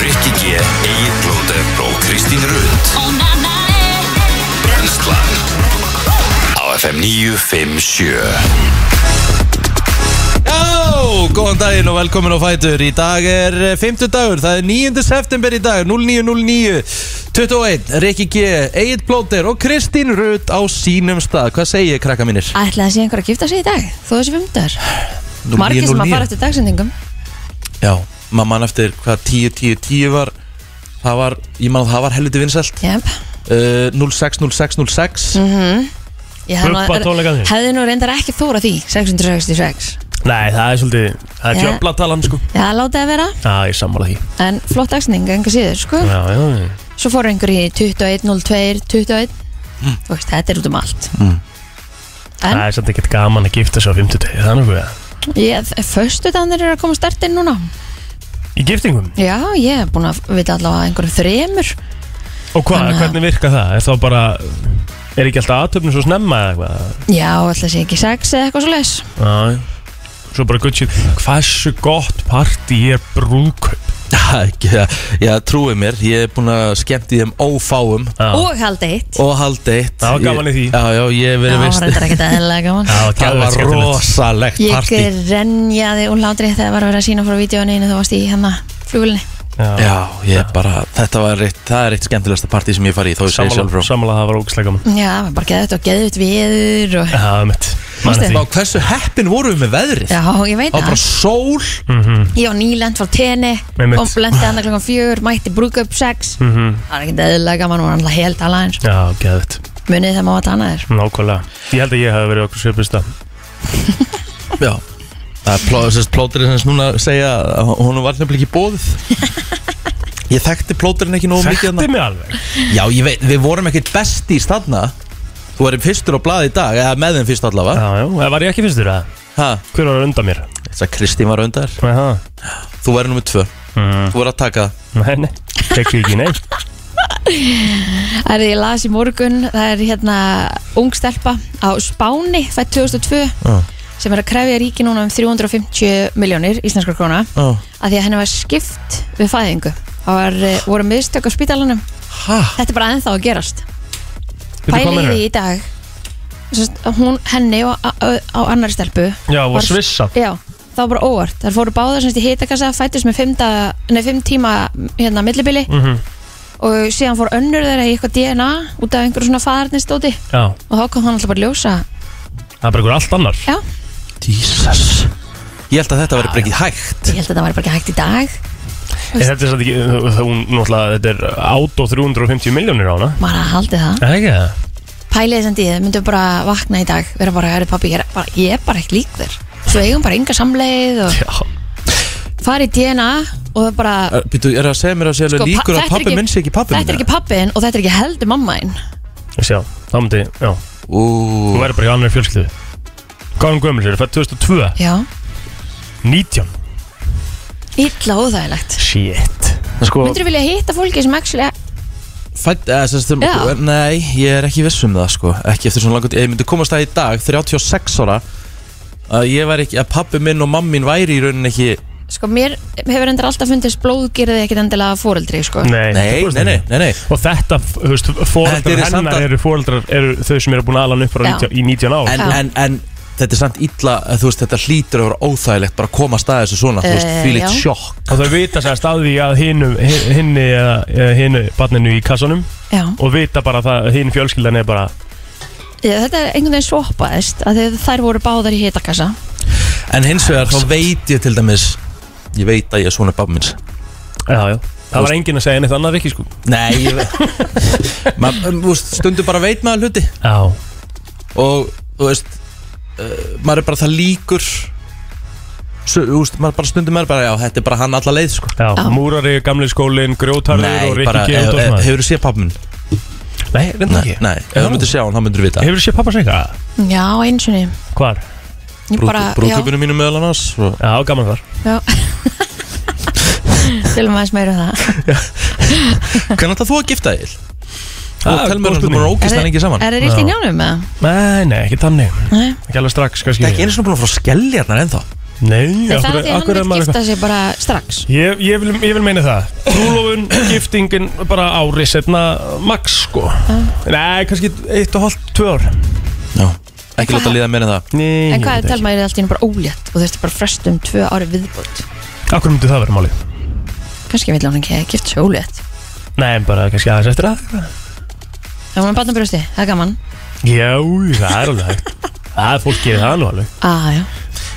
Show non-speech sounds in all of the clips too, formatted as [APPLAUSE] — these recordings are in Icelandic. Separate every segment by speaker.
Speaker 1: Rikki G, Egil Blóter og Kristín Rund Brenslan Á FM 957
Speaker 2: Já, góðan daginn og velkomin á Fætur Í dag er 5. dagur, það er 9. september í dag 0909 21, Rikki G, Egil Blóter og Kristín Rutt á sínum stað Hvað segir ég, krakka mínir?
Speaker 3: Ætlaði að sé einhver að gifta sig í dag Þó þessi fymtar
Speaker 2: Nú,
Speaker 3: Margir
Speaker 2: ég, nú,
Speaker 3: sem að
Speaker 2: ég.
Speaker 3: fara eftir dagsendingum
Speaker 2: Já, maður mann eftir hvað 10, 10, 10 var Það var, ég man að það var helviti vinsælt
Speaker 3: yep.
Speaker 2: uh, 06, 06, 06
Speaker 3: Ég hefði nú-
Speaker 4: Bubba tónleikarnir.
Speaker 3: hefði nú reyndar ekki þóra því 666
Speaker 4: Nei, það er svolítið, það er
Speaker 3: Já.
Speaker 4: djöfla talan sko
Speaker 3: Já, látaði að vera
Speaker 4: Já, ég sammála því
Speaker 3: En flott dagsending, enga síður, sko
Speaker 4: Já, já, já
Speaker 3: Svo fór einhver í 2102, 21
Speaker 2: Mm.
Speaker 3: Þú veist, þetta er út um allt
Speaker 4: Það
Speaker 3: En
Speaker 4: er svolítið ekkert gaman að gifta sig á 50 degi, það er nokkuð
Speaker 3: ég, föstu dannir eru að koma startinn núna
Speaker 4: Í
Speaker 2: Mm.
Speaker 4: giftingum?
Speaker 3: Já, ég er búin að vita allavega einhverjum þremur
Speaker 4: Og hvað,
Speaker 3: Þannig að-
Speaker 4: hvernig virka það? Er það bara, er ekki alltaf aðtöfnum svo snemma eða eitthvað?
Speaker 3: Já, ætla að sé ekki sex eða eitthvað svo leis
Speaker 4: Já, já Svo bara guttjum, hversu gott partí er brúðkaup?
Speaker 2: Já, ekki það. [LAUGHS] Já, trúið mér, ég er búin að skemmt í þeim ófáum
Speaker 4: Já,
Speaker 3: Og halda eitt
Speaker 2: og halda eitt
Speaker 4: Það var gaman í því.
Speaker 2: Já, já, ég hef verið
Speaker 3: Það var
Speaker 2: veist
Speaker 3: reyndar ekkert eðlilega gaman
Speaker 4: Já,
Speaker 2: Það
Speaker 4: geðveikt
Speaker 2: var
Speaker 4: skemmtilegt.
Speaker 2: rosalegt
Speaker 3: Ég
Speaker 2: partí
Speaker 3: grenjaði úr látri þegar var að vera að sína frá vídjónu einu þú varst í hérna flugulni
Speaker 4: Já,
Speaker 2: Já, ég bara, þetta var eitt, það er eitt skemmtilegasta partí sem ég farið í, þó ég segi sjálf
Speaker 4: sammála,
Speaker 2: frá
Speaker 4: sammála það var ógæslega gaman
Speaker 3: Já, það var bara geðið og geðið út viður og...
Speaker 4: Já, mitt, mann
Speaker 3: Manstu?
Speaker 4: því
Speaker 2: Vá, hversu heppin voru við með veðrið?
Speaker 3: Já, ég veit
Speaker 2: Það var
Speaker 3: það
Speaker 2: bara sól
Speaker 4: Mhm.
Speaker 3: Ég var nýlend frá tenni
Speaker 4: Einmitt.
Speaker 3: og lendi hann klokkan fjögur, mætti brúkup sex
Speaker 4: Mhm.
Speaker 3: Það var ekkert eðlilega gaman, hún var alltaf helt alveg eins
Speaker 4: Já, geðvitt,
Speaker 3: Munið þegar maður var annaðir
Speaker 4: nákvæmlega Ég held að ég hafi verið okkur svipist að
Speaker 2: Já Það er pló, sérst, plóterinn sem núna segja að hún var nefnilega ekki bóðið
Speaker 4: [LAUGHS]
Speaker 2: Ég þekkti plóterinn ekki nógu mikið
Speaker 4: Þekkti
Speaker 2: þarna.
Speaker 4: mig alveg
Speaker 2: Já, ég veit, við vorum ekkert best í stanna Þú erum fyrstur á blaði í dag, eða með þeim fyrst allavega
Speaker 4: Já, já, eða var ég ekki fyrstur að
Speaker 2: Ha,
Speaker 4: Hver var undan mér?
Speaker 2: þess að Kristín var undar
Speaker 4: Aha.
Speaker 2: Þú verður nummið tvö,
Speaker 4: Mm.
Speaker 2: þú verður að taka það
Speaker 4: Nei, nei, tekki ekki, nei
Speaker 2: [LAUGHS]
Speaker 3: Það er ég las í morgun, það er hérna ung stelpa á Spáni fætt 2002
Speaker 5: Ah.
Speaker 2: Já.
Speaker 3: sem er að krefja ríki núna um 350 miljónir íslenskar króna
Speaker 2: Já.
Speaker 3: að því að henni var skipt við fæðingu það var, eh, voru miðstök á spítalanum
Speaker 2: Ha,
Speaker 3: þetta er bara ennþá að gerast
Speaker 4: Veitu hvað
Speaker 3: pæli
Speaker 4: meinarðu?
Speaker 3: því í dag Sest, hún, henni og á, á, á annari stelpu
Speaker 4: Já, var svissa
Speaker 3: já, það var bara óvart þar fóru báðar semst í hitakassa fættist með fimm, dag, nei, fimm tíma hérna millibili
Speaker 4: Mhm.
Speaker 3: og síðan fór önnur þeirra í eitthvað DNA út af einhverju svona faðarnistóti
Speaker 4: Já,
Speaker 3: og þá kom hann alltaf bara að ljósa
Speaker 4: það er bara ykkur allt annar
Speaker 3: já,
Speaker 2: Jesus Ég held að þetta verður bara ekki hægt
Speaker 3: ég held að það var bara ekki hægt í dag
Speaker 4: En þetta er satt ekki, þú- þú- hún náttúrulega, þetta er át og 350 miljónir á hana
Speaker 3: maður að haldi það
Speaker 4: Það er ekki það
Speaker 3: pæliði sem dýðið, myndum bara vakna í dag vera bara, herri pappi, ég er bara, ég er bara ekki lík þér svo eigum bara enga samleið og
Speaker 4: Já,
Speaker 3: fara í DNA og það bara
Speaker 2: Býtu, er það að segja mér að segja alveg
Speaker 3: Sko, pa-
Speaker 2: líkur
Speaker 3: þetta
Speaker 2: að
Speaker 3: er
Speaker 2: pappi
Speaker 3: ekki-
Speaker 2: minn sé ekki pappi
Speaker 3: þetta er ekki pappin og þetta er ekki heldur mammain
Speaker 4: ég sé, þá myndi, já
Speaker 2: Ú,
Speaker 4: Þú verður bara í annar fjölskyldu Hvað er hún gömul sér? Fætt 2002,
Speaker 3: já,
Speaker 4: 19
Speaker 3: illa óþægilegt
Speaker 4: Shit
Speaker 2: sko,
Speaker 3: myndur vilja hitta fólki sem actually e-
Speaker 2: fætt, eða, sem, sem,
Speaker 3: Já.
Speaker 2: nei, ég er ekki viss um það sko, ekki eftir svona langt, ég myndi komast það í dag 36 ára að ég væri ekki, að pappi minn og mammin væri í rauninni ekki,
Speaker 3: sko mér hefur endur alltaf fundist blóðgerði ekkit endilega fóreldri sko
Speaker 4: Nei,
Speaker 2: nei, nei, nei, nei, nei.
Speaker 4: Og þetta, þú veist,
Speaker 2: Þetta
Speaker 4: fóreldrar
Speaker 2: er samt
Speaker 4: hennar
Speaker 2: að-
Speaker 4: eru fóreldrar, eru þau sem eru búin að ala hann upp frá
Speaker 3: Já.
Speaker 4: 19 í 19 ár
Speaker 2: En,
Speaker 3: Já.
Speaker 2: en, en þetta er samt illa, að þú veist, þetta hlýtur að vera óþægilegt bara að komast að þessu svona, þú veist,
Speaker 3: Eh,
Speaker 2: því litt
Speaker 3: já.
Speaker 2: sjokk
Speaker 4: Og þau vita sérst að því að hinu, hinu, hinu barninu í kassanum
Speaker 3: já,
Speaker 4: og vita bara það að hinn fjölskyldan er bara
Speaker 3: ég, þetta er einhvern veginn svoppaðist að þið- þær voru báðar í hitakassa
Speaker 2: En hins vegar, þá veit ég til dæmis ég veit að ég er svona pappi minns
Speaker 4: já, já. það
Speaker 2: [LAUGHS]
Speaker 4: var enginn að segja neitt annað ekki sko
Speaker 2: Nei, ég veit
Speaker 4: [LAUGHS]
Speaker 2: Ma, um, þú veist, Stundum bara veit maður hluti
Speaker 4: já,
Speaker 2: og þú veist uh, maður er bara það líkur svo, þú veist, maður bara stundum er bara já, þetta er bara hann alla leið sko
Speaker 4: já.
Speaker 3: Já.
Speaker 4: múrari, gamli skólin, grjótarður og
Speaker 2: bara,
Speaker 4: Rikki G.
Speaker 2: hefur
Speaker 4: Útdórsmaður.
Speaker 2: hefurðu séð pappminn?
Speaker 4: nei, reynda
Speaker 2: Nei,
Speaker 4: ekki
Speaker 2: nei, ef þú myndir sjá hann, þá myndir vita
Speaker 4: hefur þú séð pappa segja það?
Speaker 3: já, eins og niður
Speaker 4: hvar?
Speaker 3: ég bara, já,
Speaker 2: Brúðköpunum mínum meðal annars og...
Speaker 4: já, gaman þar
Speaker 3: já [LAUGHS] Tölum aðeins meira um það
Speaker 2: Hvernig ætlað þú að gifta þig? Þú
Speaker 4: Ah,
Speaker 2: telur mér
Speaker 4: góð
Speaker 2: að þú búin að
Speaker 4: spurning.
Speaker 2: ógist
Speaker 3: Er-
Speaker 2: hann lengi saman
Speaker 3: Er það ríkt í njánum eða?
Speaker 4: nei, nei, ekki þannig
Speaker 3: Nei,
Speaker 4: ekki alveg strax
Speaker 2: Það
Speaker 4: kannski
Speaker 2: er ekki einu svona búin að fara að skellja hann ennþá
Speaker 4: Nei,
Speaker 3: Það er það
Speaker 4: akkur,
Speaker 3: því að
Speaker 4: akkur er
Speaker 3: hann vil
Speaker 4: maður
Speaker 3: gifta sig bara strax
Speaker 4: Ég, ég, vil, ég vil meina það Trúlofun, [CLEARS THROAT] giftingin, bara ári setna max sko Nei, kannski eitt og hálft, tvö ár
Speaker 2: Já Ekki láta líða meira en það
Speaker 4: Nei,
Speaker 3: En hvað er telma er alltaf bara ólétt og þurfti bara frest um tvö ári viðbútt
Speaker 4: Akkur myndi það vera málið?
Speaker 3: Kannski vil hún ekki gift sig ólétt
Speaker 4: Nei, en bara kannski aðeins eftir að
Speaker 3: Það var með barnabrjósti, það er gaman
Speaker 4: Já, það er alveg hægt Það er fólk gerir það nú alveg
Speaker 3: ah, já.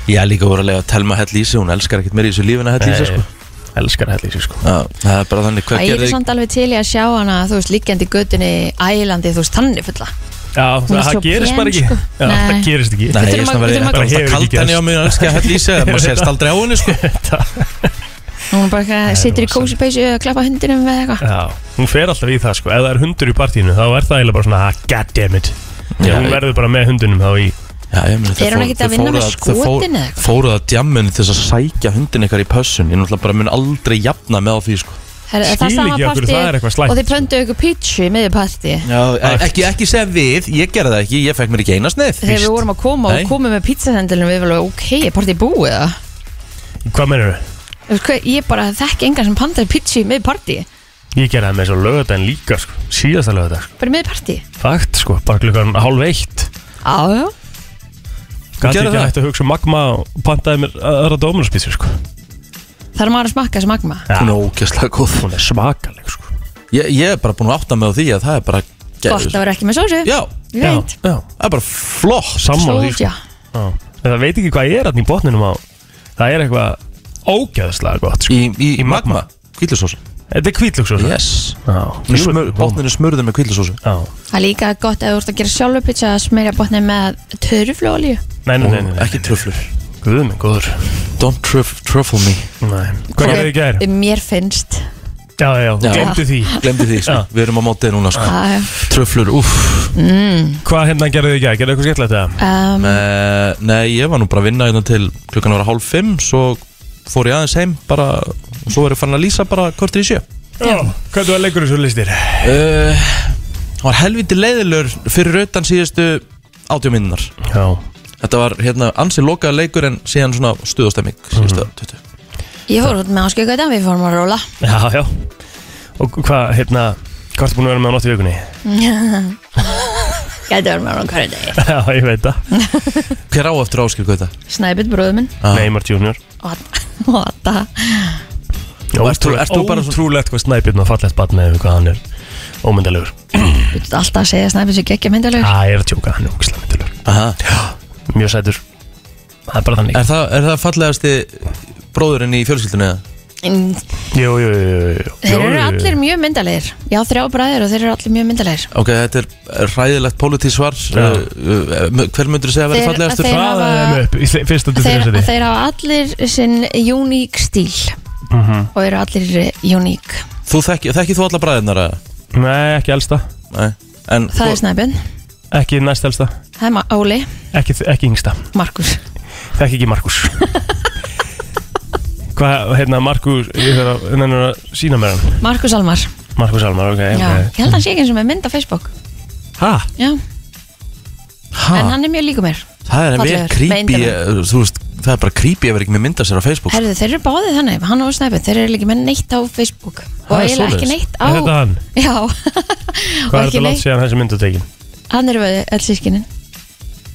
Speaker 2: Ég er líka vorulega að telma hell í sig Hún elskar ekkert meira í þessu lífin að hell í sig sko.
Speaker 4: Nei, Elskar að hella í sig sko
Speaker 2: Já, Það er bara þannig
Speaker 3: Æ,
Speaker 2: Hvað
Speaker 3: Ég er
Speaker 2: gerði
Speaker 3: samt alveg til í að sjá hana þú veist, liggjandi í götunni, ælandi, þú veist, tanni fulla
Speaker 4: Já,
Speaker 3: Hún er
Speaker 4: það
Speaker 3: svo
Speaker 4: gerist
Speaker 3: pen,
Speaker 4: bara ekki
Speaker 3: sko.
Speaker 4: Já, það
Speaker 3: Nei.
Speaker 4: gerist ekki
Speaker 2: Nei,
Speaker 3: Við
Speaker 2: ég er
Speaker 3: þurfum að-
Speaker 2: svona
Speaker 3: við
Speaker 2: verið
Speaker 3: þurfum að-
Speaker 4: Bara
Speaker 2: Þetta er alltaf
Speaker 4: hefur
Speaker 2: kalt
Speaker 4: ekki
Speaker 2: henni á
Speaker 4: gerst.
Speaker 2: mig Hún elskar að hell í sig
Speaker 4: [LAUGHS]
Speaker 2: Má sérst aldrei á henni sko
Speaker 3: Hún bara eitthvað, situr í
Speaker 4: rosalegt.
Speaker 3: kósi peysu og klappa hundinum eða
Speaker 4: [LAUGHS]
Speaker 3: eitthvað
Speaker 4: Já, hún fer alltaf í það sko Ef það er hundur í partíinu þá er það eiginlega bara svona ah, God damn it
Speaker 2: Já,
Speaker 4: Hún verður bara með hundunum þá í
Speaker 2: Já, ég meni,
Speaker 3: Er hún ekkert að vinna með sko. skotin eða eitthvað?
Speaker 2: Fóruð að djamminu til þess að sækja hundin eitthvað í pössun Ég náttúrulega bara mun aldrei jafna með á því sko.
Speaker 3: Herra, það er
Speaker 4: Skil
Speaker 3: sama
Speaker 4: ekki af hverju
Speaker 3: partí
Speaker 4: það er eitthvað slæmt,
Speaker 3: og þið pönduðu ykkur pítsu í miður partí
Speaker 2: Já, e- ekki, ekki segja við, ég gerði það ekki, ég fekk mér ekki eina sneið
Speaker 3: þegar við vorum að koma
Speaker 2: Nei.
Speaker 3: og komum með pítsahendilum við varum ok, er partí búið það
Speaker 4: Hvað mennur þau?
Speaker 3: Þú veist hvað, ég bara þekk engan sem pantaði pítsu í miður partí
Speaker 4: Ég gerði það með svo lögadaginn líka sko Síðasta lögadag sko
Speaker 3: bara í miður partí
Speaker 4: Fakt sko, bara klukkan hálf eitt
Speaker 3: Já, já.
Speaker 4: Gat
Speaker 2: gerðir
Speaker 4: ekki
Speaker 2: það?
Speaker 4: hægt að hugsa um magma og pantaði mér aðra dómunarspítsu sko
Speaker 3: það er maður að smakka sem magma
Speaker 4: Já,
Speaker 2: Hún er ógæslega góð
Speaker 4: hún er svakaleg sko
Speaker 2: ég, ég er bara búin að átta mig á því að það er bara
Speaker 3: gott að vera ekki með sósu
Speaker 2: Já,
Speaker 3: Ég veit.
Speaker 2: já, það er bara flott
Speaker 4: Sammála því sko
Speaker 3: sósja
Speaker 4: Já. En það veit ekki hvað ég er hann í botninum á Það er eitthvað ógæðslega gott sko
Speaker 2: Í, í,
Speaker 4: Í
Speaker 2: í magma,
Speaker 4: magma.
Speaker 2: kvílusósu
Speaker 4: Þetta er kvítlug svo
Speaker 2: Yes Botninu smurður með kvílusósu
Speaker 3: það er líka gott að þú ert að gera sjálfur pítsu að smyrja botnið með törflóolíu
Speaker 4: Nei, nei, nei, nei,
Speaker 2: Ekki tröflur
Speaker 4: guð minn góður
Speaker 2: Don't truf, truffle me
Speaker 4: Nei, hvað gerði þið í gær?
Speaker 3: mér finnst
Speaker 4: Já, já, já,
Speaker 2: Já.
Speaker 4: glemdu því
Speaker 2: Glemdi því, sko.
Speaker 4: Já.
Speaker 2: við erum á mótið núna sko.
Speaker 3: að,
Speaker 2: Tröflur, uff
Speaker 4: Hvað hérna gerðu þið í gær? Gerðu eitthvað skemmtilegt eða?
Speaker 3: Mm. um,
Speaker 2: Eh, Nei, ég var nú bara að vinna hérna til klukkan var hálf fimm Svo fór ég aðeins heim bara og Svo var ég fann að lýsa bara kortir í sjö
Speaker 4: Já. Hvað þú að leikur þessu listir?
Speaker 2: uh, Það var helviti leiðilur fyrir utan síðustu átjóminnar
Speaker 4: Já.
Speaker 2: Þetta var hérna ansið lokaða leikur en síðan svona stuðastemming síðustu
Speaker 4: Mhm.
Speaker 2: 20
Speaker 3: ég fór út með áskjögauta við fórum að
Speaker 2: [LAUGHS]
Speaker 3: róla
Speaker 4: Já, já. Og hvað, hérna, hvað ertu búin að vera með á nótt í vikunni? [LAUGHS]
Speaker 3: gæti verið með róla hverju degi
Speaker 4: Já, ég veit það.
Speaker 2: Hver á eftir áskil Gauta?
Speaker 3: Snæbjörn bróður minn
Speaker 2: Ah.
Speaker 4: Neymar Junior.
Speaker 3: og og þetta
Speaker 2: Og ert þú- ert þú bara svona-
Speaker 4: Ótrúlegt hvað snæpirn og fallegt batn með hvað hann er ómyndalegur.
Speaker 3: Þú ert alltaf að segja Snæbjörn sem geggja myndalögur
Speaker 4: Já, ég er að tjóka, hann er ógislega myndalegur.
Speaker 2: Aha.
Speaker 4: Mjög sætur. Það er bara þannig.
Speaker 2: Er, það, er það fallegasti bróðurinn í fjölskyldunni eða?
Speaker 4: Jú, jú, jú, jú, jú.
Speaker 3: Þeir
Speaker 4: Jú,
Speaker 3: eru
Speaker 4: jú, jú.
Speaker 3: allir mjög myndalegir Já, þrjá bræður og þeir eru allir mjög myndalegir
Speaker 2: Ok, þetta er ræðilegt pólitísk svar
Speaker 4: Já.
Speaker 2: uh, uh, Hver myndur þú segja að vera
Speaker 3: Þeir-
Speaker 2: fallegastur?
Speaker 3: þeir-
Speaker 4: Hraðaði
Speaker 3: hafa-
Speaker 4: þeim upp í sli- fyrsta til
Speaker 3: þeir,
Speaker 4: þriðja sæti.
Speaker 3: þeir hafa allir sinn uník stíl
Speaker 4: Mhm.
Speaker 3: og eru allir eh, uník
Speaker 2: Þú þekki, þekki þú alla bræðinar eða?
Speaker 4: Nei, ekki elsta.
Speaker 2: Nei En
Speaker 3: Það
Speaker 4: Sko-
Speaker 3: er Snæbjörn,
Speaker 4: Ekki næst elsta.
Speaker 3: það er Ma- Óli,
Speaker 4: Ekki, ekki yngsta.
Speaker 3: Markus
Speaker 4: Þekk ekki Markus [LAUGHS] Hvað, hérna, Markus Ég þarf að, hérna, að sína mér hann
Speaker 3: Markus Almar
Speaker 4: Markus Almar, ok,
Speaker 3: Já,
Speaker 4: ok
Speaker 3: ég held að hann sé ekki eins og með mynd á Facebook
Speaker 4: Hæ?
Speaker 3: Já, en
Speaker 2: ha,
Speaker 3: hann er mjög líku mér
Speaker 2: Það er vel
Speaker 3: fallegur,
Speaker 2: creepy
Speaker 3: með
Speaker 2: eh, Þú veist, það er bara creepy að vera ekki með mynda sér á Facebook sko.
Speaker 3: Herðu, þeir eru báðið þannig, hann og Snæbjörn Þeir eru líka með neitt á Facebook Og
Speaker 2: er
Speaker 3: eiginlega ekki
Speaker 2: svoleiðis.
Speaker 3: neitt á
Speaker 4: Er þetta hann?
Speaker 3: Já, og
Speaker 4: Hvað er
Speaker 3: ekki
Speaker 4: þetta langt
Speaker 3: neitt
Speaker 4: síðan þessi myndu tekin?
Speaker 3: Hann eru við öll sískinin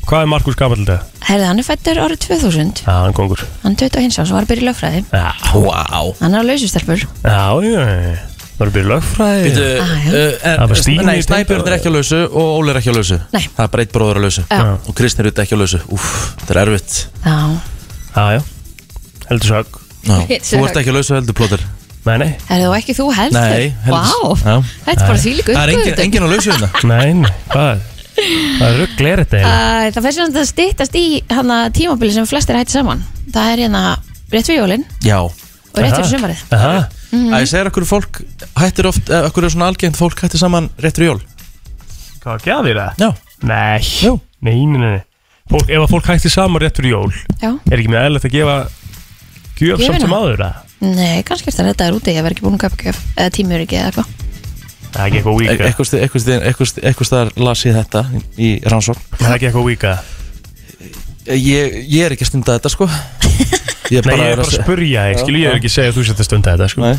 Speaker 4: Hvað er Markus gamall þetta?
Speaker 3: Herðu, hann er fættur árið 2000
Speaker 4: Já, hann kongur
Speaker 3: Hann er 21 árs og var að byrja í lögfræði
Speaker 4: Já,
Speaker 2: Wow
Speaker 3: Hann er á lausustelpur
Speaker 4: já, já já. Það er byrjuð lögfræði
Speaker 2: Býtu,
Speaker 3: Ah, já.
Speaker 2: uh,
Speaker 4: Það var
Speaker 2: en,
Speaker 4: Stínu
Speaker 2: nei,
Speaker 4: í
Speaker 2: Snæbjörn er ekki á lausu og Óli er ekki á lausu
Speaker 3: Nei.
Speaker 2: Það er bara eitt bróður á lausu
Speaker 3: Já. Já.
Speaker 2: Og Kristinn er auðvitað ekki á lausu Úf, þetta er erfitt
Speaker 3: Já,
Speaker 4: Já, já Heldur sög
Speaker 2: Já.
Speaker 3: Ég
Speaker 2: Þú ert
Speaker 3: sök.
Speaker 2: ekki á lausu heldur plóter
Speaker 4: Nei, nei
Speaker 3: er þú ekki þú heldur?
Speaker 2: Nei, heldur-
Speaker 3: Vá,
Speaker 2: Já.
Speaker 3: þetta er bara því líka
Speaker 2: Það er engin, engin á lausu hérna
Speaker 4: Nei, nei Hvað? Það er rugglir þetta eiginlega.
Speaker 3: Æ, Það fyrir samt að styttast í hana tímabili sem flestir hætti saman Það er hérna rétt við jólin
Speaker 2: Já
Speaker 3: og rétt fyrir
Speaker 4: Aha.
Speaker 3: sumarið
Speaker 4: Aha.
Speaker 2: Æ, ég segir okkur fólk hættir oft eh, Okkur er svona algengt fólk hættir saman réttur í jól
Speaker 4: Hvað gæðir það?
Speaker 2: Já
Speaker 4: Nei
Speaker 2: Jú.
Speaker 4: Nei, nei, nei nei. fólk, Ef að fólk hætti saman rétt fyrir jól
Speaker 3: Já,
Speaker 4: Er ekki mjög eðlilegt að gefa Gjöf
Speaker 3: Gjöfina?
Speaker 4: samt sem áður það?
Speaker 3: nei, kannski er það þetta er úti Ég verð ekki búin að köpa gjöf eða tímur ekki eða eitthvað
Speaker 4: Það er ekki eitthvað eh?
Speaker 2: E-
Speaker 4: víka
Speaker 2: Eitthvað sti- eitthvað sti- eitthvað sti- eitthvað staðar las ég þetta í- í rannsókn
Speaker 4: eh?
Speaker 2: E-
Speaker 4: Það er ekki eitthvað víka [LAUGHS]
Speaker 2: Ég, ég er ekki að stunda þetta sko Ég
Speaker 4: Nei, ég er bara að
Speaker 2: spurning
Speaker 4: spurja þig, skilu, ég er ekki að segja að þú setja stund að þetta, sko
Speaker 2: Nei.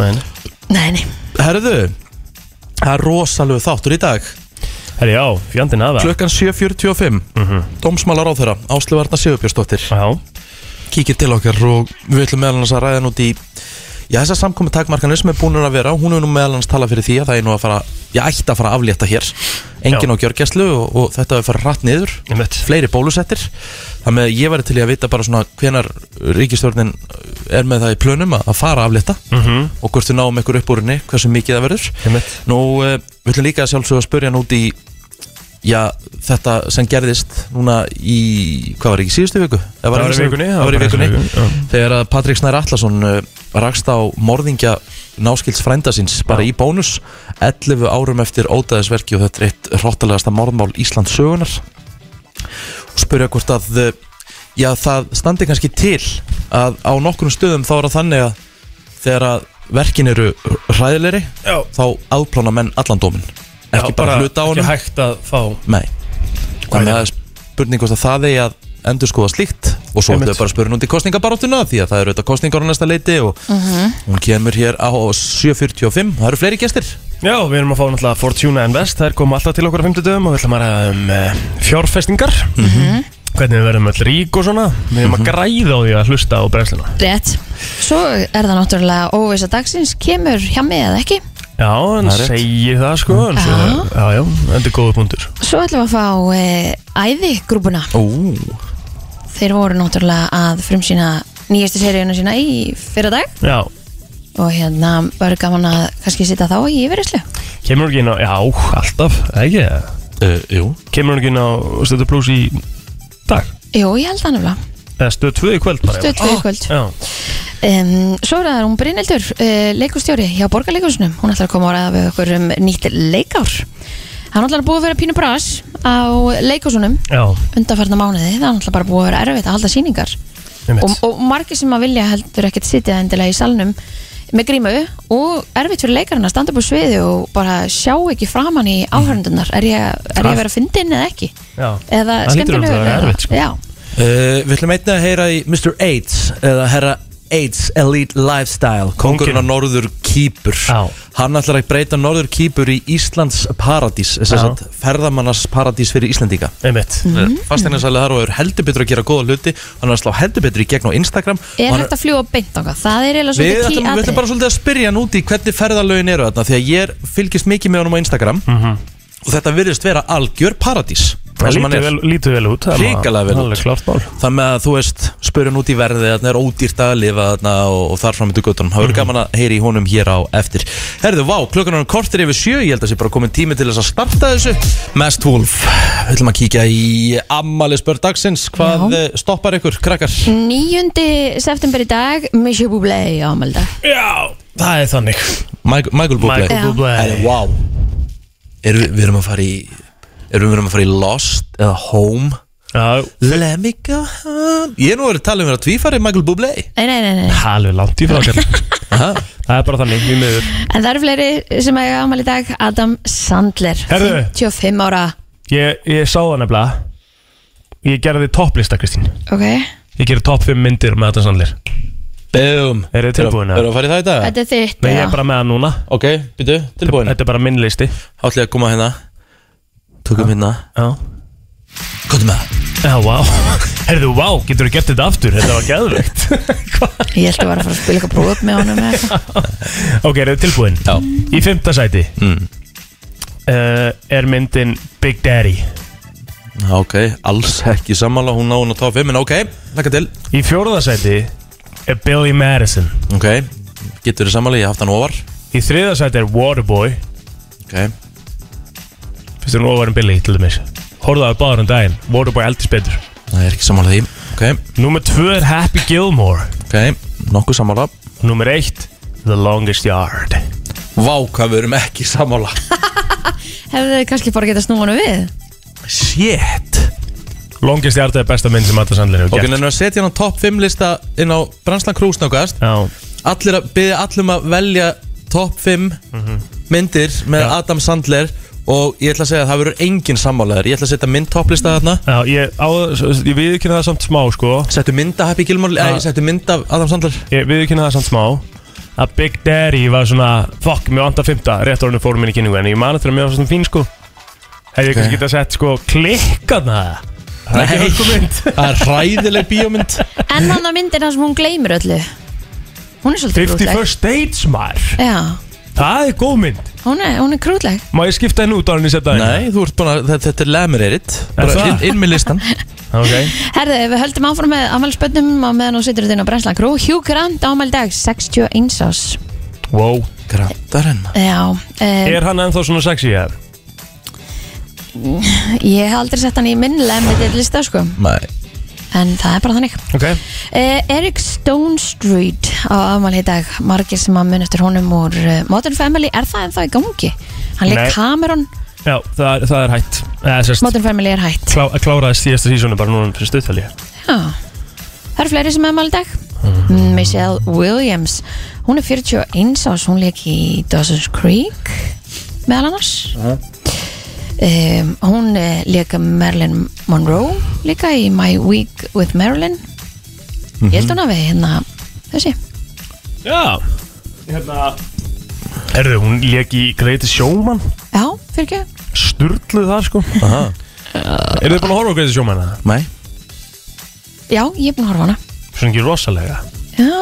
Speaker 4: Nei, nei.
Speaker 3: Nei, nei
Speaker 2: Herðu, það er rosalegu þáttur í dag
Speaker 4: Herri, já, fjandinn aða
Speaker 2: Klukkan 7.45 mm -hmm. Dómsmálar á þeirra, Áslu Varna Sigurbjörnsdóttir
Speaker 4: Já,
Speaker 2: kíkir til okkar og við ætlum meðal hans að ræða nút í já, þessar samkomi takmarkanir sem er búin að vera hún er nú meðal hans talað fyrir því að það er nú að fara já, ætti að fara að aflétta hér engin
Speaker 4: Já.
Speaker 2: á gjörgæslu og, og þetta er að fara rætt niður
Speaker 4: ég veit
Speaker 2: fleiri bólusettir þannig að ég væri til í að vita bara svona hvenar ríkistjórnin er með það í plönum að, að fara að aflétta
Speaker 4: Mhm.
Speaker 2: og hvort við náum ykkur upp úr henni, hversu mikið það verður
Speaker 4: Einmitt.
Speaker 2: Nú, uh, við ætlum líka að sjálfsögðu að spurja hann út í já, þetta sem gerðist núna í, hvað var ekki, síðustu viku? Eða
Speaker 4: Það var í
Speaker 2: síðustu-
Speaker 4: vikunni,
Speaker 2: Það var í
Speaker 4: bara
Speaker 2: vikunni,
Speaker 4: þessu viku,
Speaker 2: þegar að Patrik Snær Allarsson uh, rakst á morðingja náskilds frænda síns bara í bónus 11 árum eftir ódæðisverki og þetta er eitt hróttalegasta morðmál Íslands sögunar og spurja hvort að uh, já, það standi kannski til að á nokkrum stöðum þá er það þannig að þegar að verkin eru hræðilegri
Speaker 4: Já,
Speaker 2: þá afplána menn allan dómin ekki
Speaker 4: Já,
Speaker 2: bara hluta á
Speaker 4: Ekki
Speaker 2: honum
Speaker 4: hægt að fá
Speaker 2: Nei. þannig að það er spurning hvort að það er að endur skoða slíkt og svo
Speaker 4: Einmitt.
Speaker 2: ætlum við bara að spyrja núnt í kostningabaráttuna því að það eru auðvitað kostningar á næsta leiti og
Speaker 6: Mhm.
Speaker 2: hún kemur hér á 7.45 það eru fleiri gestir
Speaker 4: Já, við erum að fá náttúrulega Fortuna Invest Það er komið alltaf til okkur á 50 dögum og við ætlum að ræða um uh, fjárfestingar Hvernig við verðum öll rík og svona Við erum að græða á því að hlusta á brennsluna
Speaker 3: Rétt Svo er það náttúrulega óvisa dagsins Kemur hjá mig eða ekki
Speaker 4: Já, en
Speaker 2: Það er rétt.
Speaker 4: segi það sko en svo, Já, já, þetta er góða punktur
Speaker 3: Svo ætlum við að fá e, æði grúpuna
Speaker 2: Ú,
Speaker 3: Þeir voru náttúrulega að frumsýna nýjastu seríuna sína í fyrra dag
Speaker 4: Já,
Speaker 3: Og hérna var gaman að kannski sitja þá í yfirreyslu
Speaker 4: kemur hún ekki inn á Já, alltaf, eða ekki
Speaker 2: uh, jú
Speaker 4: Kemur hún ekki inn á Stöðu Plus í dag
Speaker 3: Jú, ég held það nefnilega
Speaker 4: Eða Stöð 2 í kvöld bara
Speaker 3: Stöð tvö í kvöld
Speaker 4: Já,
Speaker 3: um, Svo er það hún Brynildur, uh, leikustjóri hjá Borgarleikursunum Hún ætlar að koma að ræða við okkur um nýtt leikár Hann ætlar að búið að vera pínu bras á leikusunum
Speaker 4: já,
Speaker 3: undanfarna mánuði, það er náttúrulega bara búið að vera erfitt að halda síningar
Speaker 4: einmitt
Speaker 3: og, og margir sem að vilja heldur ekkert sitja endilega í salnum með grímu og erfitt fyrir leikarinn að standa upp á sviði og bara sjá ekki framann í áhörndunar er ég, er ég að vera fyndin eða ekki
Speaker 4: Já,
Speaker 3: eða
Speaker 4: Það hlýtur að
Speaker 3: skemmtilegur
Speaker 4: vera
Speaker 3: eða-
Speaker 4: erfitt, sko.
Speaker 3: já,
Speaker 2: Uh, við ætlum einnig að heyra í Mr. AIDS eða herra AIDS Elite Lifestyle kongurinn á
Speaker 4: Kónginn.
Speaker 2: Norður Kýpur
Speaker 4: Já.
Speaker 2: hann ætlar að breyta Norður Kýpur í Íslands paradís þess
Speaker 4: Já.
Speaker 2: að ferðamannas paradís fyrir Íslendinga
Speaker 4: einmitt
Speaker 3: Mhm.
Speaker 2: mm. fasteignarsæli þar og er heldur betur að gera góða hluti hann er að slá heldur betur í gegn á Instagram
Speaker 3: er
Speaker 2: Og hann
Speaker 3: hægt að fljúa beint ánga það er eiginlega
Speaker 2: Við
Speaker 3: svolítið key
Speaker 2: ætlum, við ætlum
Speaker 3: atriði.
Speaker 2: bara svolítið að spyrja hann út í hvernig ferðalögin eru þarna því að ég er- fylgist mikið með honum á Instagram og þetta virðist vera algjör paradís þar
Speaker 4: Mhm. Það
Speaker 2: sem hann
Speaker 4: lítur
Speaker 2: er.
Speaker 4: vel, lítur vel út það er maður-
Speaker 2: Hrikalega vel út.
Speaker 4: Alveg klart mál
Speaker 2: Það með að þú veist, spurðin út í verði þarna er ódýrt að lifa þarna og, og þar fram í dugutunum, það verður
Speaker 4: Mhm.
Speaker 2: gaman að heyri í honum hér á eftir. Herðu, vá, klukkan er kortir yfir sjö, ég held að sé bara komin tími til þess að starta þessu. Mest Wolf, við ætlum að kíkja í ammali spörð dagsins, hvað
Speaker 3: Já. Mm.
Speaker 2: eh, stoppar ykkur, krakkar?
Speaker 3: 9. september í dag Michel Bublé ámaldag
Speaker 4: Já, það er þannig
Speaker 2: Michael, Michael Bublé.
Speaker 4: Michael
Speaker 3: Já.
Speaker 4: Bublé
Speaker 2: Herðu, vá, erum við, við erum að fara í, erum við erum að fara í Lost eða Home?
Speaker 4: Já,
Speaker 2: Let me go home Ég er nú verið að tala um að vera tvífari Michael Bublé
Speaker 3: nei, nei, nei, nei.
Speaker 4: alveg langt í frá okkar
Speaker 2: Aha.
Speaker 4: Það er bara þannig, við miður
Speaker 3: en það eru fleiri sem eiga ámali í dag Adam Sandler,
Speaker 4: Herðu.
Speaker 3: 55 ára
Speaker 4: Ég, ég sá það nefnilega Ég gerði topplista, Kristín
Speaker 3: ok,
Speaker 4: Ég gerði topp 5 myndir með þetta sannleir
Speaker 2: Boom
Speaker 4: Eru þið tilbúin, eða?
Speaker 2: Erum við að fara í það í dag?
Speaker 3: þetta er þitt
Speaker 4: Nei, ég
Speaker 3: já.
Speaker 4: er bara með það núna
Speaker 2: Ok, býtu, tilbúin
Speaker 4: Þetta er bara minn listi
Speaker 2: Háttlega að koma hérna Tökum hérna
Speaker 4: Já
Speaker 2: Hvað með það?
Speaker 4: Já, vá Herðu, vá, getur þú gert þetta aftur? Þetta var geðveikt Hvað?
Speaker 3: Ég held að vera að fara að spila eitthvað brot með honum eða eitthvað.
Speaker 4: [LAUGHS] Ok, eru þið tilbúin? Já Í fymta sæti
Speaker 2: Mm.
Speaker 4: uh, Er myndin Big Daddy
Speaker 2: Já, Ok, alls ekki sammála Hún náðun að tá fimm En ok, lakka til
Speaker 4: Í fjórða sæti Er Billy Madison
Speaker 2: Ok, getur þið sammála Ég hafði hann ofar
Speaker 4: Í þriða sæti er Waterboy
Speaker 2: Ok
Speaker 4: Fyrst er hún ofar en Billy, til dæmis Horfðu á báður um daginn Waterboy eldist betur
Speaker 2: Það er ekki sammála því Ok,
Speaker 4: Númer tvö er Happy Gilmore
Speaker 2: ok Nokkuð sammála
Speaker 4: Númer eitt The Longest Yard
Speaker 2: Vá, hvað við erum ekki sammála
Speaker 3: Hefðu þið kannski bara getað snúið honum við
Speaker 2: Shit
Speaker 4: [LAUGHS] Longest Yard er besta mynd sem Adam Sandler hefur
Speaker 2: Ok,
Speaker 4: gert
Speaker 2: en að setja hann á topp 5 lista Inn á Branslan Cruise nákvæmst
Speaker 4: Já, Mhm.
Speaker 2: allir að byggja allum að velja topp 5 myndir með Adam Sandler og ég ætla að segja að það verður engin sammálaður ég ætla að setja minn topplista þarna
Speaker 4: Já, ég, á, ég viðkynna það samt smá sko
Speaker 2: settu mynd af Happy Gilmore ja.
Speaker 4: Ja.
Speaker 2: settu mynd af Adam Sandler
Speaker 4: Ah. Ég viðkynna það samt smá Að Big Daddy var svona Fuck, mér vantar fymta Rétt orðinu fórum minni kynningu En ég man eftir að mér var svona fín sko Hefði ég kannski getað sett sko Klikkaðna Það er ekki
Speaker 2: Nei.
Speaker 4: hörkumynd
Speaker 2: [LAUGHS] það er hræðileg bíómynd
Speaker 3: En hann að myndin hans sem hún gleymir öllu Hún er svolítið
Speaker 4: 50
Speaker 3: krútleg
Speaker 4: First Dates maður
Speaker 3: Já,
Speaker 4: Það er góð mynd
Speaker 3: hún er, hún er krútleg
Speaker 4: Má ég skipta henni út á henni setja henni?
Speaker 2: nei, þú ert búin að þetta, þetta er lemuririt bara
Speaker 4: það?
Speaker 2: inn, inn með listan
Speaker 4: [LAUGHS] Ok
Speaker 3: Herðu, ef við höldum áfram með afmælspönnum og meðan hún situr þetta inn á brennslan krú Hugh Grant ámæl dag 61 ás
Speaker 4: Wow
Speaker 2: grantar hennar
Speaker 3: Já, um,
Speaker 4: Er hann ennþá svona sexy hér?
Speaker 3: ég hef aldrei sett hann í minn lemmitið lista sko
Speaker 2: nei,
Speaker 3: En það er bara þannig
Speaker 4: Ok
Speaker 3: uh, Eric Stone Street á afmæli í dag Margir sem að mun eftir honum úr uh, Modern Family Er það ennþá í gangi? Hann
Speaker 4: Nei.
Speaker 3: leik Cameron
Speaker 4: Já, það er, það er hætt Eða sérst
Speaker 3: Modern Family er hætt
Speaker 4: klá, Kláraðist síðasta sísónu bara núna fyrir stuðfæli
Speaker 3: Já, það eru fleiri sem hefum alveg dag Michelle Williams Hún er 41 ás, hún leik í Dawson's Creek meðal annars um, Hún eh, leik Marilyn Monroe líka í My Week with Marilyn Ég
Speaker 4: Mhm.
Speaker 3: held hún að við hérna þessi
Speaker 4: Já Hérna Herðu, hún lék í Greatest Showman
Speaker 3: Já, fyrir ekki
Speaker 4: Sturluð það sko
Speaker 2: aha,
Speaker 4: Eru þið búin að horfa á Greatest Showman eða?
Speaker 2: nei
Speaker 3: Já, ég er búin að horfa á hana
Speaker 4: Svona ekki rosalega
Speaker 3: Já,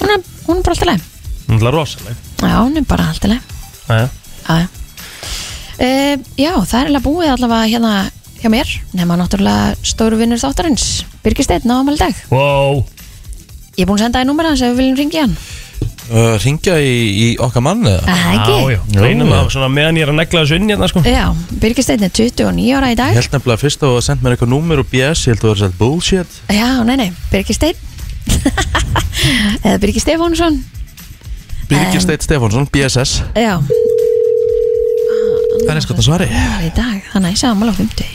Speaker 3: hún er, hún er bara alltaf leið
Speaker 4: Hún er rosalega
Speaker 3: Já, hún er bara alltaf leið
Speaker 4: Æja
Speaker 3: Já, já. Eh, já, það er alveg búið allavega hérna hjá mér, nema náttúrulega stóru vinnur þáttarins, Birgir Steinn á ámæli dag.
Speaker 4: Wow
Speaker 3: Ég er búin að senda í númer hans ef við viljum ringja hann.
Speaker 2: uh, ringja í, í okkar mann eða?
Speaker 3: Það
Speaker 4: Já,
Speaker 3: ekki?
Speaker 4: já
Speaker 2: Jú.
Speaker 4: Reynum að svona meðan ég er að negla þessu inn hérna sko
Speaker 3: Já, Birgir Steinn er 29 ára í dag.
Speaker 2: ég held nefnilega fyrst að þú sendt mér eitthvað númer og BS ég held að þú verður sett bullshit
Speaker 3: Já, nei, nei, Birgir [LAUGHS] Steinn. Eða Birgir Stefánsson.
Speaker 2: Birgir
Speaker 3: En-
Speaker 2: Steit Stefánsson, BSS
Speaker 3: Já,
Speaker 2: það er skoðan svari
Speaker 3: ára í dag. Það næsa ámæli á 50.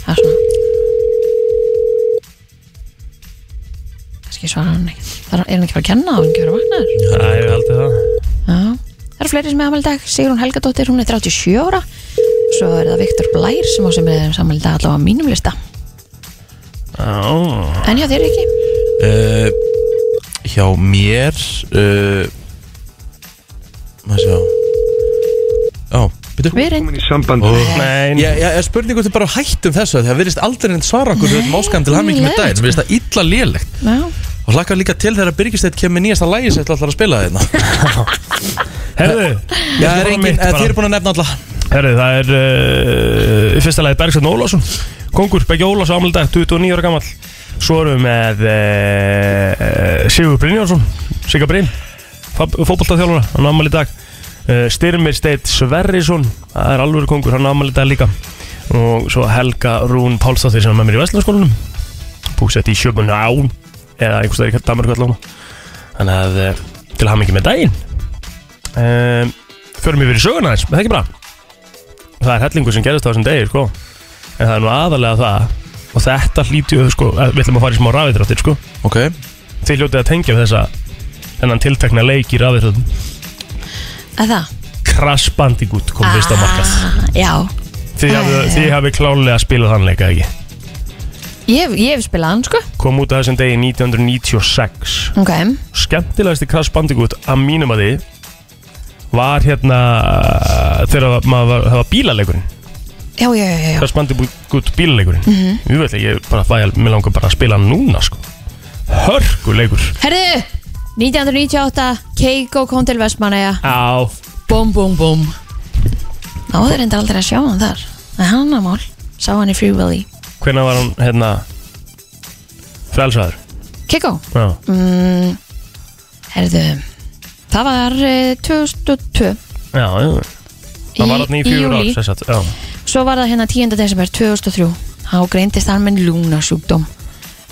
Speaker 3: Það er svona. Kannski svara hann ekki. Það er hann ekki bara að kenna, það er hann ekki verið að vakna þér.
Speaker 4: Æ, ég held það
Speaker 3: Já. Það eru fleiri sem er afmæli í dag Sigrún Helgadóttir, hún er 37 ára Svo er það Viktor Blær sem á sem er afmæli í dag allavega á mínum lista
Speaker 4: Já
Speaker 3: En já, þeir eru ekki
Speaker 2: uh, hjá mér uh, maður sjá já, byrju
Speaker 3: Við erum
Speaker 7: í samband
Speaker 4: Nei
Speaker 2: Ég, ég er spurningu til bara að hættum þessu Það virðist aldrei neitt svara okkur Við erum óskan til hamingi með
Speaker 3: lélegt.
Speaker 2: daginn Við erum það illa lélegt
Speaker 3: Já,
Speaker 2: Og hlakka líka til þegar Birgisteit kemur nýjasta lægi sem ætla allar að spila þeirna
Speaker 4: Herðu
Speaker 2: Já, er engin, eh, þið eru búin að nefna alla
Speaker 4: Herri, það er uh, í fyrsta lagi Bergsson Ólásson Kongur, Beggi Ólásson, ámæli dag, 29 ára gammal Svo erum við með uh, Sigur Brynjánsson Sigur Bryn, fótboltaþjálfara Hann ámæli dag uh, Styrmir Steit Sverrisson, það er alvöru kongur Hann ámæli dag líka Og svo Helga Rún Pálsdóttir sem er með mér í Vestlandskólanum Búsett í Sjöbun Án Eða einhvers staðar í Danmarku allavega Þannig að uh, til hafa mikið með daginn um, Förum yfir í söguna þess, það er ekki bra það er hellingu sem gerist á þessum degi sko. en það er nú aðalega það og þetta hlýtju sko, að- við ætlum að fara í smá rafidráttir sko.
Speaker 2: Ok,
Speaker 4: þið hljótið að tengja við þessa þennan tiltekna leik í rafidráttum
Speaker 3: að það
Speaker 4: Crash Bandicoot kom fyrst á markað
Speaker 3: Ah, Já,
Speaker 4: þið hafið-
Speaker 3: Ah.
Speaker 4: þið hafið klálega spilað þann leika ekki
Speaker 3: ég, hef- ég hef spilað hann sko
Speaker 4: kom út á þessum degi 1996
Speaker 3: Ok,
Speaker 4: skemmtilegasti Crash Bandicoot að mínum að þið var hérna þegar maður var, það var bílaleikurinn
Speaker 3: já, já, já, Mhm. já.
Speaker 4: Crash Bandicoot bílaleikurinn mm -hmm. Ég veit ekki, ég bara fæ, mér langar bara að spila hann núna sko. Hörguleikur
Speaker 3: Herðu, 1998 Keiko kom til Vestmanæja
Speaker 4: Á
Speaker 3: Búm, búm, búm Náður endur aldrei að sjá hann þar En hann að mál, sá hann í Free Willy
Speaker 4: Hvenær var hann, hérna Frelsaður
Speaker 3: Keiko,
Speaker 4: Já,
Speaker 3: mm, herðu Það var eh, 2002
Speaker 4: já, já Það var hann í fjögur ár
Speaker 3: júlí.
Speaker 4: sem sagt, Já,
Speaker 3: Svo var það hérna 10. desember 2003 þá greindist hann með lungnasjúkdóm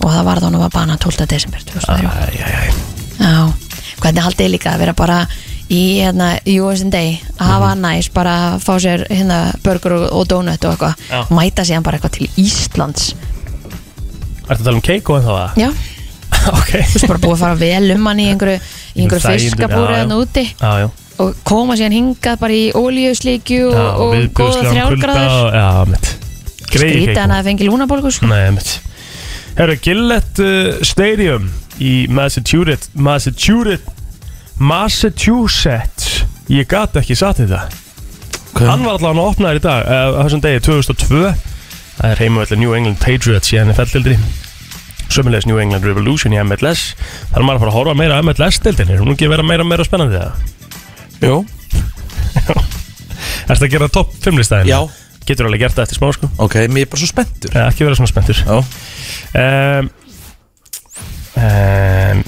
Speaker 3: og það var það hann að bana 12. desember 2003
Speaker 4: Æ, æ, æ.
Speaker 3: Já, hvernig haldið líka að vera bara í hérna USA Day að
Speaker 4: Mhm.
Speaker 3: hafa næs bara að fá sér hérna burger og, og donut og
Speaker 4: Já.
Speaker 3: eitthvað mæta síðan bara eitthvað til Íslands
Speaker 4: Ertu að tala um Keiko en það var
Speaker 3: Já,
Speaker 4: Ok [LAUGHS]
Speaker 3: þú veist bara búið að fara vel um hann í einhverju, í einhverju
Speaker 4: Þægindi, já,
Speaker 3: fiskabúri
Speaker 4: já.
Speaker 3: hann úti
Speaker 4: Já, já
Speaker 3: og koma síðan hingað bara í ólíuslíkju
Speaker 4: Já,
Speaker 3: og, og góða
Speaker 4: viðbjóðslegan kulda
Speaker 3: þrjárgráður
Speaker 4: og- Já, mitt Greiði ekki
Speaker 3: skrýta hann
Speaker 4: eitthvað.
Speaker 3: að fengi lúnabólgu sko.
Speaker 4: Nei, mitt Herru, Gillette uh, Stadium í Massachusetts Massachusetts Massachusetts Ég gat ekki satt í það Hann var allavega að opna þér í dag eh, á þessum degi 2002 Það er heimavöldi New England Patriots í henni felldeldri Sömulegis New England Revolution í MLS Það er maður að fara að horfa meira að MLS-deldinni Hún er ekki að vera meira og meira spennandi það
Speaker 2: Jú,
Speaker 4: Erst að gera topp 5 listæðin?
Speaker 2: Já.
Speaker 4: Getur alveg gert það eftir smá sko
Speaker 2: ok, mér er bara svo spenntur
Speaker 4: Eða ekki vera svona spenntur
Speaker 2: Já,
Speaker 4: um, um,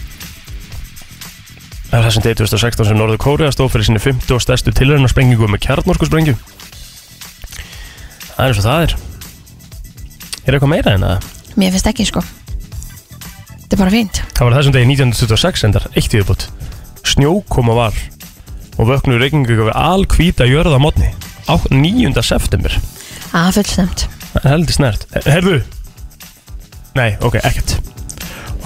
Speaker 4: Það er þessum degi 2016 sem Norður Kórea stóð fyrir sinni 50 og stærstu tilraunarsprengingum með kjarnorkusprengju Það er eins og það er Er eitthvað meira en það?
Speaker 3: mér finnst ekki sko þetta er bara fínt
Speaker 4: Það var þessum degi 1926 endar, eitt viðbútt Snjókoma var og vöknu reykingu yfir alhvíta jörða mótni á 9. september
Speaker 3: að fullstemt
Speaker 4: Það er heldur snert Herðu Nei, ok, ekkert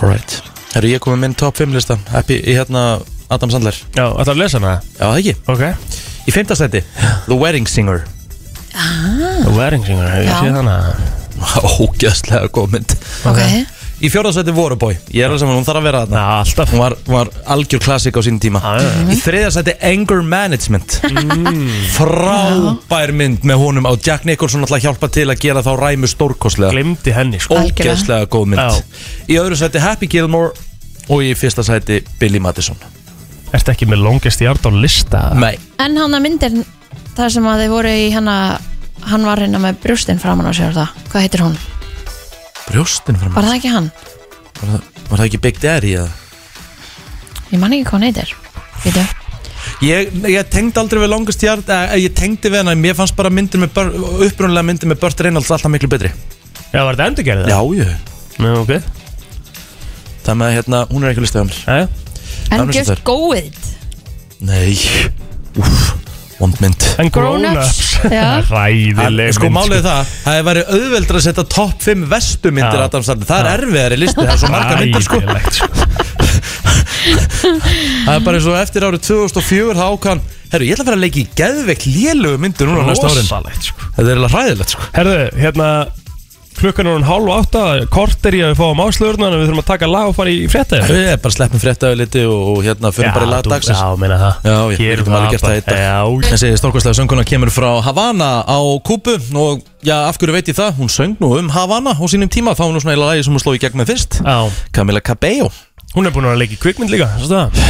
Speaker 2: alright Herru, ég kom með minn top 5 lista Eppi, í hérna Adam Sandler
Speaker 4: Já, ætlaðu að lesa hana?
Speaker 2: Já, það ekki
Speaker 4: Ok
Speaker 2: Í fimmtastætti, The Wedding Singer
Speaker 4: The Wedding Singer, hefur
Speaker 3: Ah. Já.
Speaker 4: ég séð
Speaker 2: [LAUGHS]
Speaker 4: hana
Speaker 2: Ógæðslega góð mynd
Speaker 3: ok,
Speaker 2: Í fjórðastætti, Voruboy Ég er alveg saman, hún þarf að vera
Speaker 4: Já,
Speaker 2: þarna
Speaker 4: alltaf
Speaker 2: Hún var, hún var algjör klassik á sínum tíma
Speaker 4: Já, já, já.
Speaker 2: Í þriðastætti, Anger Management Frábær mynd með honum á Jack Nicholson alltaf hjálpa til að gera þá ræmu stórkostlega
Speaker 4: Glimti henni, sko
Speaker 3: Algjörlega.
Speaker 2: Ógeðslega góð
Speaker 4: Já.
Speaker 2: mynd Í öðru sæti Happy Gilmore Og í fyrsta sæti Billy Madison
Speaker 4: Ertu ekki með longest yard á lista?
Speaker 2: Nei
Speaker 3: en hann að myndir þar sem að þið voru í hann að hann var hérna með brjóstinn framan á sér og það hvað heitir hún,
Speaker 2: Brjóstin fyrir
Speaker 3: var
Speaker 2: maður
Speaker 3: það ekki hann
Speaker 2: var, það- var það ekki Big Daddy eða?
Speaker 3: ég man ekki hvað hann heitir Vídu.
Speaker 2: Ég, ég tengdi aldrei við longest yard eh, Ég tengdi við hana Mér fannst bara myndir með Bör- Upprunalega myndir með Burt Reynolds Alltaf miklu betri
Speaker 4: Já, var þetta endurgerðið?
Speaker 2: Já, jú
Speaker 4: Nú, ok
Speaker 2: Það með að hérna Hún er ekki listið á mér
Speaker 4: Jæja.
Speaker 2: Það er
Speaker 3: en
Speaker 2: eins og
Speaker 3: just
Speaker 2: þær.
Speaker 3: go with it
Speaker 2: Nei Úff Vond mynd
Speaker 4: En
Speaker 3: Grown Ups,
Speaker 2: [LAUGHS]
Speaker 3: já.
Speaker 4: Ræðileg
Speaker 2: Sko
Speaker 4: mynd,
Speaker 2: málið er það Það hefur verið auðveldra að setja topp 5 vestu myndir
Speaker 4: Já.
Speaker 2: Adam Sandler Það er erfiðari listi Það er svo marga myndir sko
Speaker 4: Ræðilegt, sko
Speaker 2: [LAUGHS] Það er bara eins og eftir árið 2004 þá ákvæðan Herru, ég ætla að fara að leika í geðveikt lélögu myndu núna næsta árin
Speaker 4: Rosalegt, sko
Speaker 2: Þetta er alveg hræðilegt sko
Speaker 4: Herðu, hérna Klukkan er hún hálf átta Kort er ég að við fáum áslöðurna En við þurfum að taka lag og fara í frétta
Speaker 2: Við erum bara um sleppum fréttaðu liti og og hérna fyrir bara í lag dagsins
Speaker 4: Já, meina það
Speaker 2: Já, ég
Speaker 4: Gerum
Speaker 2: getum alveg
Speaker 4: það
Speaker 2: gert það í dag.
Speaker 4: bara. Já,
Speaker 2: Þessi stórkvæslega sönguna kemur frá Havana á Kúbu og já, af hverju veit ég það? Hún söng nú um Havana á sínum tíma þá er nú svona eila lagi sem hún sló í gegn með fyrst
Speaker 4: já
Speaker 2: Camila Cabello
Speaker 4: Hún er búin að leika í kvikmynd líka sástu það?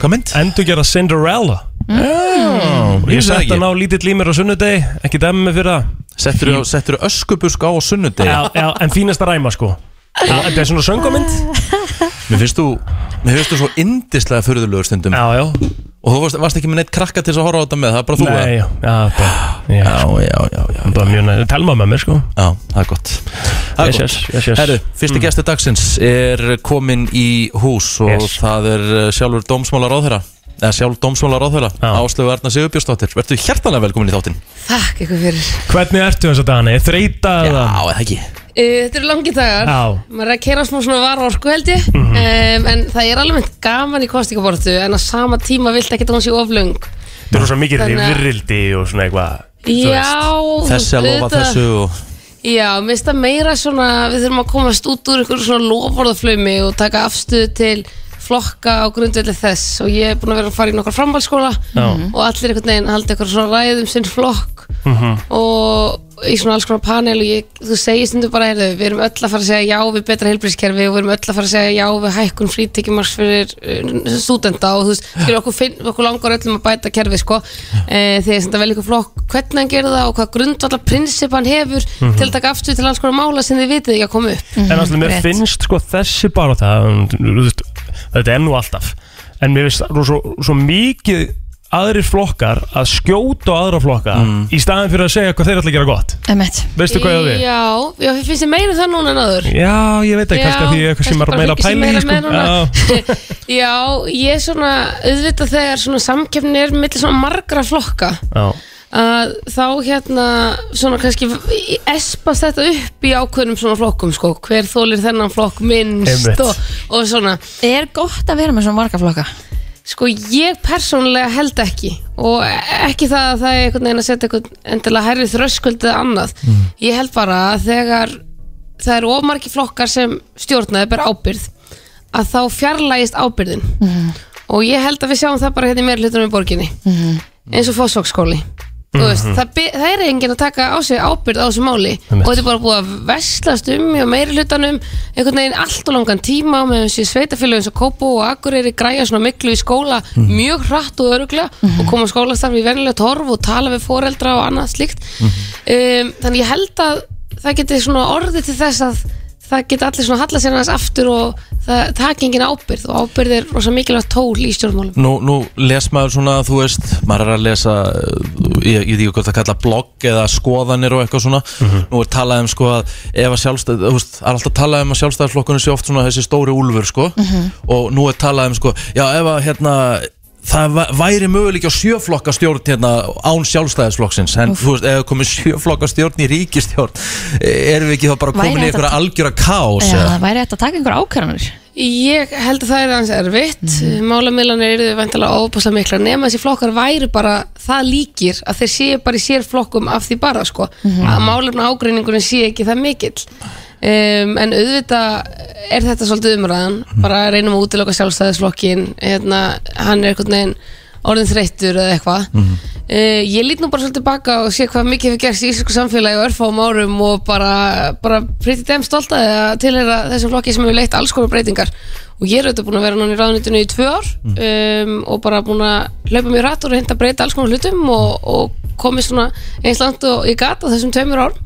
Speaker 2: Hvað mynd?
Speaker 4: Endur gera Cinderella
Speaker 2: Mm,
Speaker 4: Ég
Speaker 2: ég
Speaker 4: sett
Speaker 2: sagði
Speaker 4: hann
Speaker 2: ekki
Speaker 4: á lítill í mér á sunnudegi Ekki dæmi mig fyrir það
Speaker 2: Setturðu setturðu öskubusk á á sunnudegi?
Speaker 4: Já, já, en fínasta ræma sko Já, Þetta er svona söngumynd
Speaker 2: Mér finnst þú Mér finnst þú svo indislega furðulegur stundum
Speaker 4: Já, já
Speaker 2: Og þú varst, varst ekki með neitt krakka til þess að horfa á þetta með Það er bara þú
Speaker 4: Nei,
Speaker 2: eða?
Speaker 4: já, já, bara, já,
Speaker 2: Já, já, já, já
Speaker 4: bara mjög næ Telma með mér sko
Speaker 2: Já, það er gott Það er
Speaker 4: Yes,
Speaker 2: gott
Speaker 4: yes, yes, yes.
Speaker 2: Herru, fyrsti mm. gestur dagsins er komin í hús og
Speaker 4: Yes.
Speaker 2: það er uh, sjálfur dómsmálar áþeira eða sjálf dómsmálar áþeira
Speaker 4: Já.
Speaker 2: Áslöfu Arna Sigurbjörnsdóttir Vertu hjartanlega velkomin í þáttinn
Speaker 7: Takk ykkur fyrir
Speaker 4: Hvernig ertu þess að dana? Er þreita eða?
Speaker 2: eða ekki
Speaker 7: uh, Þetta eru langi dagar
Speaker 4: Já. Mhm.
Speaker 7: Maður er að kera smá svona vara orku held ég um, En það er alveg gaman í kostningabortu En á sama tíma vilt ekki að hún sé oflung
Speaker 4: Þetta er svona mikið
Speaker 7: Þannig að-
Speaker 4: rifrildi og svona eitthvað þú
Speaker 7: Já þú
Speaker 2: Þessi að lofa
Speaker 7: auðvitað-
Speaker 2: þessu og...
Speaker 7: Já, mér finnst það meira svona Við þurfum að komast út úr einhverju svona lofvörðaflömi Og taka afstöðu til flokka á grundvelli þess og ég er búin að vera að fara í nokkar framhaldsskóla og allir einhvern veginn haldi eitthvað svona ræðum sinn flokk og í svona alls konar panel og ég, þú segir stundum bara heyrðu, við erum öll að fara að segja já við betra helbriðskerfi og við erum öll að fara að segja já við hækkun frítekjumars fyrir uh, stúdenda og þú veist, skilur okkur, finn, okkur langar öllum að bæta kerfi sko e, þegar þetta vel ykkur flokk hvernig hann gerir það og hvað grundvallar prinsip hann hefur til að taka afstöð til alls konar mála sem þið vitið ekki að koma upp
Speaker 4: Mhm. En alltaf mér
Speaker 3: rétt.
Speaker 4: finnst sko þessi bara það um, Þetta er nú alltaf En mér finnst svo, svo mikið aðrir flokkar að skjóta á aðra flokka
Speaker 2: Mm.
Speaker 4: í staðin fyrir að segja hvað þeir ætla að gera gott
Speaker 3: Emmett.
Speaker 4: Veistu hvað ég á við?
Speaker 7: Já, já, finnst þið meira um það núna en aður
Speaker 4: Já, ég veit ekki, kannski að því ég er kannski bara meira að
Speaker 7: fylgist
Speaker 4: pæla í
Speaker 7: meira
Speaker 4: sko.
Speaker 7: með núna. [LAUGHS] Já, ég er svona auðvitað þegar svona samkeppni er millir svona margra flokka
Speaker 4: Já,
Speaker 7: að þá hérna svona kannski espast þetta upp í ákveðnum svona flokkum sko hver þólir þennan flokk minnst
Speaker 4: Einmitt.
Speaker 7: og, og svona
Speaker 3: er gott að vera með svona marga flokka
Speaker 7: Sko ég persónulega held ekki og ekki það að það er einhvern veginn að setja einhvern endilega hærri þröskuld eða annað. Ég held bara að þegar það eru ofmarki flokkar sem stjórnaði ber ábyrð að þá fjarlægist ábyrðin og ég held að við sjáum það bara hérna í meira hlutunum í borginni eins og fósfóksskóli. Mm
Speaker 3: Mhm.
Speaker 7: -hmm. það, be- það er enginn að taka á sig ábyrð á þessu máli
Speaker 4: Einmitt.
Speaker 7: og þetta er bara búið að vestlast um í meiri hlutanum einhvern veginn allt og langan tíma með þessi sveitafélögum sem Kópó og Akureyri græja svona miklu í skóla mjög hratt og öruglega og koma skólastarfi í venilegt horf og tala við foreldra og annað slíkt um, þannig ég held að það geti svona orðið til þess að það geti allir svona hallað sér aðeins aftur og það taki enginn ábyrð og ábyrð er rosa mikilvægt tól í stjórnmálum
Speaker 2: Nú, nú les maður svona, þú veist, maður er að lesa, uh, ég, ég veit ekki hvað það kalla blogg eða skoðanir og eitthvað svona
Speaker 4: Mhm.
Speaker 2: Nú er talað um sko að ef að sjálfstæð, þú veist, það er alltaf talað um að sjálfstæðarflokkunum sé oft svona þessi stóri úlfur sko
Speaker 6: Mhm.
Speaker 2: Og nú er talað um sko, já ef að hérna, það væ- væri möguleik á sjöflokka stjórn hérna án sjálfstæðisflokksins En þú veist, ef það komið sjöflokka stjórn í ríkistjórn, eh, erum við ekki þá bara
Speaker 3: Væri
Speaker 2: komin í
Speaker 3: hægt að
Speaker 2: einhverja algjöra kaos
Speaker 3: Já,
Speaker 2: eða?
Speaker 3: það væri hægt að taka einhver ákvarðanir
Speaker 7: Ég held að það er aðeins erfitt mm. Málamilanir eru vantilega óbúslega mikla nema þessi flokkar væri bara það líkir að þeir séu bara í sér flokkum af því bara sko
Speaker 8: Mhm.
Speaker 7: að málefna ágreiningurinn sé ekki það mikill um, en auðvitað er þetta svolítið umræðan bara reynum að útiloka sjálfstæðisflokkin hérna, hann er einhvern veginn orðin þreyttur eða eitthvað uh, ég lít nú bara svolítið baka og sé hvað mikið hefur gerst í íslensku samfélagi og örfáum árum og bara, bara pretty damn stolt að það tilhera þessum flokki sem hefur leitt alls konar breytingar og ég er auðvitað búin að vera núna í ráðunitinu í tvö ár
Speaker 2: Mm.
Speaker 7: um, og bara búin að hlaupa mér rætt og reynda að breyta alls konar hlutum og, og komið svona eins langt og ég gat á þessum tveimur árum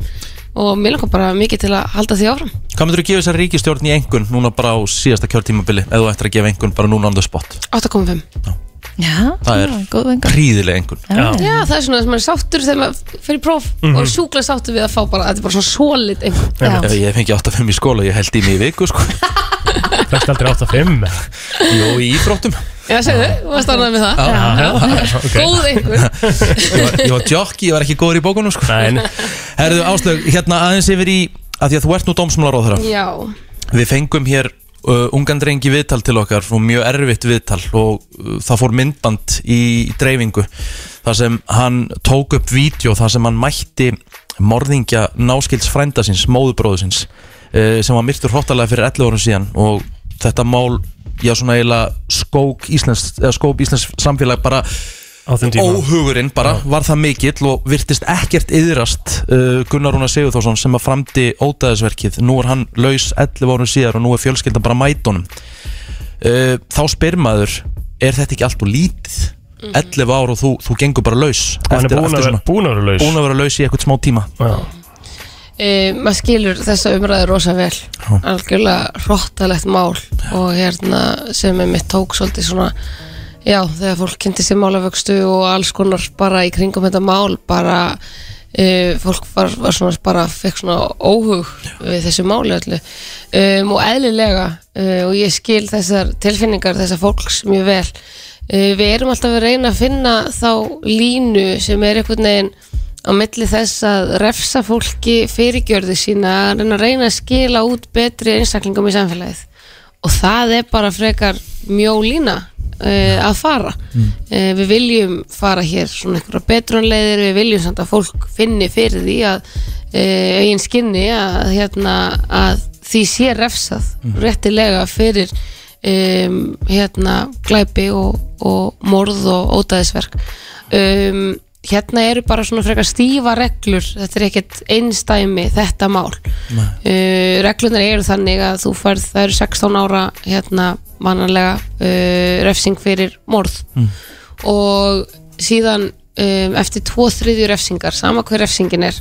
Speaker 7: og mér langar bara mikið til að halda því áfram
Speaker 2: Hvað myndur þú gefa þessar ríkistjórn í engun núna bara á síðasta kjörtímabili eða þú ættir að gefa engun bara núna on the spot
Speaker 7: 8.5
Speaker 3: Já,
Speaker 2: Það er
Speaker 3: góð vengar
Speaker 2: Príðileg engun
Speaker 3: Já,
Speaker 7: Já, það er svona þess að maður er sáttur þegar maður fer í próf og er sjúkla sáttur við að fá bara, þetta er bara svona svolít einhvern
Speaker 3: já.
Speaker 2: Ef ég fengi 8-5 í skóla, ég held í mig í viku sko.
Speaker 4: Það er aldrei 8-5
Speaker 2: Jó, í íþróttum
Speaker 7: Já, segðu, þú varst ánægð með það
Speaker 4: okay.
Speaker 7: Góð einhver
Speaker 2: Ég var, ég var jokki, ég var ekki góður í bókunum sko.
Speaker 4: Nei, nei.
Speaker 2: Herðu, Áslaug, hérna aðeins yfir í að Því að þú ert nú dómsmálaróð
Speaker 7: Já,
Speaker 2: Við fengum hér uh, ungan drengi viðtal til okkar og mjög erfitt viðtal og uh, það fór myndband í, í dreifingu þar sem hann tók upp vídeo þar sem hann mætti morðingja náskilds frænda síns, móðubróðu síns uh, sem var myrtur hróttalega fyrir 11 árum síðan og þetta mál já svona eiginlega skók Íslands, eða skóp Íslands samfélag bara
Speaker 4: Á þeim tíma
Speaker 2: óhugurinn bara var það mikill og virtist ekkert yðrast uh, Gunnar Rúnar Sigurþórsson sem að framdi ódæðisverkið, nú er hann laus 11 árum síðar og nú er fjölskyldan bara mætunum uh, þá spyr maður er þetta ekki allt og lítið 11 ár og þú, þú gengur bara laus
Speaker 4: Og hann er búin að vera- búin að vera laus
Speaker 2: búin að vera laus í eitthvað smá tíma
Speaker 4: Já.
Speaker 7: e, maður skilur þessa umræði rosa vel Algjörlega hróttalegt mál og hérna sem er mitt tók svolítið svona Já, þegar fólk kynnti sér málavöxtu og alls konar bara í kringum þetta mál bara Uh, fólk var, var svona bara fekk svona óhug við þessu máli öllu um, og eðlilega uh, og ég skil þessar tilfinningar þessar fólks mjög vel uh, við erum alltaf að reyna að finna þá línu sem er einhvern veginn á milli þess að refsa fólki fyrirgjörði sína að reyna að reyna að skila út betri einstaklingum í samfélagið og það er bara frekar mjó lína uh, að fara uh, við viljum fara hér svona einhverja betrunleiðir, við viljum samt að fólk finni fyrir því að uh, eigin skinni að, hérna, að því sé refsað réttilega fyrir um, hérna glæpi og, og morð og ódæðisverk um, hérna eru bara svona frekar stífa reglur þetta er ekkert einstæmi þetta mál uh, reglunar eru þannig að þú færð það eru 16 ára hérna mannanlega uh, refsing fyrir morð og síðan um, eftir tvo þriðju refsingar sama hver refsingin er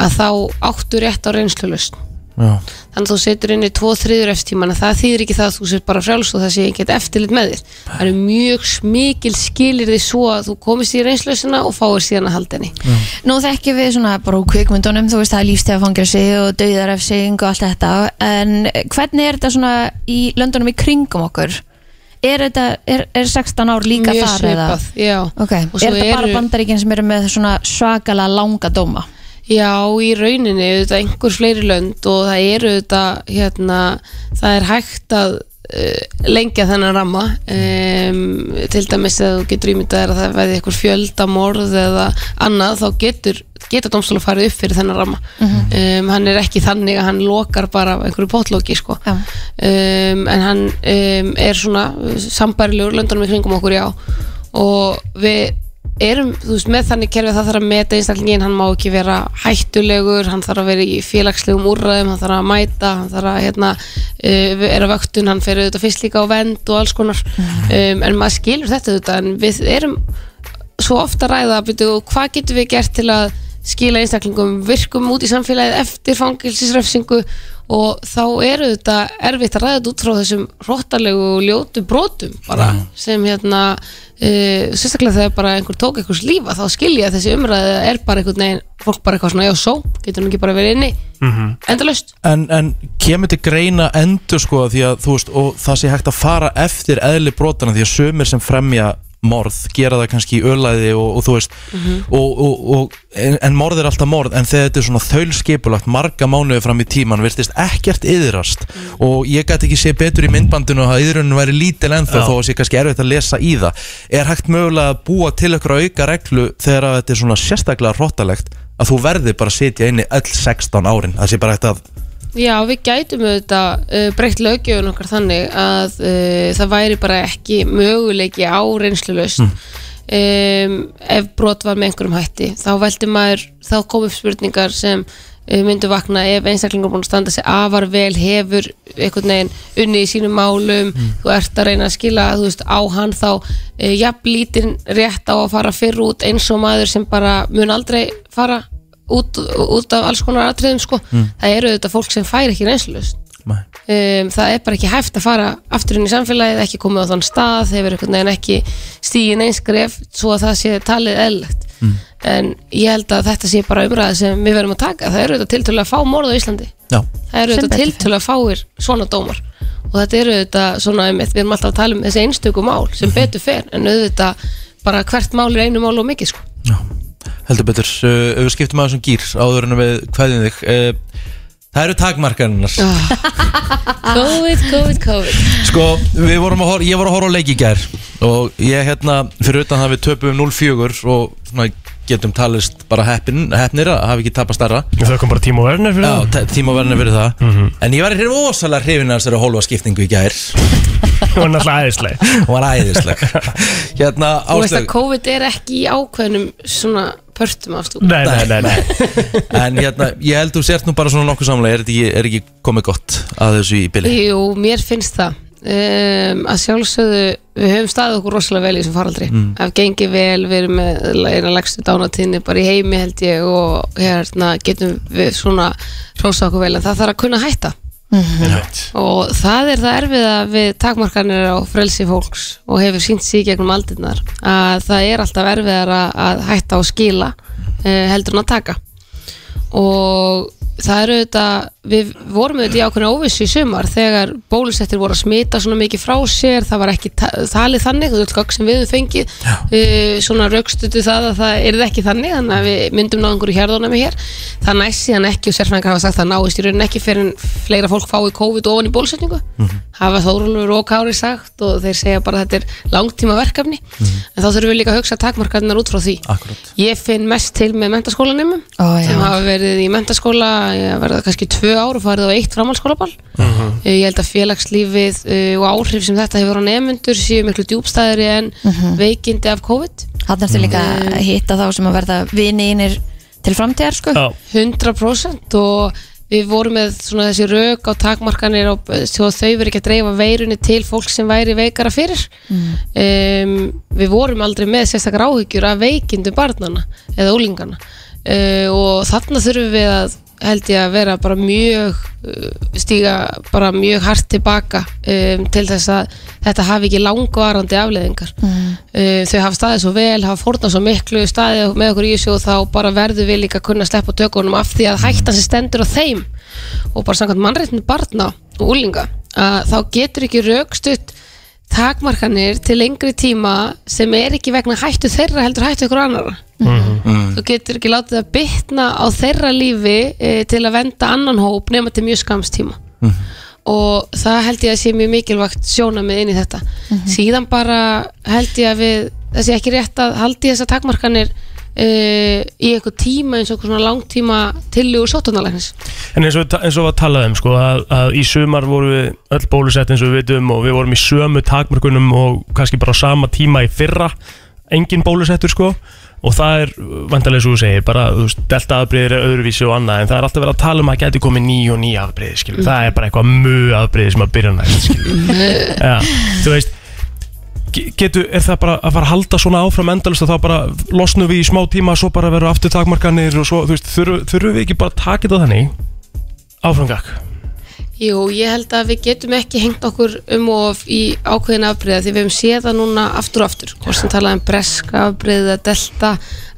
Speaker 7: að þá áttu rétt á reynslulust
Speaker 2: já,
Speaker 7: þannig að þú setur inn í tvo þriður eftirtíman það þýðir ekki það að þú sér bara frjáls og það sé ekki eftirlit með þér það eru mjög mikil skilir því svo að þú komist í reynslausina og fáir síðan að halda henni
Speaker 3: Nú þekkjum við svona bara úr kvikmyndunum, þú veist það er lífstefafangelsi og dauðarefsing og allt þetta en hvernig er þetta svona í löndunum í kringum okkur? Er, þetta, er, er 16 ár líka
Speaker 7: mjög
Speaker 3: þar eða?
Speaker 7: svipað já.
Speaker 3: Ok, er
Speaker 7: Og svo
Speaker 3: þetta bara
Speaker 7: eru-
Speaker 3: bandaríkin sem eru með svona svakalega langa dóma?
Speaker 7: já, í rauninni auðvitað einhver fleiri lönd og það eru auðvitað hérna, það er hægt að uh, lengja þennan ramma um, til dæmis að þú getur ímyndað þér að það verði eitthvað fjöldamorð eða annað þá getur geta domstóla farið upp fyrir þennan ramma um, hann er ekki þannig að hann lokar bara af einhverju potlóki sko.
Speaker 3: Já.
Speaker 7: um, en hann um, er svona sambærilegur löndunum í kringum okkur já og við erum, þú veist, með þannig kerfi að það þarf að meta einstaklingin, hann má ekki vera hættulegur, hann þarf að vera í félagslegum úrræðum, hann þarf að mæta hann þarf að, hérna, uh, er að vöktun hann fer auðvitað fyrst líka á vend og alls konar um, en maður skilur þetta auðvitað en við erum svo ofta að ræða byrju, hvað getum við gert til að skila einstaklingum virkum út í samfélagið eftir fangilsisrefsingu og þá eru þetta erfitt að ræða þetta út frá þessum hróttalegu og ljótu brotum bara sem hérna uh, sérstaklega þegar bara einhver tók einhvers lífa þá skilja þessi umræði er bara einhvern veginn fólk bara eitthvað svona já só, getur hann ekki bara verið inni mm
Speaker 4: Mhm.
Speaker 7: -hmm. endalaust
Speaker 2: En, en kemur til greina endur sko því að þú veist og það sé hægt að fara eftir eðli brotana því að sömur sem fremja morð gera það kannski í ölaði og, og þú veist og, og, og, en, en morð er alltaf morð en þegar þetta er svona þaulskipulagt marga mánuði fram í tíman virtist ekkert yðrast og ég gæti ekki sé betur í myndbandinu að yðrunin væri lítil ennþá
Speaker 4: Já.
Speaker 2: þó að sé kannski erfitt að lesa í það er hægt mögulega að búa til ykkur auka reglu þegar að þetta er svona sérstaklega hróttalegt að þú verði bara að sitja inni öll 16 árin það sé bara hægt að
Speaker 7: Já, við gætum auðvitað uh, breytt löggjöfun okkar þannig að uh, það væri bara ekki möguleiki á reynslulöst um, ef brot var með einhverjum hætti þá veldi maður, þá kom upp spurningar sem uh, myndu vakna ef einstaklingur búin að standa sig afar vel hefur einhvern veginn unni í sínum málum þú ert að reyna að skila þú veist, á hann þá uh, jafn lítinn rétt á að fara fyrr út eins og maður sem bara mun aldrei fara út, út af alls konar atriðum sko. það eru auðvitað fólk sem fær ekki reynslust
Speaker 2: Nei.
Speaker 7: um, það er bara ekki hæft að fara aftur inn í samfélagið, ekki komið á þann stað hefur einhvern veginn ekki stíin einskref svo að það sé talið eðlegt
Speaker 2: Mm.
Speaker 7: en ég held að þetta sé bara umræða sem við verðum að taka, það eru auðvitað tiltölu að fá morð á Íslandi
Speaker 2: Já.
Speaker 7: það eru
Speaker 3: Sem
Speaker 7: auðvitað
Speaker 3: betur
Speaker 7: tiltölu að fáir svona dómar og þetta eru auðvitað svona einmitt, við erum alltaf að tala um þessi einstöku mál sem betur fer en auðvitað bara hvert mál er einu mál og mikið sko.
Speaker 2: Já, heldur betur uh, Við skiptum aðeins um gýr áður en við kveðjum þig uh, Það eru takmarkarinnar
Speaker 7: Ah. [LAUGHS]
Speaker 3: COVID, COVID, COVID
Speaker 2: Sko, við vorum að horfa Ég var að horfa á leik í gær Og ég hérna, fyrir utan það við töpum 0-4 Og svona, getum talist bara heppin, heppnir Að hafa ekki tapast starra
Speaker 4: Við þökkum bara tíma og verðinir fyrir Mhm.
Speaker 2: Já, te- tíma verðinu fyrir það En ég var hrif- rosalega hrifin að þessari hólfa skiptingu í gær
Speaker 4: það Það var náttúrulega æðislega
Speaker 2: Hún var
Speaker 4: [LAUGHS]
Speaker 2: æðisleg Hérna,
Speaker 7: Þú veist að
Speaker 2: Áslaug
Speaker 7: COVID er ekki í ákveðnum svona pörtum af stúku.
Speaker 4: Nei, nei, nei, nei.
Speaker 2: En hérna, ég held þú sért nú bara svona nokkuð samlega Er, þetta ekki- er ekki komið gott að þessu í bili?
Speaker 7: Jú, mér finnst það um, að sjálfsögðu við höfum staðið okkur rosalega vel í þessum faraldri mm. af gengið vel, við erum með eina lagstu dánatíðni bara í heimi held ég og hérna getum við svona rosa okkur vel en það þarf að kunna hætta Mhm. og það er það erfiða við takmarkanir á frelsi fólks og hefur sínt sig í gegnum aldirnar að það er alltaf erfiðar að, að hætta og skila uh, heldur en að taka og það eru þetta við vorum auðvitað í ákveðna óvissu í sumar þegar bólusettir voru að smita svona mikið frá sér, það var ekki ta talið þannig, þú veist gögn sem við höfum fengið uh, svona raukstutu það að það er ekki þannig, þannig að við myndum náðum einhverju hérðunami hér, það næst síðan ekki og sérfræðingar hafa sagt að náist í raunin ekki fyrir en fleira fólk fái COVID ofan í bólusetningu hafa Þórólfur og Kári sagt og þeir segja bara að þetta er langtíma verkefni en þá þurfum við líka að hugsa takmarkarnar út frá því
Speaker 2: Akkúrat.
Speaker 7: Ég finn mest til með mentaskólanum
Speaker 3: Ó, já.
Speaker 7: sem hafa verið í mentaskóla ég verða kannski tvö ár og farið á eitt framhaldsskólaball
Speaker 8: Mhm.
Speaker 7: Eh, ég held að félagslífið uh, og áhrif sem þetta hefur á nefnendur séu miklu djúbstæðri en veikindi af COVID Eh,
Speaker 3: Þannig Mhm. ertu líka að hitta þá sem að verða vini innir til framtíðar sko
Speaker 4: Já,
Speaker 7: 100% og við vorum með svona þessi rök á takmarkanir og svo að þau verið ekki að dreifa veirunni til fólk sem væri veikara fyrir
Speaker 3: Mm.
Speaker 7: um, við vorum aldrei með sérstakar áhyggjur af veikindu barnana eða úlingana uh, og þarna þurfum við að held ég að vera bara mjög uh, stíga bara mjög hart tilbaka um, til þess að þetta hafi ekki langvarandi afleðingar
Speaker 3: Mm.
Speaker 7: um, þau hafa staðið svo vel, hafa fórnað svo miklu staðið með okkur í þessu og þá bara verðum við líka að kunna sleppa tökunum af því að hættan sem stendur á þeim og bara samkvæmt mannréttinu barna og úlinga að þá getur ekki raukstutt takmarkanir til lengri tíma sem er ekki vegna hættu þeirra heldur hættu ykkur annara
Speaker 3: Mm.
Speaker 7: þú getur ekki látið að bitna á þeirra lífi e, til að venda annan hóp nema til mjög skamstíma og það held ég að sé mjög mikilvægt sjónamið inn í þetta síðan bara held ég að við það sé ekki rétt að haldi þessar takmarkanir uh, í eitthvað tíma eins og eitthvað svona langtíma tillugur sótunarlæknis
Speaker 4: En eins og, við ta- eins og var talað um sko, að, að í sumar vorum við öll bólusett eins og við vitum og við vorum í sömu takmörkunum og kannski bara á sama tíma í fyrra engin bólusettur sko og það er vandalega svo þú segir bara þú veist, delta afbreyðir er öðruvísi og annað en það er alltaf verið að tala um að það geti komið ný og ný afbreyði mm. það er bara eitthvað mjög afbreyði sem að byrja næst ja, [LAUGHS] þú veist ge- getu, er það bara að fara að halda svona áfram endalist og þá bara losnum við í smá tíma svo bara verður aftur takmarkanir og svo, þú veist, þurfum, þurfum við ekki bara að taka þetta þannig áframgak
Speaker 7: Jú, ég held að við getum ekki hengt okkur um of í ákveðin afbreyða því við hefum séð það núna aftur og aftur hvort sem talaði um breska afbreyða, delta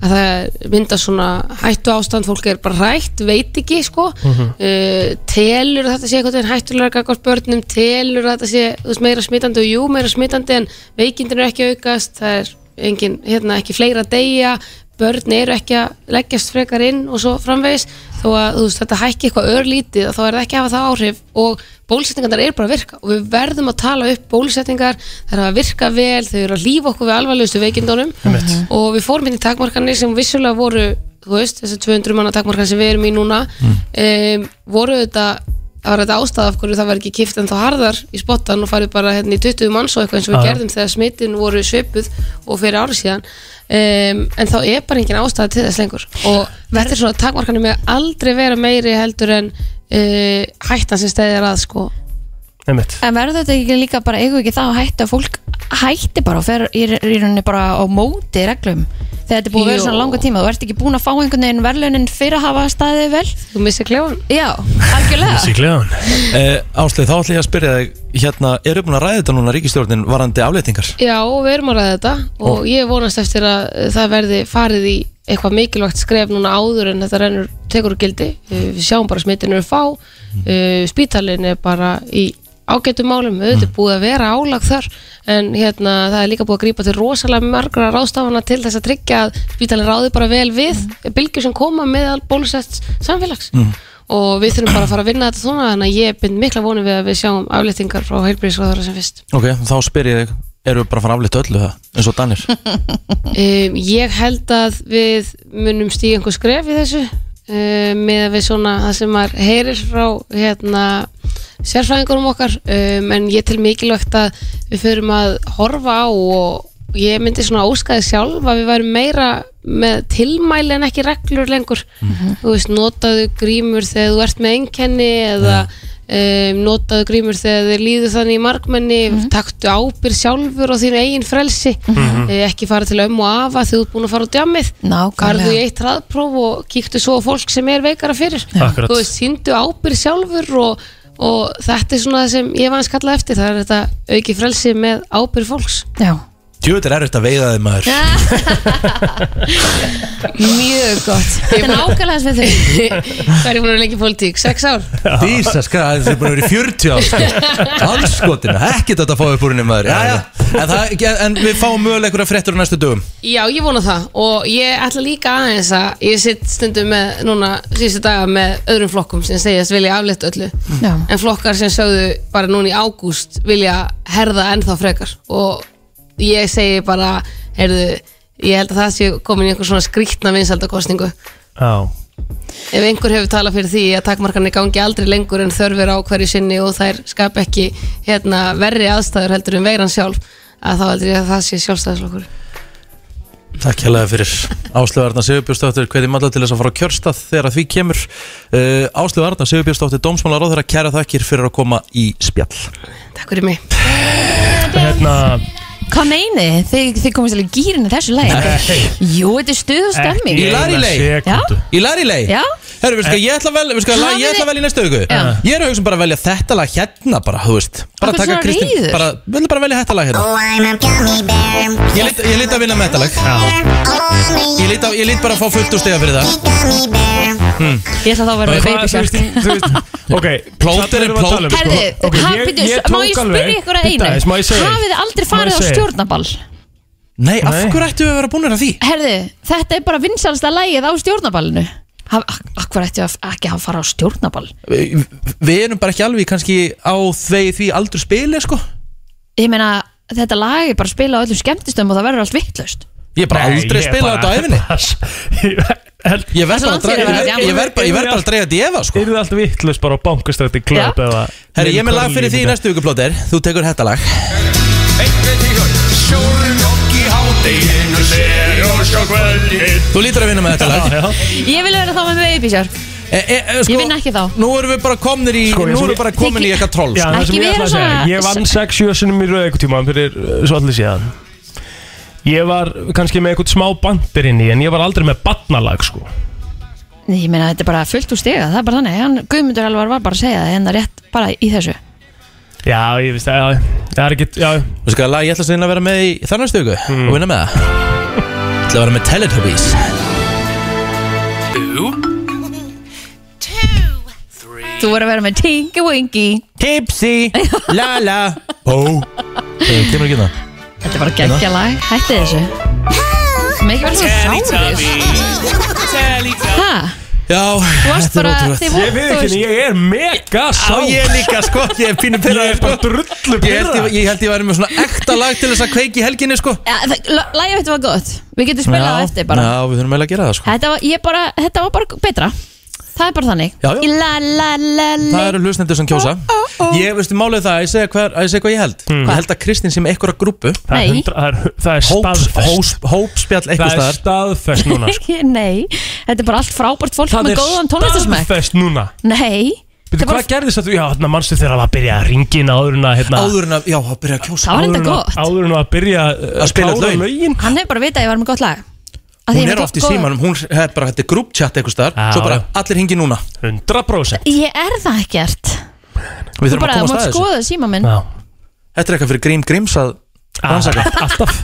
Speaker 7: að það mynda svona hættu ástand, fólk er bara hrætt veit ekki sko
Speaker 8: Mm.
Speaker 7: uh, telur að þetta sé eitthvað en hættulega gagvart börnum telur að þetta sé þú veist, meira smitandi og jú, meira smitandi en veikindin er ekki að aukast, það er engin, hérna, ekki fleira að deyja börn eru ekki að leggjast frekar inn og svo framvegis þó að þú veist, þetta hækki eitthvað örlítið þá er það ekki að hafa það áhrif og bólusetningarnar eru bara að virka og við verðum að tala upp bólusetningar, það eru að virka vel þau eru að lífa okkur við alvarlegustu veikindunum
Speaker 4: Einmitt.
Speaker 7: og við fórum hérna í takmarkanir sem vissulega voru, þú veist, þessi 200 manna takmarkan sem við erum í núna mm. voru þetta það var þetta ástæða af hverju það var ekki kift en þá harðar í spottan og farið bara hérna í 20 manns og eitthvað eins og við
Speaker 4: Ah, Já, já.
Speaker 7: gerðum þegar smittin voru svipuð og fyrir ári síðan um, en þá er bara engin ástæða til þess lengur og þetta er svona takmarkanir með aldrei vera meiri heldur en uh, hættan sem stæðir að sko
Speaker 4: einmitt
Speaker 3: En verður þetta ekki líka bara, eigum við ekki það að hætta að fólk hætti bara og fer í, í rauninni bara á móti reglum þegar þetta er búið að vera
Speaker 7: Jú.
Speaker 3: svona langa tíma þú ert ekki búin að fá einhvern veginn verðlunin fyrir að hafa staðið vel
Speaker 7: þú missir klefan
Speaker 3: Já, algjörlega
Speaker 4: Sýklegan
Speaker 2: Uh, Áslið, þá ætlum ég að spyrja þig, hérna, eru búin að ræða þetta núna ríkistjórnin varandi afleitingar?
Speaker 7: Já, og við erum að ræða þetta og ég vonast eftir að eh, það verði farið í eitthvað mikilvægt skref núna áður en þetta rennur tekur úr gildi Eh, við sjáum bara smittin eru fá mm. spítalin er bara í ágættum málum, auðvitað er búið að vera álag þar en hérna það er líka búið að grípa til rosalega margra ráðstafana til þess að tryggja að spítalin ráði bara vel við mm. bylgjur sem koma með bólusett samfélags og við þurfum bara að fara að vinna þetta svona þannig að ég bind mikla vonum við að við sjáum aflýtingar frá heilbríðisráðara sem fyrst
Speaker 2: Ok, þá spyr ég þig, eru við bara að fara að afleita öllu það, eins og Danir?
Speaker 7: Um, ég held að við munum stíga einhver skref í þessu um, með að við svona það sem maður heyrir frá hérna, sérfræðingunum okkar um, en ég tel mikilvægt að við förum að horfa á og ég myndi svona óskaði sjálf að við værum meira með tilmæli en ekki reglur lengur þú veist, notaðu grímur þegar þú ert með einkenni eða um, notaðu grímur þegar þið líður þannig í markmenni taktu ábyrð sjálfur og þínu eigin frelsi Eh, ekki fara til ömmu og afa þegar þú ert búin að fara á djammið farðu í
Speaker 3: Nákvæmlega
Speaker 7: eitt hraðpróf og kíktu svo á fólk sem er veikara fyrir
Speaker 4: Akkurat.
Speaker 7: þú veist, síndu ábyrð sjálfur og, og þetta er svona það sem ég var hans kallað eftir það er þetta auki frelsi með ábyrð fólks
Speaker 3: Já,
Speaker 2: Tjóður er þetta veiðaði maður.
Speaker 3: mjög
Speaker 7: [LAUGHS]
Speaker 3: gott Þetta er nákvæmlega sem við þau
Speaker 7: hvað er ég búin að vera lengi í pólitík? 6 ár?
Speaker 2: Dísa, sko, það er búin að vera í 40 ár, sko. Allskotina, ekkert þetta að fá upp úr henni maður. Já, já, en, það, en við fáum mögulega einhverja fréttur á næstu dögum.
Speaker 7: Já, ég vona það og ég ætla líka aðeins að ég sitt stundum með núna síðustu daga með öðrum flokkum sem segjast vilja aflétt öllu
Speaker 3: Já.
Speaker 7: en flokkar sem sögðu bara núna í ágúst vilja herða ennþá frekar og ég segi bara heyrðu, ég held að það sé komin í einhver svona skrýtna vinsaldakostningu
Speaker 4: Já
Speaker 7: ef einhver hefur talað fyrir því að takmarkarnir gangi aldrei lengur en þörfir á hverju sinni og þær skap ekki hérna, verri aðstæður heldur en veiran sjálf að þá heldur ég að það sé sjálfstæðisflokkur
Speaker 2: Takk hérlega fyrir Áslöf Arna Sigurbjörnsdóttir hvetjum alla til þess að fara á kjörstað þegar að því kemur uh, Áslöf Arna Sigurbjörnsdóttir dómsmálar á þeirra kæra þakkir fyrir að koma í spjall
Speaker 7: Takk fyrir mig
Speaker 4: Hérna
Speaker 3: Hvað meini? Þið, þið komist alveg gýrin í þessu leik Jú, þetta er stuð og stemming
Speaker 2: Í lagi. Larilei.
Speaker 4: sekundu
Speaker 2: Í lari leið
Speaker 3: Já.
Speaker 2: Herru, við sko, ég ætla að velja, við sko, lag, ég ætla að velja í næstu auku Ég er að hugsa um bara að velja þetta lag hérna bara, þú veist Bara
Speaker 3: Af hverju svona reiður?
Speaker 2: bara, við ætla bara að velja þetta lag hérna
Speaker 9: Oh, I'm a gummy bear.
Speaker 2: Ég lít, ég lít að vinna með þetta lag
Speaker 9: Oh,
Speaker 2: Ég lít, á, ég lít bara að fá fullt úr stiga fyrir það Hmm.
Speaker 9: I'm a gummy bear.
Speaker 3: Ég ætla þá að vera með baby shark
Speaker 4: Ok,
Speaker 2: Plóter
Speaker 4: þarna
Speaker 2: er
Speaker 4: erum við að
Speaker 2: plót.
Speaker 4: tala um, sko.
Speaker 3: Herðu,
Speaker 4: Ok,
Speaker 3: ha-
Speaker 4: ég-
Speaker 3: bíddu,
Speaker 4: ég
Speaker 3: s- má
Speaker 4: tók
Speaker 3: ég
Speaker 4: alveg-
Speaker 3: spyrja ykkur að
Speaker 4: Bíddu
Speaker 3: einu
Speaker 4: aðeins, má ég segja eitt?
Speaker 3: Hafið þið aldrei
Speaker 4: Má ég
Speaker 3: farið á
Speaker 4: segja eitt?
Speaker 3: stjórnaball?
Speaker 2: Nei, af
Speaker 4: Nei.
Speaker 2: hverju ættum við að vera búinir að því?
Speaker 3: Herðu, þetta er bara vinsalsta lægið á stjórnaballinu Akkur ætti að ekki að fara á stjórnaball
Speaker 2: Vi- Við erum bara ekki alveg kannski á því, því aldur spili sko
Speaker 3: Ég meina, þetta lag er bara að spila á öllum skemmtistöðum og það verður allt vittlust
Speaker 2: Ég er bara aldrei
Speaker 4: ég bara-
Speaker 2: spilað þetta á æfinni
Speaker 4: [LAUGHS] Ég held
Speaker 2: Ég
Speaker 3: Þessi
Speaker 2: verð bara að
Speaker 3: landsliðið
Speaker 2: draga-
Speaker 3: verður
Speaker 2: ég-
Speaker 3: að
Speaker 2: ég verð bara ég verð bara að dreyja þetta í efa sko
Speaker 4: Yrðu allt vittlust bara á bankastrætti
Speaker 3: Já.
Speaker 4: klöp eða
Speaker 2: Herri, ég er með lag fyrir því í næstu viku plóter Þú tekur þetta lag
Speaker 1: Sjórinn okk í hádeginu sér og sjá kvöldin
Speaker 2: Þú lítur að vinna með þetta lag
Speaker 4: Já, já
Speaker 3: Ég vil vera þá með mig upp í sér
Speaker 2: e, e, e, sko,
Speaker 3: Ég vinn ekki þá.
Speaker 2: Nú erum við bara komnir í
Speaker 4: Sko, ég-
Speaker 2: Nú erum við bara komin í
Speaker 3: Þykir-
Speaker 2: eitthvað troll
Speaker 4: Já,
Speaker 2: sko.
Speaker 4: það sem
Speaker 3: Ekki
Speaker 4: ég ætla
Speaker 3: vera
Speaker 4: að segja
Speaker 3: svona-
Speaker 4: Ég vann 6-7 sinnum í rauð eitthvað tíma fyrir uh, svo allir síðan Ég var kannski með eitthvað smá bandir inn í en ég var aldrei með badnalag sko
Speaker 3: Nei, Ég meina, þetta er bara fullt úr stiga, það er bara þannig Hann, Guðmundur Elvar var bara að segja það hérna rétt bara í þessu
Speaker 4: Já, ég veist að það er ekki já, Hmm.
Speaker 2: Þú veist hvað lag ég ætla að sinna að vera með í þannig stöku Og vinna með það Ég ætla að vera með Teletubbies
Speaker 3: Þú voru að vera með Tinky Winky [LAUGHS]
Speaker 2: Tipsy Lala Ó Það
Speaker 4: hérna?
Speaker 2: kemur ekki það
Speaker 3: Þetta er bara geggja lag, hætti þessu Með ekki verið svona sáðis Ha,
Speaker 2: Já
Speaker 3: þú varst bara þið voru-
Speaker 4: Ég við
Speaker 3: þú
Speaker 4: ekki,
Speaker 3: veist-
Speaker 4: ég er mega
Speaker 2: Á
Speaker 4: sá
Speaker 2: ég líka sko Ég er pínu
Speaker 4: Ég
Speaker 2: pyrraður
Speaker 4: er bara drullu
Speaker 2: Ég held,
Speaker 4: pyrra
Speaker 2: ég, ég held ég væri með svona ekta lag til þess að kveiki helginni sko
Speaker 3: Ja, það- la- Lagið þetta var gott, við getum spilað það eftir bara
Speaker 2: Já, við þurfum eiginlega að gera það sko
Speaker 3: Þetta var, ég bara, þetta var bara betra Það er bara þannig
Speaker 2: Já, já.
Speaker 3: Í La la la la
Speaker 2: Það eru hlustendur sem kjósa Ég veistu málið það, að ég segja hvað, ég segja hvað ég held Ég held að Kristín sem einhverja grúpu
Speaker 4: Hmm. Það er
Speaker 3: Nei.
Speaker 4: hundra- það er- það er
Speaker 2: hóps-
Speaker 4: staðfest
Speaker 2: hós- Hópspjall eitthvað
Speaker 4: Það er
Speaker 2: staðar
Speaker 3: [LAUGHS]
Speaker 4: staðfest núna sko.
Speaker 3: Nei, þetta er bara allt frábært fólk
Speaker 4: Það
Speaker 3: með
Speaker 4: er
Speaker 3: góðan tónlistarsmæk
Speaker 4: staðfest núna
Speaker 3: Nei
Speaker 4: Býttu,
Speaker 3: þetta er bara-
Speaker 4: hvað gerðist þetta? Já, hérna, mannstu þegar það var að byrja að ringin áður en að hérna
Speaker 2: Áður en að, já, að byrja að kjósa
Speaker 3: Það var
Speaker 4: áður
Speaker 3: enda
Speaker 4: en að-
Speaker 3: gott
Speaker 4: Áður en að byrja
Speaker 2: Að spila lögin.
Speaker 4: lögin
Speaker 3: Hann hefur bara vitað að ég var með gott lag Af því ég
Speaker 2: Hún
Speaker 3: var
Speaker 2: er
Speaker 3: með
Speaker 2: oft í
Speaker 3: góð-
Speaker 2: símanum, hún er bara hætti grúptjatt eitthvað staðar
Speaker 4: Já,
Speaker 2: Svo bara
Speaker 4: já.
Speaker 2: allir hingi núna
Speaker 4: 100%
Speaker 3: Ég er það ekkert
Speaker 2: Við
Speaker 3: Þú
Speaker 2: þurfum
Speaker 3: bara að
Speaker 2: að koma sko.
Speaker 3: mátt
Speaker 2: staðið þessu
Speaker 3: skoða síma minn
Speaker 4: Já Ah,
Speaker 2: Þetta er eitthvað fyrir Grím Gríms að rannsaka
Speaker 4: [LAUGHS] Alltaf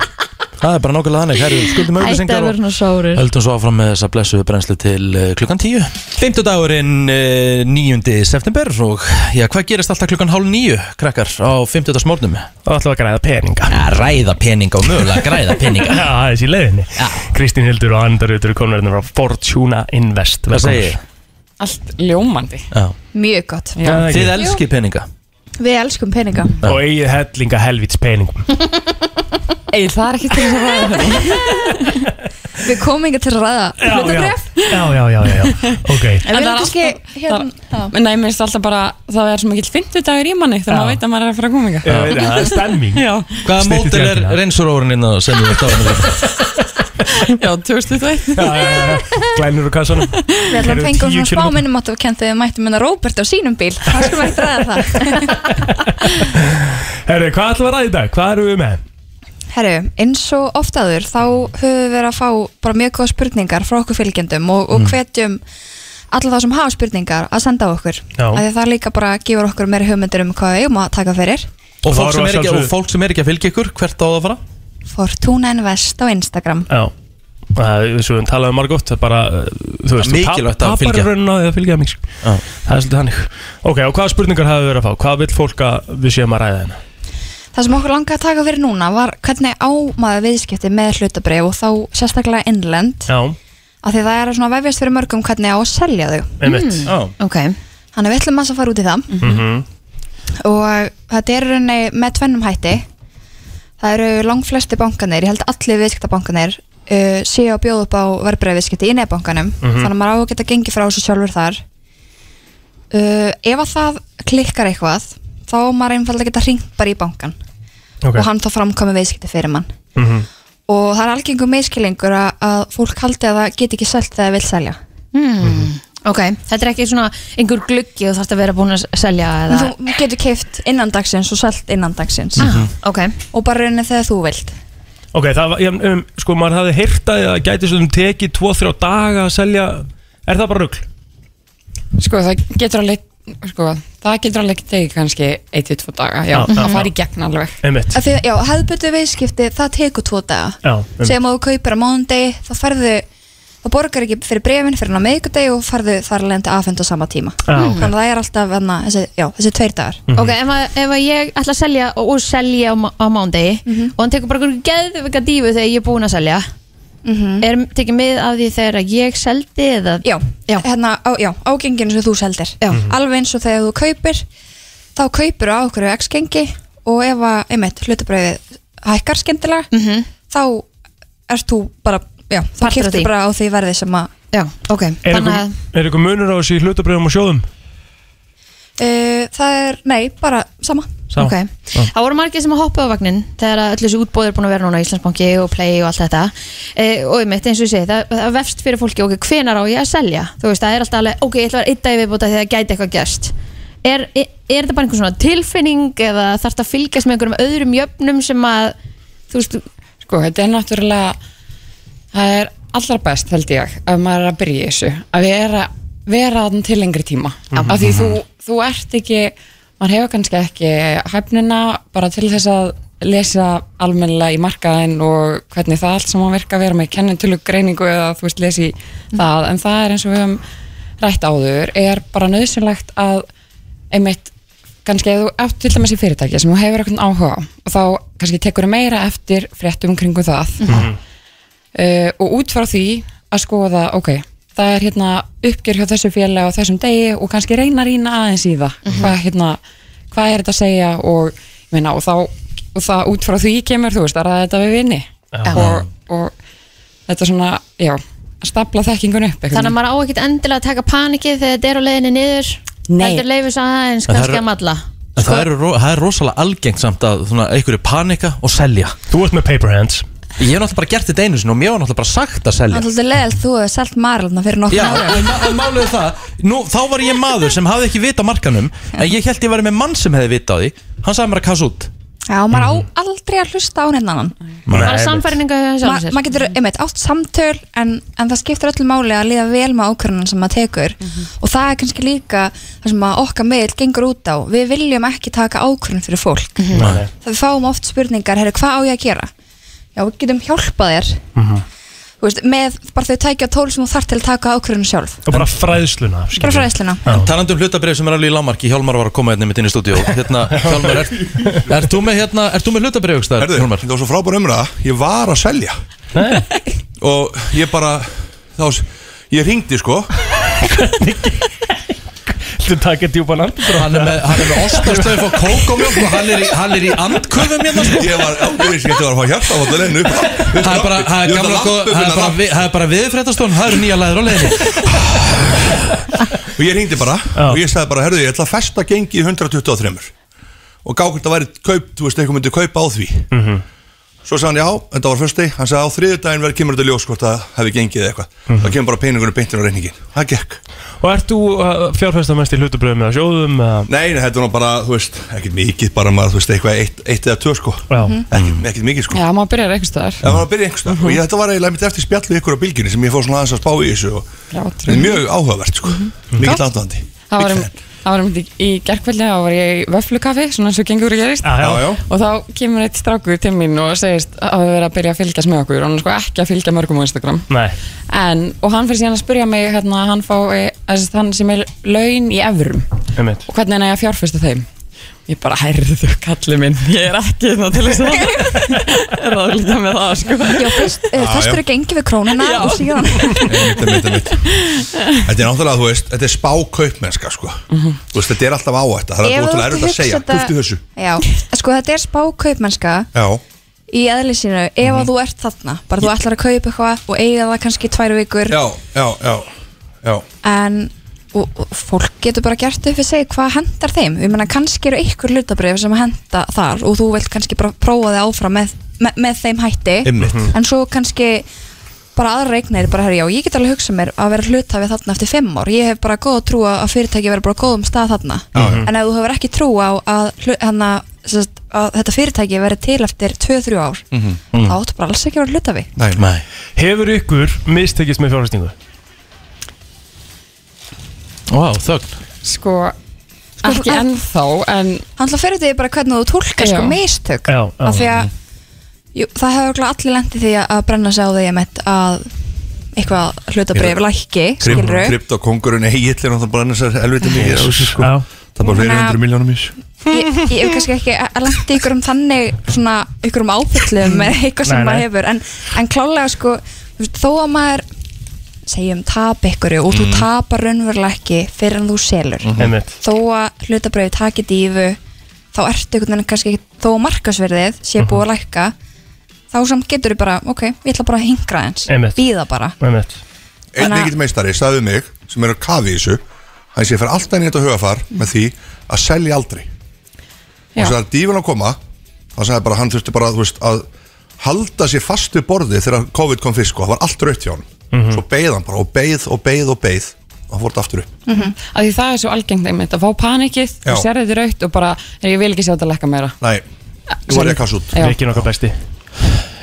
Speaker 2: Það er bara nákvæmlega þannig, herru,
Speaker 3: Ætti
Speaker 2: skuldum
Speaker 3: að
Speaker 2: auðlýsingar
Speaker 3: vera svona sárur
Speaker 2: Höldum svo áfram með þessa blessuðu brennslu til uh, klukkan 10 Fymtudagurinn uh, 9. september og já, hvað gerist alltaf klukkan hálf 9 krakkar á fymtudagsmórnum?
Speaker 4: Það ætlum við að græða peninga
Speaker 2: Ræða peninga og mögulega
Speaker 4: [LAUGHS]
Speaker 2: græða
Speaker 4: Já,
Speaker 2: peninga
Speaker 4: það er í leiðinni Kristín Hildur og Andar Rutur komnar hérna frá Fortuna Invest
Speaker 2: Hvað segir?
Speaker 8: Allt ljómandi
Speaker 2: Já.
Speaker 10: Mjög gott
Speaker 2: Þið
Speaker 4: þið?
Speaker 2: elskir peninga
Speaker 10: Við elskum peninga
Speaker 4: Og eigið hellinga helvits peningum
Speaker 8: Egil, það er ekki til þess að ræða það
Speaker 10: [LAUGHS] Við komum inga til að ræða
Speaker 4: já,
Speaker 10: hlutabréf
Speaker 4: já, já, já, já, ok
Speaker 8: En
Speaker 10: En
Speaker 8: það
Speaker 10: við
Speaker 8: er
Speaker 10: erum
Speaker 8: alltaf-
Speaker 10: kannski hérna já.
Speaker 8: Nei, mér finnst alltaf bara, það er svo mikill 50 dagur í manni þegar
Speaker 4: Já.
Speaker 8: maður veit að maður er að fara að koma
Speaker 4: Ég veit að Það er stemming
Speaker 8: Já,
Speaker 2: Hvaða
Speaker 4: Snittu
Speaker 2: mótil er
Speaker 4: drekina.
Speaker 2: reynsurórin innan sem þú ert á henni?
Speaker 8: já, 2021
Speaker 4: Já, já, já, já. Glænur úr kassanum
Speaker 10: Við ætlum að fengja svona smá minnum að þú kent þegar við mættum minna Róbert á sínum bíl Það skulum ekki ræða það
Speaker 4: Herru, hvað ætlum við að ræða í dag? Hvað erum við með?
Speaker 10: Herru, eins og oft aður þá höfum við verið að fá bara mjög góða spurningar frá okkur fylgjendum og, og hvetjum alla þá sem hafa spurningar að senda á okkur
Speaker 4: Já.
Speaker 10: Af því að það líka bara gefur okkur meiri hugmyndir um hvað við eigum að taka fyrir
Speaker 2: Og
Speaker 4: Það
Speaker 2: fólk,
Speaker 4: var
Speaker 2: sem er ekki,
Speaker 4: sjálfsögðu.
Speaker 2: og fólk sem er ekki að fylgja ykkur, hvert á það að fara?
Speaker 10: Fortuna Invest á Instagram
Speaker 4: Já Það er svo við talaðum margótt Það er bara, uh, þú veist,
Speaker 2: Mikilvægt að fylgja.
Speaker 4: Tapar raunin á því að fylgja mig
Speaker 2: Já.
Speaker 4: Það er svolítið hannig Ok, og hvaða spurningar hafið við verið að fá? Hvað vill fólk að við séum að ræða hérna?
Speaker 10: Það sem okkur langaði að taka fyrir núna var hvernig ámaður viðskipti með hlutabrif og þá sérstaklega innlend
Speaker 4: Já,
Speaker 10: af því það er svona að vefjast fyrir mörgum hvernig á að selja þau. Mm.
Speaker 4: einmitt
Speaker 2: Já,
Speaker 3: Ok,
Speaker 10: Þannig við ætlum aðeins að fara út í það
Speaker 4: Mhm.
Speaker 10: og þetta er í rauninni með tvennum hætti. Það eru langflesti bankanir, ég held allir viðskiptabankanir uh, séu að bjóða upp á verbreyfiðskipti í nefbankanum þannig að maður á að geta gengið frá þessu sjálfur þar. Uh, ef að það klikkar eitthvað þá á maður einfalda að geta hringt bara í bankan
Speaker 4: Ok.
Speaker 10: og hann þá framkomi viðskipti fyrir mann.
Speaker 4: Mhm.
Speaker 10: og það er algengum meðskilingur að, að fólk haldi að það geti ekki selt þegar það vil selja
Speaker 8: Hmm.
Speaker 3: ok Þetta er ekki svona einhver gluggi og þarfst að vera búin að selja
Speaker 10: en
Speaker 3: eða
Speaker 10: þú getur keift innan dagsins og selt innan dagsins
Speaker 4: Mhm.
Speaker 3: ah, Ok,
Speaker 10: og bara raunin þegar þú vilt
Speaker 4: Ok, það var, ég, um, sko, maður hafði heyrt að það gæti svona tekið 2-3 daga að selja Er það bara rugl?
Speaker 8: Sko, það getur alveg, sko, það getur alveg tegið kannski 1-2 daga, já,
Speaker 4: Já, já,
Speaker 8: það
Speaker 4: já.
Speaker 8: fari í gegn alveg
Speaker 4: Einmitt
Speaker 10: Af því, já, hefðbundu viðskipti, það tekur tvo daga
Speaker 4: Já, einmitt
Speaker 10: segjum að þú kaupir á mánudegi þá færðu, þá borgar ekki fyrir brefin fyrir hann á meðgudegi og færðu þar alveg til aðfend á sama tíma
Speaker 4: Já, Ah, ok.
Speaker 10: þannig að það er alltaf enna, þessi, já, þessi tveir dagar
Speaker 3: ok Ef, að, ef að ég ætla að
Speaker 10: Mhm.
Speaker 3: selja og, og selja á, má- á mándegi og hann tekur bara einhver geðvika dífu þegar ég er búin að selja
Speaker 10: Mhm.
Speaker 3: er tekið mið af því þegar að ég seldi eða
Speaker 10: já,
Speaker 3: Já.
Speaker 10: Hérna, á, já ágenginu sem þú seldir já.
Speaker 4: Mhm.
Speaker 10: alveg eins og þegar þú kaupir þá kaupir á okkur x-gengi og ef að, einmitt, hlutabræðið hækkar skemmtilega
Speaker 3: Mhm.
Speaker 10: þá ert þú bara já, þá
Speaker 3: Partur af
Speaker 10: kiptir
Speaker 3: því.
Speaker 10: bara á því verði sem að
Speaker 3: já, ok
Speaker 4: Er
Speaker 3: þannig að,
Speaker 4: einhver- er ykkur munur á þessi hlutabröðum og sjóðum?
Speaker 10: uh, það er, nei, bara sama
Speaker 4: Sá.
Speaker 3: ok það voru margir sem að hoppa á vagnin þegar að öll þessi útbóð er búin að vera núna Íslandsbanki og Play og allt þetta e, og einmitt eins og ég segi, það, það vefst fyrir fólki ok, hvenar á ég að selja þú veist, það er alltaf alveg, ok, ég ætla að vera einn dag viðbúta því að það gæti eitthvað gerst er, er, er þetta bara einhver svona tilfinning eða þarf þetta að fylgjast með einhverjum öðrum jöfnum sem að, þú veist,
Speaker 8: Sko, þetta er náttúrulega það er allra best held ég ef maður er að byrja í þessu að vera, vera þann til lengri tíma
Speaker 4: Mhm.
Speaker 8: af því þú, þú ert ekki maður hefur kannski ekki hæfnina bara til þess að lesa almennilega í markaðin og hvernig það allt saman virka að vera með kennitölu greiningu eða þú veist lesi það en það er eins og við höfum rætt áður er bara nöðsynlegt að einmitt kannski ef þú átt til dæmis í fyrirtæki sem þú hefur eitthvað áhuga á og þá kannski tekur þú meira eftir fréttum kringum það
Speaker 7: Mhm.
Speaker 8: uh, og út frá því að skoða ok, það er hérna uppgjör hjá þessu félagi á þessum degi og kannski reyna að rýna aðeins í það
Speaker 3: Mhm.
Speaker 8: hvað, hérna, hvað er þetta að segja og, ég meina, og, þá, og það út frá því kemur þú veist að ræða þetta við vinni og, og þetta svona já, að stapla þekkingun upp einhvern
Speaker 3: þannig að maður á ekkert endilega að taka panikið þegar þetta er á leiðinni niður
Speaker 8: Nei.
Speaker 3: heldur leifis aðeins
Speaker 2: En það
Speaker 3: kannski
Speaker 2: eru-
Speaker 3: að malla
Speaker 2: En
Speaker 4: Sko-
Speaker 2: það, er, ro- það er rosalega algengt samt að svona, einhverju panika og selja
Speaker 4: Þú ert með paper hands
Speaker 2: Ég hef náttúrulega bara gert þetta einu sinni og mér var náttúrulega bara sagt að selja
Speaker 10: Þannig að leðal þú hefur selt marlna fyrir nokkur
Speaker 2: Já,
Speaker 10: ára
Speaker 4: [LAUGHS]
Speaker 2: en ma- en málið er það nú, Þá var ég maður sem hafði ekki vita markanum En ég held ég væri með mann sem hefði vita á því Hann sagði mér að kassa út
Speaker 10: Já, maður á
Speaker 11: Mhm.
Speaker 10: aldrei að hlusta á hennan annan
Speaker 3: bara samfæringa hjá
Speaker 10: Ma,
Speaker 3: sjálfum sér
Speaker 10: maður getur, einmitt, átt samtöl en, en það skiptir öllu máli að líða vel með ákvörðunum sem maður tekur
Speaker 3: Mhm.
Speaker 10: og það er kannski líka það sem að okkar meðil gengur út á við viljum ekki taka ákvörðun fyrir fólk
Speaker 3: Mhm.
Speaker 4: Nei.
Speaker 10: það við fáum oft spurningar, herru, hvað á ég að gera? Já, við getum hjálpað þér þú veist, með bara þau tækja tól sem þú þarf til að taka ákvörðunum sjálf
Speaker 4: Og bara fræðsluna
Speaker 10: bara
Speaker 4: skilur.
Speaker 10: fræðsluna
Speaker 4: Já.
Speaker 2: Talandi um hlutabrif sem er alveg í lámarki Hjálmar var að koma hérna mitt inn í stúdíó Hérna, Hjálmar, er, er þú með, hérna, er þú með hlutabrif?
Speaker 11: Herðu,
Speaker 2: Hjálmar?
Speaker 11: þetta var svo frábær umræða Ég var að selja Og ég bara þá, Ég ringdi sko
Speaker 4: Þú taka djúpan andrá
Speaker 2: Hann er með, hann er með ostastöf og kókomjólk og hann er í, hann er í andköfum hérna sko
Speaker 11: Ég var, já, ég vissi ekki að það var að fá hjarta á þetta leinu
Speaker 2: Það er bara, það er gamla góð, það
Speaker 11: hérna,
Speaker 2: er bara, við- það er bara viðfréttastón, það eru nýja læður á leiðinni
Speaker 11: Og ég ringdi bara og ég sagði bara, herðu, ég ætla að festa gengi í 123 og gá hvort það væri kaup, þú veist, eitthvað myndi kaupa á því
Speaker 2: Mhm.
Speaker 11: Svo sagði hann, já, þetta var fyrsti hann sagði, á þriðudaginn verður kemur þetta ljós hvort það hefði gengið eða eitthvað, mm það kemur bara peningunum beintin á reyningin, það gekk
Speaker 4: Og ert þú uh, fjárfesta mest í hlutabröðum eða sjóðum eða
Speaker 11: Nei, nei, þetta var nú bara, þú veist, ekkert mikið bara maður, þú veist, eitthvað eitt, eitt eða tvö sko
Speaker 4: Já.
Speaker 11: ekkert, ekkert mikið sko
Speaker 8: Já, maður byrjar eitthvað stöðar
Speaker 11: Það var að byrja einhverstað og ég, þetta var eiginlega mitt eftir spjallu ykkur á bylginni sem ég fór svona aðeins að spá í þessu og
Speaker 8: Grátur.
Speaker 11: þetta er mjög áhugavert sko,
Speaker 10: Mhm.
Speaker 11: mikill aðdóðandi
Speaker 8: Það var,
Speaker 11: Mikið
Speaker 8: um, það var um í, í gerkveldi þá var ég í vöflukafi, svona eins og gengur og gerist
Speaker 4: Já, já.
Speaker 11: Já, já.
Speaker 8: og þá kemur eitt strákur til mín og segist að við verðum að byrja að fylgjast með okkur og hann er sko ekki að fylgja mörgum á Instagram
Speaker 4: Nei
Speaker 8: en, og hann fyrir síðan að spyrja mig hérna, hann, fá, þess, hann sem er laun í evrum
Speaker 4: Einmitt.
Speaker 8: og hvernig hann er að fjárfesta þeim ég bara hærðu kallið minn ég er ekki hérna til
Speaker 12: [LAUGHS]
Speaker 8: þess að ráðlita með það sko
Speaker 10: Já, fyrst, uh,
Speaker 11: Já,
Speaker 10: fyrst
Speaker 11: já.
Speaker 10: eru gengi við krónuna
Speaker 8: Já.
Speaker 10: og síðan
Speaker 11: einmitt, einmitt, einmitt. Þetta er náttúrulega, þú veist, þetta er spákaupmennska sko. Þú veist, þetta er alltaf áhætt Það er
Speaker 10: Mhm. Ef þú
Speaker 11: ótrúlega
Speaker 10: ert
Speaker 11: erfitt að
Speaker 10: hugsa
Speaker 11: segja,
Speaker 10: þetta-
Speaker 11: húftu þessu
Speaker 10: Já, sko þetta er spákaupmennska
Speaker 11: Já,
Speaker 10: í eðli sínu ef að
Speaker 11: Mhm.
Speaker 10: þú ert þarna bara þú ætlar að kaupa eitthvað og eiga það kannski tvær vikur
Speaker 11: já, já, já, já.
Speaker 10: en og, og fólk getur bara gert upp við segja hvað hendar þeim ég meina kannski eru ykkur hlutabrif sem henda þar og þú vilt kannski bara prófa þig áfram með, með, með þeim hætti
Speaker 11: Einmitt. Mhm.
Speaker 10: en svo kannski bara aðra eignir bara herri já ég get alveg hugsað mér að vera hlutafi þarna eftir fimm ár ég hef bara góð trú á að fyrirtæki vera bara á góðum stað þarna
Speaker 5: Mm.
Speaker 10: en ef þú hefur ekki trú á að, hlu- hana, sest, að þetta fyrirtæki veri til eftir 2-3 ár
Speaker 2: Mhm.
Speaker 3: Mhm.
Speaker 4: Mm.
Speaker 10: þá áttu bara alls ekki að vera hlutafi
Speaker 11: Nei, nei.
Speaker 2: Nei
Speaker 4: Hefur ykkur mistekist með fjárfestingu?
Speaker 2: Vá, þögn
Speaker 8: sko, ekki
Speaker 10: en-
Speaker 8: ennþá en
Speaker 10: hann ætla fyrir því bara hvernig þú tólkar sko
Speaker 8: Já.
Speaker 10: mistök
Speaker 4: Já, já.
Speaker 10: af því að jú, það hefur örugglega allir lendið því að brenna sig á því einmitt að eitthvað hlutabrif lækki skilru
Speaker 11: Krypt og kongurinn Egil er náttúrulega bara annars elviti mikið á þessu, sko.
Speaker 4: Já.
Speaker 11: Það er bara fleiri
Speaker 10: Þannig að-
Speaker 11: hundru miljónum ís
Speaker 10: ég, ég hef kannski ekki lendið ykkur um þannig svona ykkur um áfyllum eða eitthvað sem
Speaker 4: Nei, nei.
Speaker 10: maður hefur en, en klálega sko þú veist, þó að maður segjum tap ykkur og
Speaker 4: Mhm.
Speaker 10: þú tapar raunverulega ekki fyrir en þú selur
Speaker 4: Einmitt.
Speaker 10: þó að hlutabröfi taki dífu þá ertu einhvern veginn kannski ekki þó að markasverðið sé búið
Speaker 4: Mhm.
Speaker 10: að lækka þá samt getur þú bara, ok, ég ætla bara að hingra eins
Speaker 4: Einmitt.
Speaker 10: býða bara
Speaker 4: Einmitt.
Speaker 11: Einn
Speaker 10: Þannig að-
Speaker 11: mikill meistari sagði við mig sem er að kafi í þessu hann sé fyrir alltaf inn í þetta hugafar með því að selja aldrei og
Speaker 8: Já.
Speaker 11: svo það er dífun að koma hann sagði bara að hann þurfti bara þú veist, að halda sér fast við borðið þegar COVID kom fyrst sko, það var allt rautt hjá hann svo beigð hann bara og beigð og beigð og beigð og hann fór þetta aftur upp
Speaker 8: að því það er svo algengt einmitt að fá panikið,
Speaker 11: Já.
Speaker 8: þú sér þetta raut og bara, "Nei, ég vil ekki sjá þetta lekka meira
Speaker 11: Nei, nú var ég að kassa út
Speaker 8: Já.
Speaker 4: Rikki er okkar besti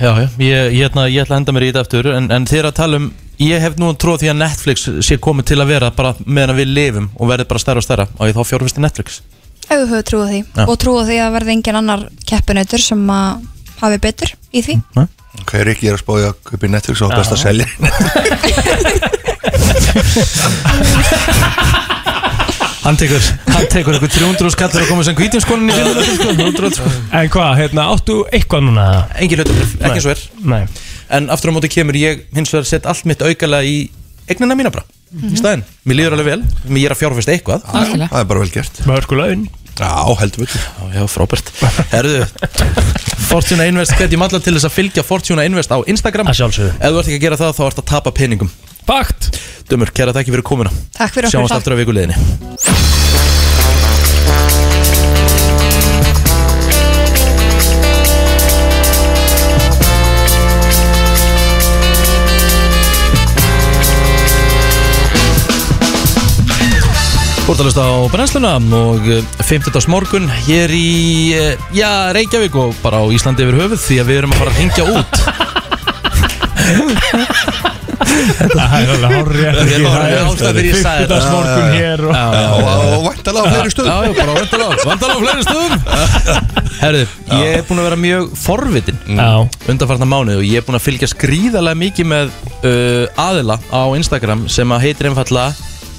Speaker 2: Já, já, ég, ég, ætla, ég ætla að henda mér í þetta aftur en, en þegar að tala um, ég hef nú tróð því að Netflix sé komið til að vera bara meðan við lifum og verði bara stærra og stærra og ég þá fjárfist í Netflix
Speaker 10: ef þú hefur trúið því
Speaker 2: Já.
Speaker 10: og trúið því að verði engin annar keppunautur sem að hafi betur í því
Speaker 11: Ok, Rikki er að spáði að kaupi Netflix og best að selja
Speaker 2: [LAUGHS] Hann tekur, hann tekur eitthvað 300 skallar að koma sem hvítinskonin í sko, fjöldum
Speaker 4: En hvað, hérna, áttu eitthvað núna? eða?
Speaker 2: Engin hlutum, ekki eins og er
Speaker 4: Nei
Speaker 2: En aftur á móti kemur ég hins vegar sett allt mitt aukala í eignina mína bara
Speaker 10: Mhm.
Speaker 2: Í staðinn, mér líður alveg vel, mér ég er að fjárfist eitthvað
Speaker 8: Algjörlega.
Speaker 11: Það er bara vel gert
Speaker 4: Mörgu sko laun
Speaker 11: Já, heldur betur
Speaker 2: Já, já, frábært Herðu, Fortuna Invest hvetjum alla til þess að fylgja Fortuna Invest á Instagram
Speaker 4: Að sjálfsögðu.
Speaker 2: Ef þú ert ekki að gera það, þá ert að tapa peningum
Speaker 4: Fakt
Speaker 2: Dömur, kæra þakki fyrir komuna
Speaker 10: Takk fyrir okkur,
Speaker 2: Sjáumst
Speaker 10: takk.
Speaker 2: aftur á vikuleginni Þú ert að hlusta á brennsluna og 15. morgun hér í eh, já, Reykjavík og bara á Íslandi yfir höfuð því að við erum að fara að hengja út
Speaker 4: Það er alveg hár rétt
Speaker 2: Ég var alveg ástæða fyrir ég sagði þetta.
Speaker 4: Fyrstudagsmorgun hér og
Speaker 2: Já,
Speaker 11: Og, og væntalega á fleiri stöðum
Speaker 2: Já, já, bara vandalega, vandalega á fleiri stöðum Herðu, ég er búin að vera mjög forvitin
Speaker 4: Já
Speaker 2: undanfarnar mánuð og ég er búin að fylgja skríðarlega mikið með uh, aðila á Instagram sem að heitir einfalla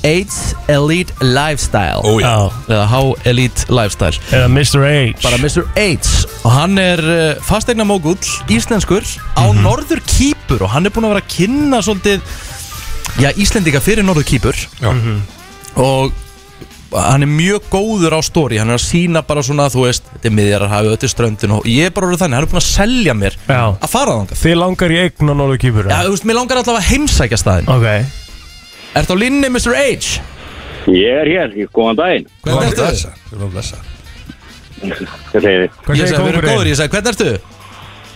Speaker 2: AIDS Elite Lifestyle
Speaker 11: Ó, já.
Speaker 4: Já
Speaker 2: eða How Elite Lifestyle
Speaker 4: Eða Mr. H
Speaker 2: bara Mr. AIDS og hann er uh, fastegna mógull, íslenskur á Norður Kýpur og hann er búin að vera að kynna svolítið já, Íslendinga fyrir Norður Kýpur
Speaker 11: Já.
Speaker 2: og hann er mjög góður á stóri hann er að sína bara svona, þú veist þetta er miðjararhafi, þetta er ströndin og ég er bara orðið þannig, hann er búin að selja mér
Speaker 4: Já.
Speaker 2: að fara þangað
Speaker 4: Þið langar í eign á Norðu Kýpur
Speaker 2: Já, þú veist, mér langar allavega að heimsækja staðin
Speaker 4: Ok
Speaker 2: Ertu á línni, Mr. H?
Speaker 13: Ég er hér, ég, góðan daginn.
Speaker 11: Góðan
Speaker 2: Hvernig ertu?
Speaker 11: blessa, góðan blessa.
Speaker 13: Hvað segir þið?
Speaker 4: Hvað
Speaker 2: Ég
Speaker 4: segir
Speaker 2: sagði, við erum góður,
Speaker 4: kóngurinn?
Speaker 2: ég sagði, Eh, hvernig ertu?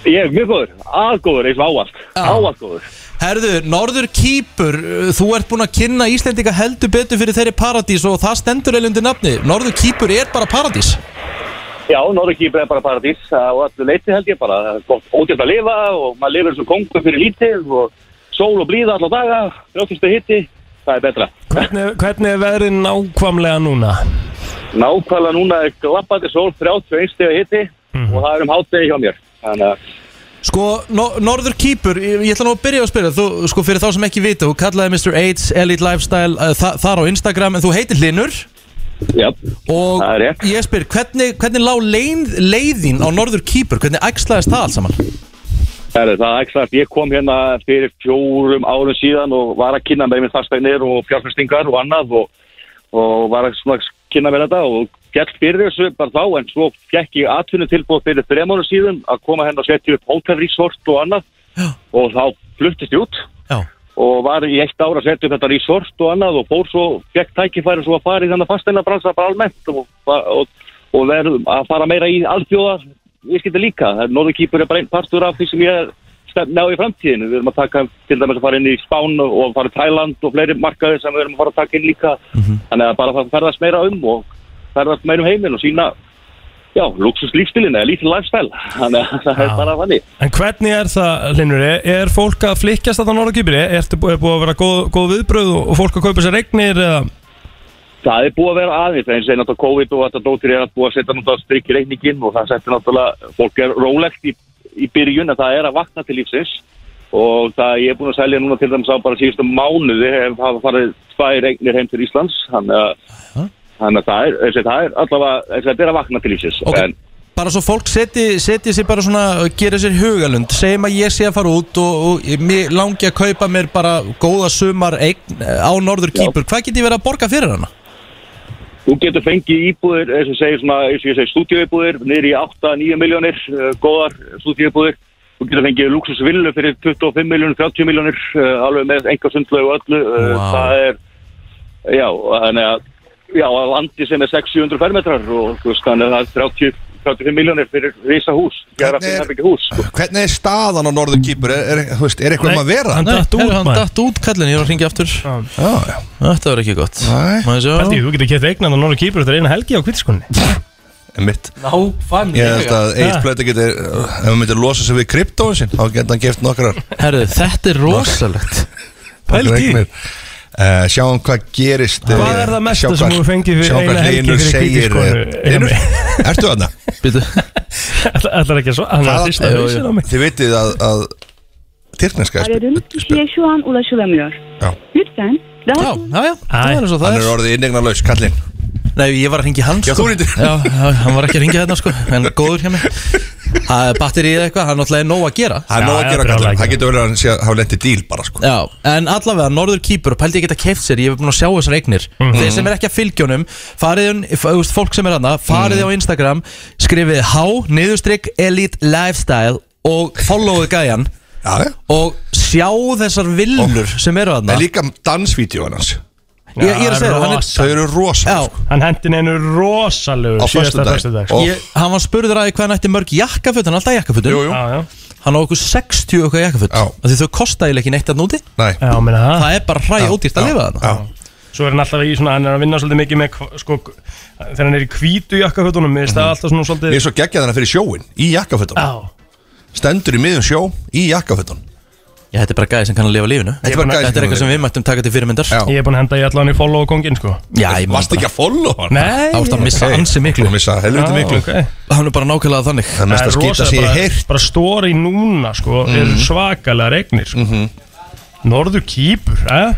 Speaker 13: Ég er mjög góður, aðgóður eins og ávallt. Ávallt góður.
Speaker 2: Herðu, Norður Kýpur, uh, þú ert búinn að kynna Íslendinga heldur betur fyrir þeirri paradís og það stendur eiginlega undir nafni. Norður Kýpur er bara paradís.
Speaker 13: Já, Norðurkýpur er bara paradís uh, og allir leiti held ég bara. Það er gott ódjöld að lifa og maður lifir eins og kongur fyrir lítið og sól og blíða allar daga, grjóttustu hitti, það er betra.
Speaker 4: Hvernig, hvernig er veðrin nákvæmlega núna?
Speaker 13: Nákvæmlega núna er glappandi sól, 31 steg hitti og það er um hátegi hjá mér. Þannig að
Speaker 2: Sko, no Norður Kýpur, ég, ég ætla nú að byrja að spyrja, þú, sko fyrir þá sem ekki vita, þú kallaði Mr. AIDS, Elite Lifestyle, uh, þa þar á Instagram, en þú heitir Linur
Speaker 13: já,
Speaker 2: og
Speaker 13: Það er rétt.
Speaker 2: ég spyr, hvernig, hvernig lá leið, leiðin á Norður Kýpur, hvernig ægslaðist það allt saman?
Speaker 13: Herri, það er ekki sagt, ég kom hérna fyrir fjórum árum síðan og var að kynna með mér fastegnir og fjárfestingar og annað og, og var að svona kynna með þetta og gætt fyrir þessu bara þá en svo fekk ég atvinnu tilbúið fyrir þrem árum síðan að koma hérna og setja upp hótelrísort og annað
Speaker 2: Já.
Speaker 13: og þá fluttist ég út
Speaker 2: Já.
Speaker 13: og var í eitt ára að setja upp þetta resort og annað og fór svo, fekk tækifæri svo að fara í þannig fasteina bransa bara almennt og, og, og verðum að fara meira í alþjóða viðskipti líka. Norðurkýpur er bara einn partur af því sem ég er stefna á í framtíðinu. Við erum að taka til dæmis að fara inn í Spán og fara í Thailand og fleiri markaði sem við erum að fara að taka inn líka. Þannig að bara fer- ferðast meira um og ferðast meira um heiminn og sína Já, luxus lífstilin eða lítið lifestyle, þannig að það er
Speaker 4: Já.
Speaker 13: bara þannig.
Speaker 4: En hvernig er það, Linur? Er, er fólk að flikkjast þetta Norðu Kýpur? Er, er búið að vera góð, góð viðbröð og, og fólk að kaupa sér eignir? Eða?
Speaker 13: Það er búið að vera aðeins, eins og náttúrulega COVID og þetta dóttir er að búið að setja náttúrulega strikk í reikningin og það setja náttúrulega, fólk er rólegt í, í byrjun en það er að vakna til lífsins og það ég er búin að selja núna til dæmis á bara síðustu mánuði hef- hafa farið tvær eignir heim til Íslands þannig að, þannig að það, er, þessi, það er allavega, þessi, þetta er að vakna til lífsins
Speaker 2: Ok.
Speaker 13: en
Speaker 2: bara svo fólk seti, seti sér bara svona gera sér hugalund, segjum að ég sé að fara út og, og ég- mig langi að kaupa mér bara góða sumar eign eh, á norður kýpur, hvað get ég verið að borga fyrir hana?
Speaker 13: Þú getur fengið íbúðir, eins og segir svona, eins og ég segi, stúdíuíbúðir, niður í 8-9 miljónir, uh, góðar stúdíuíbúðir. Þú getur fengið luxusvillu fyrir 25 miljónir, 30 miljónir, uh, alveg með enga sundlegu og öllu. Uh,
Speaker 2: Vá.
Speaker 13: Það er, já, þannig að, já, á landi sem er 600-700 fermetrar og þú veist, þannig að það er 30 35 miljónir fyrir risa hús, gera
Speaker 11: Hvernig er-
Speaker 13: fyrir herbyggi hús. sko.
Speaker 11: Hvernig er staðan á norður kýpur? Er, er, þú veist, er eitthvað um að vera?
Speaker 4: hann
Speaker 2: Nei,
Speaker 4: datt út,
Speaker 2: herru, hann
Speaker 4: maður.
Speaker 2: datt út kallin, ég var að ringja aftur
Speaker 4: Pældi,
Speaker 11: Já, já.
Speaker 2: Þetta var ekki gott
Speaker 11: Nei.
Speaker 2: Má ég sjá?
Speaker 4: ég, þú getur kæft eignan á Norra Kýpur Þetta er eina helgi á kvítiskunni
Speaker 11: Einmitt.
Speaker 2: Nákvæmlega.
Speaker 11: Ég held að
Speaker 4: Ha.
Speaker 11: eitt plöti getur, ef hann myndir losa sig við kryptóin sinn, þá getur hann geft nokkrar.
Speaker 2: Herðu, þetta er rosalegt
Speaker 4: Pældi í.
Speaker 11: Regnir. Uh, sjáum hvað gerist eh,
Speaker 4: Hvað er það mesta
Speaker 11: sjá
Speaker 4: sem
Speaker 11: hvað-
Speaker 4: þú fengið fyrir
Speaker 11: sjá hvað
Speaker 4: eina helgi
Speaker 11: Hlynur
Speaker 4: fyrir
Speaker 11: segir,
Speaker 4: hvítiskonu,
Speaker 11: eh, Hlynur, Ertu þarna?
Speaker 2: Býtu,
Speaker 4: Ætlar ekki að svo Hann er að þýsta
Speaker 11: Jú, jú.
Speaker 4: hausin á mig
Speaker 11: Þið vitið að, að Tyrkneska er spil-
Speaker 14: Aradığınız kişiye şu an ulaşılamıyor.
Speaker 11: Já.
Speaker 14: Lütfen daha
Speaker 2: já, já, já, það
Speaker 4: Æ.
Speaker 2: er eins
Speaker 11: Hann
Speaker 2: og það
Speaker 11: er
Speaker 2: er
Speaker 11: orðið inneignarlaus, kallinn
Speaker 2: Nei, ég var að ringi hann
Speaker 11: Já,
Speaker 2: sko.
Speaker 11: þú rýndir.
Speaker 2: Já, já, hann var ekki að ringi hérna sko En góður hjá mig Það er batterið eitthvað, hann náttúrulega er nóg að gera
Speaker 11: Það er
Speaker 4: Já,
Speaker 11: nóg að
Speaker 4: já,
Speaker 11: gera
Speaker 4: brjálæði
Speaker 11: kallinn
Speaker 4: að
Speaker 11: Það
Speaker 4: gera.
Speaker 11: getur verið að hann sé að hafa lendið díl bara sko
Speaker 2: Já, en allavega, norður kýpur pældi ég geta keift sér, ég hef búin að sjá þessar eignir
Speaker 4: Mhm.
Speaker 2: Þeir sem er ekki að fylgjónum farið, hún- f- þú veist, fólk sem er hana,
Speaker 4: Mhm.
Speaker 2: farið á Instagram skrifið H, niðurstrykk, elite lifestyle og followðu gæjan
Speaker 11: Já, já
Speaker 2: og sjá þessar villur sem eru hana
Speaker 11: En líka dansvídeóin hans
Speaker 2: Ég, ég er að segja, það, hann er
Speaker 11: Þau eru rosa
Speaker 2: Já,
Speaker 11: sko.
Speaker 4: Hann hendi neinu rosalegu
Speaker 11: Á föstudag.
Speaker 4: sko.
Speaker 11: Og-
Speaker 2: ég, hann var spurður að því hvað hann ætti mörg jakkaföt hann er alltaf jakkafötum,
Speaker 11: Jú, jú,
Speaker 4: Já, já
Speaker 2: hann á okkur 60 okkar jakkaföt
Speaker 11: Já.
Speaker 2: af því þau kostaði ekki neitt að núti
Speaker 11: nei
Speaker 4: Já, menna það
Speaker 2: það er bara hræ ódýrt að lifa þarna
Speaker 11: Já,
Speaker 4: Svo er hann alltaf í svona, hann er að vinna svolítið mikið með hva- sko, þegar hann er í hvítu jakkafötunum er það alltaf
Speaker 11: Mhm. Ég
Speaker 4: svona svolítið
Speaker 11: er svo geggjað hann fyrir sjóin Í jakkafötum
Speaker 4: Já,
Speaker 11: Stendur í miðjum sjó Í jakkafötum
Speaker 2: Já, þetta er bara gæði sem kann að lifa lífinu
Speaker 11: Þetta er bara gæði sem kann að
Speaker 2: Þetta er eitthvað sem
Speaker 11: lifa.
Speaker 2: við mættum taka til fyrirmyndar
Speaker 11: Já.
Speaker 4: ég er búin að henda í allan í follow og kongin sko
Speaker 2: Já, ég meina
Speaker 11: Vast ekki
Speaker 2: bara
Speaker 11: að follow hann
Speaker 4: Nei
Speaker 2: Það varst að missa
Speaker 11: Ok.
Speaker 2: ansi miklu
Speaker 11: Þú missa helviti
Speaker 4: Já,
Speaker 11: miklu
Speaker 4: ok.
Speaker 2: Hann er bara nákvæmlega þannig
Speaker 11: Það er mest að skýta sem
Speaker 4: rosalega,
Speaker 11: ég
Speaker 4: bara-
Speaker 11: heirt
Speaker 4: Bara stóri núna sko,
Speaker 11: Mhm.
Speaker 4: eru svakalega regnir sko. Norður kýpur, eh?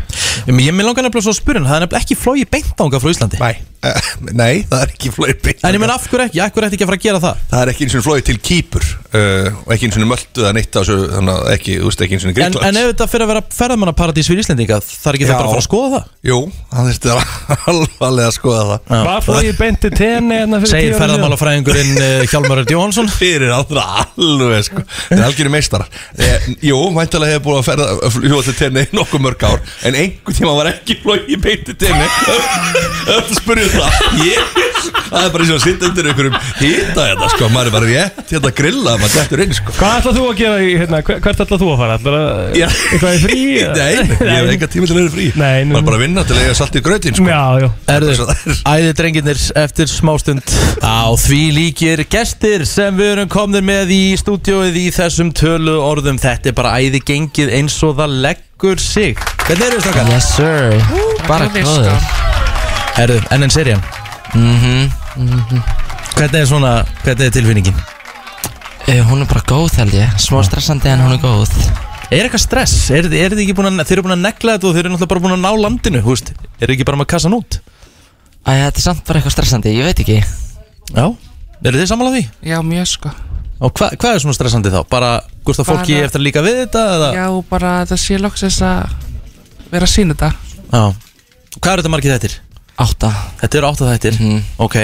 Speaker 2: Em, Ég með langar nefnilega svo að spyrja hann Það er nefnilega ekki flói beintanga frá Íslandi
Speaker 11: Nei Eh, Nei, það er ekki flöipi
Speaker 2: En ég menn af hverju ekki, af hverju ætti ekki að fara að gera það
Speaker 11: Það er ekki eins og flóið til Kýpur uh, og ekki eins og möldu það neitt af þessu, þannig að ekki, þú veist, ekki eins og
Speaker 2: En, en ef þetta fyrir að vera ferðamannaparadís fyrir Íslendinga Þar ekki
Speaker 11: Já.
Speaker 2: þau bara að fara að skoða það
Speaker 11: Jú, það þurfti að [LAUGHS] alvarlega að skoða það
Speaker 4: Hvað fór ég beint til tenni hérna fyrir tíu
Speaker 2: Segir
Speaker 4: árum síðan?
Speaker 2: ferðamálafræðingurinn eh, Hjálmar Örd Jóhansson
Speaker 11: [LAUGHS] Fyrir allra alveg, sko Það er algjöru meistar eh, Jú, mæntalega hefur búin að ferða fljóða til tenni nokkuð mörg ár, en einhvern tíma var ekki flóið í beinti tenni Öll spurði um það Ég, það er bara eins og að sitta undir einhverjum hýta þetta, sko, maður er bara rétt hérna að grilla, maður dettur inn, sko
Speaker 4: Hvað ætlað þú að gera í, hérna, hver- hvert ætlað þú að fara? Ætlað að,
Speaker 11: Já.
Speaker 4: eitthvað í frí? eða?
Speaker 11: [LAUGHS] Nei, ég hef enga tíma til að vera frí
Speaker 4: Nei, nú-
Speaker 11: Maður er bara að vinna til að eiga salt í grötin, sko
Speaker 4: Já, já
Speaker 2: Erður,
Speaker 11: Þetta er-
Speaker 2: æði drengirnir eftir smástund á því líkir gestir sem við erum komnir með í stúdióið í þessum tölu orðum þetta er bara æði gengið eins og það leggur sig Hvernig eru þetta okkar?
Speaker 12: Yes sir Bara góður
Speaker 2: Erður, enn enn serían
Speaker 12: Mhm.
Speaker 2: Hvernig er svona, hvernig er tilfinningin?
Speaker 12: Eh, Hún er bara góð held ég Smá stressandi en hún er góð
Speaker 2: Er eitthvað stress? Er, er þið ekki búin að, þeir eru búin að negla þetta og þeir eru náttúrulega bara búin að ná landinu, húst? Er þið ekki bara með kassan út?
Speaker 12: Æ, þetta er samt bara eitthvað stressandi, ég veit ekki
Speaker 2: Já Eru þið sammála því?
Speaker 12: Já, mjög sko
Speaker 2: Og hva, hvað er svona stressandi þá? Bara, gúst að fólki
Speaker 12: Bara-
Speaker 2: eftir að líka við þetta? Eða?
Speaker 12: bara þetta sé loksins að vera að sína þetta
Speaker 2: Já Hvað eru þetta margir þettir?
Speaker 12: Átta
Speaker 2: Þetta eru átta þettir
Speaker 12: Mhm.
Speaker 2: Ok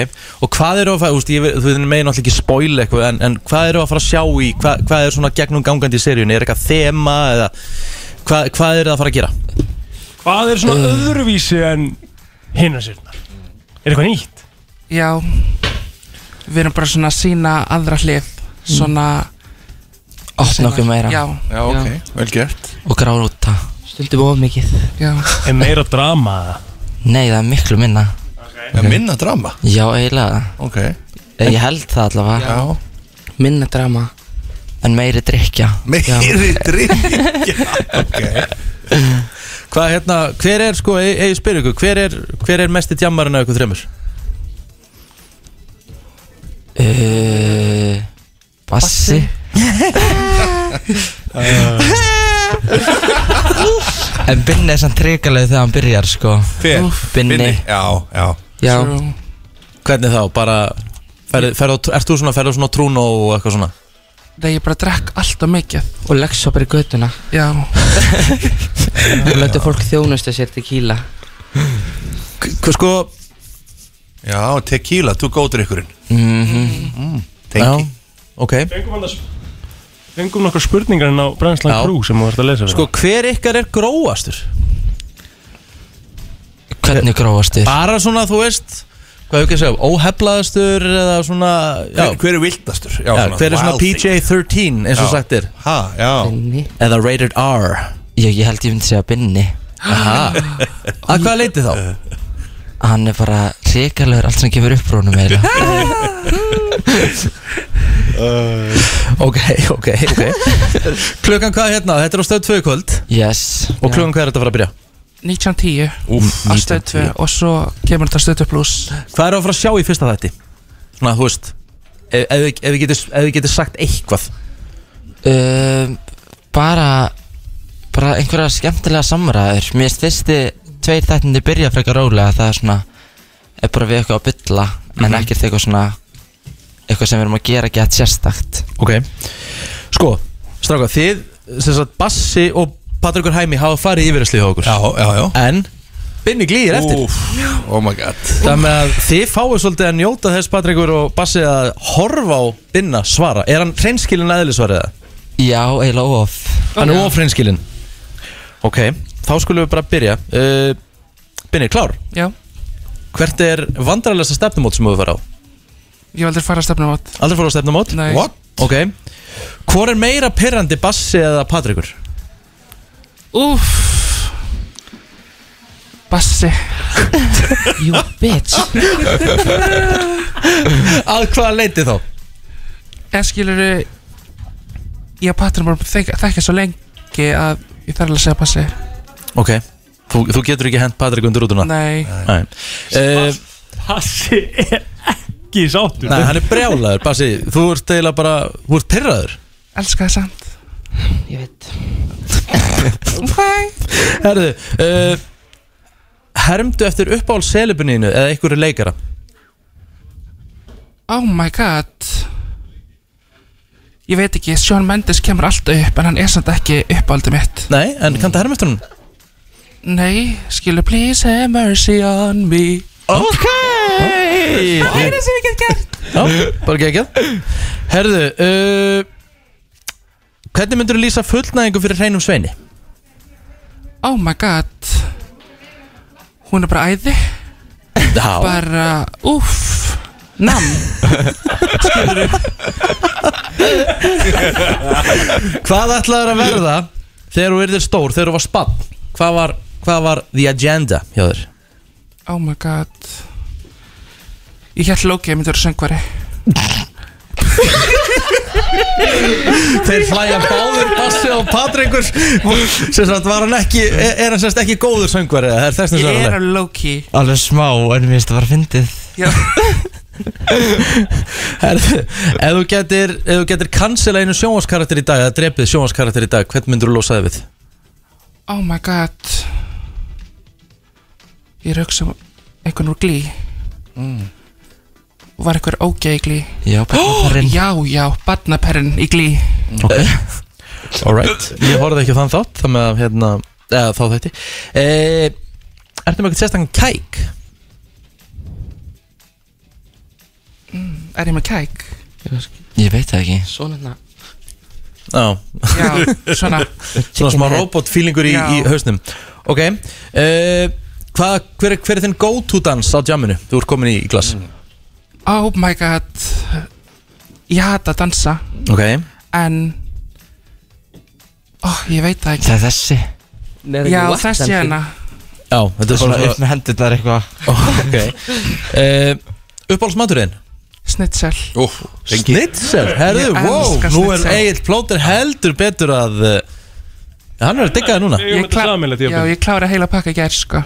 Speaker 2: Og hvað eru að fara, þú veist, ég ve- þú megin alltaf ekki spoil eitthvað en, en hvað eru að fara að sjá í, hvað, hvað er svona gegnum gangandi í seríunni? Er eitthvað þema eða hvað, hvað eru það að fara að gera?
Speaker 4: Hvað er svona
Speaker 11: Mm.
Speaker 4: öðruvísi en hinna sérna? Er eitthvað nýtt?
Speaker 12: Já Við erum bara svona að sína aðra hlið
Speaker 6: Mm.
Speaker 12: Svona Opna okkur meira Já,
Speaker 11: Já, ok, vel gert
Speaker 12: Og gráða úta Stundum of mikið Já
Speaker 4: Er meira drama?
Speaker 12: Nei, það er miklu minna
Speaker 11: okay. Minna drama,
Speaker 12: Já, eiginlega Eh,
Speaker 11: ok
Speaker 12: Ég held það allavega
Speaker 11: Já.
Speaker 12: Minna drama En meiri drikja
Speaker 11: Meiri drikja
Speaker 12: [LAUGHS]
Speaker 11: Ok
Speaker 2: [LAUGHS] Hvað hérna, hver er sko, ef ég spyr ykkur, hver er, hver er mesti djammarinn af ykkur þreymur?
Speaker 12: uh,
Speaker 11: [LAUGHS]
Speaker 12: Bassi En Binni er samt tryggaleg þegar hann byrjar sko
Speaker 11: Hver?
Speaker 12: Binni.
Speaker 11: Já, já
Speaker 12: Já
Speaker 2: Hvernig þá, bara Ferð, ferð, á- ert þú svona, ferðu á svona trún og eitthvað svona?
Speaker 12: Nei, ég bara drekk alltaf mikið
Speaker 6: Og leggst svo bara í göttuna
Speaker 12: Já
Speaker 6: [LAUGHS] Og letur fólk þjónusta sér tequila
Speaker 2: Hvað sko
Speaker 11: Já, tequila, þú góður ykkurinn
Speaker 6: Mhm.
Speaker 11: Mm, Tengi
Speaker 2: Ok
Speaker 4: Fengum hann [LAUGHS] þess Fengum nokkur spurningar inn á Brænslan
Speaker 2: Já.
Speaker 4: Crew sem þú ert að lesa fyrir
Speaker 2: Sko, hver ykkar er gróastur?
Speaker 6: Hvernig gróastur?
Speaker 2: Bara svona, þú veist Hvað hefur ekki að segja, óheflaðastur eða svona já.
Speaker 11: Hver- hver er viltastur? Já,
Speaker 2: Já,
Speaker 11: svona
Speaker 2: hver er svona
Speaker 11: wild
Speaker 2: PJ-13 eins og
Speaker 11: Já.
Speaker 2: sagt er
Speaker 11: Ha, já
Speaker 6: Binni
Speaker 2: Eða rated R
Speaker 6: Já, ég held ég myndi segja Binni [LAUGHS]
Speaker 2: Aha. Að hvað leiti þá?
Speaker 6: Hann er bara rekalur allt sem gefur upp rónum meira
Speaker 2: [LAUGHS]
Speaker 6: [LAUGHS]
Speaker 2: Ok, ok, ok [LAUGHS] Klukkan hvað hérna? Þetta er á stöð 2 í kvöld
Speaker 6: Yes
Speaker 2: Og klukkan hvað er þetta að fara að byrja?
Speaker 12: 1910
Speaker 2: Úff,
Speaker 12: Á stöð 2
Speaker 2: 1910.
Speaker 12: og svo kemur þetta stöð 2 pluss
Speaker 2: Hvað er að fara að sjá í fyrsta þætti? Svona, þú veist Ef ef þið- ef þið getur- ef þið getur sagt eitthvað
Speaker 6: um, Bara Bara einhverja skemmtilega samræður Mér finnst fyrsti tveir þættindi byrja frekar rólega Það er svona Er bara við eitthvað að bylla En
Speaker 2: Mhm.
Speaker 6: ekkert eitthvað svona Eitthvað sem við erum að gera gett sérstakt
Speaker 2: Ok Sko, stráka, þið sem sagt Bassi og Patrikur Hæmi hafa farið yfirherslið hjá okkur Já,
Speaker 11: já, já
Speaker 2: En Binni glýðir eftir
Speaker 11: Úff, Oh my god
Speaker 2: Þannig að þið fáið svolítið að njóta þess Patrikur og Bassi að horfa á Binna svara Er hann hreinskilin aðeinsvarið það?
Speaker 6: Já, eiginlega of
Speaker 2: Hann er of hreinskilin Ok, þá skulum við bara byrja uh, Binni, klár?
Speaker 12: Já
Speaker 2: Hvert er vandrarlegasta stefnumót sem þú hefur farið á?
Speaker 12: Ég hef aldrei farið að stefna át
Speaker 2: Aldrei farið á stefnumót?
Speaker 12: Nei. What?
Speaker 2: Ok Hvor er meira pirrandi Bassi eða Patrikur?
Speaker 12: Úff Bassi
Speaker 6: You
Speaker 12: [LAUGHS]
Speaker 6: bitch
Speaker 2: Að hvaða leiti þá?
Speaker 12: En skilur Ég og Patrin bara þekka, þekka svo lengi að ég þarf alveg að segja Bassi
Speaker 2: Ok, þú, þú getur ekki hent Patrik undir rútuna
Speaker 12: Nei.
Speaker 2: Nei. Uh,
Speaker 4: Passi er ekki sáttur
Speaker 2: Nei, hann er brjálaður Bassi, þú ert eiginlega bara, þú ert pyrraður
Speaker 12: Elska það samt
Speaker 6: Ég veit
Speaker 2: Herðu uh, Hermdu eftir uppáhald selibuninu eða einhverju leikara
Speaker 12: Oh my god Ég veit ekki, Sean Mendes kemur alltaf upp En hann er samt ekki uppáldið mitt
Speaker 2: Nei, en kanntu að herma eftir hann?
Speaker 12: Nei, skilur please have mercy on me
Speaker 2: Ok
Speaker 12: Það er það sem ég get gert
Speaker 2: Já, bara geggjað Herðu uh, Hvernig myndirðu lýsa fullnæðingu fyrir hreinum sveini?
Speaker 12: Oh my god Hún er bara æði
Speaker 2: Já.
Speaker 12: Bara, uff Nam Skilur
Speaker 2: [LAUGHS] Hvað ætlaður að verða þegar þú yrðir stór, þegar þú var spann? Hvað var, hvað var the agenda hjá
Speaker 12: [LAUGHS]
Speaker 2: þér?
Speaker 12: Oh my god Ég held Loki að myndi vera söngvari
Speaker 2: Þeir hlæja báður Bassi og Patrikur Sem sagt var hann ekki Er er hann semst ekki góður söngvar eða er þess að
Speaker 12: Ég er alveg Loki
Speaker 6: Alveg smá, en mér finnst það bara fyndið
Speaker 2: Herðu, Ef þú getur Ef þú getur cancela einu sjónvarskarakter í dag Eða drepið sjónvarskarakter í dag Hvern myndur þú losaði við?
Speaker 12: Oh my god Ég er að hugsa um einhvern úr glý
Speaker 6: Mm.
Speaker 12: Var einhver ógeð í glý
Speaker 6: Já, barnaperrin.
Speaker 12: [GASPS] Já, já, barnaperrin í glý
Speaker 2: [LAUGHS] Ok Alright Ég horfði ekki á þann þátt Þannig að hérna Eða þá þetta e, Ertu með eitthvað sérstakann kæk?
Speaker 12: Mm, Er ég með kæk?
Speaker 6: Ég veit það
Speaker 2: [LAUGHS]
Speaker 6: ekki
Speaker 12: Svona
Speaker 2: Já
Speaker 12: Já, svona.
Speaker 2: [LAUGHS] Svona smá robotfílingur í,
Speaker 12: Já.
Speaker 2: í hausnum Ok uh, hvað, hver, er- hver er þinn go-to dans á jamminu? Þú ert komin í glas
Speaker 12: Mm. Oh my god Ég hata að dansa
Speaker 2: Ok
Speaker 12: En oh, Ég veit það ekki
Speaker 6: Það er þessi
Speaker 12: Já, þessi hérna
Speaker 2: Já, þetta er
Speaker 6: Svona
Speaker 2: bara
Speaker 6: upp með hendurnar eitthvað
Speaker 2: [LAUGHS] Ok uh, Uppáhaldsmaturinn?
Speaker 12: Snitsel
Speaker 2: Oh, Snitsel, herðu,
Speaker 12: Ég
Speaker 2: wow
Speaker 12: elska
Speaker 2: Nú er
Speaker 12: snitsel.
Speaker 2: Egil Plóter heldur betur að uh, Hann er að digga það núna
Speaker 12: Ég klá- Já, ég klára heila pakka í gerð, sko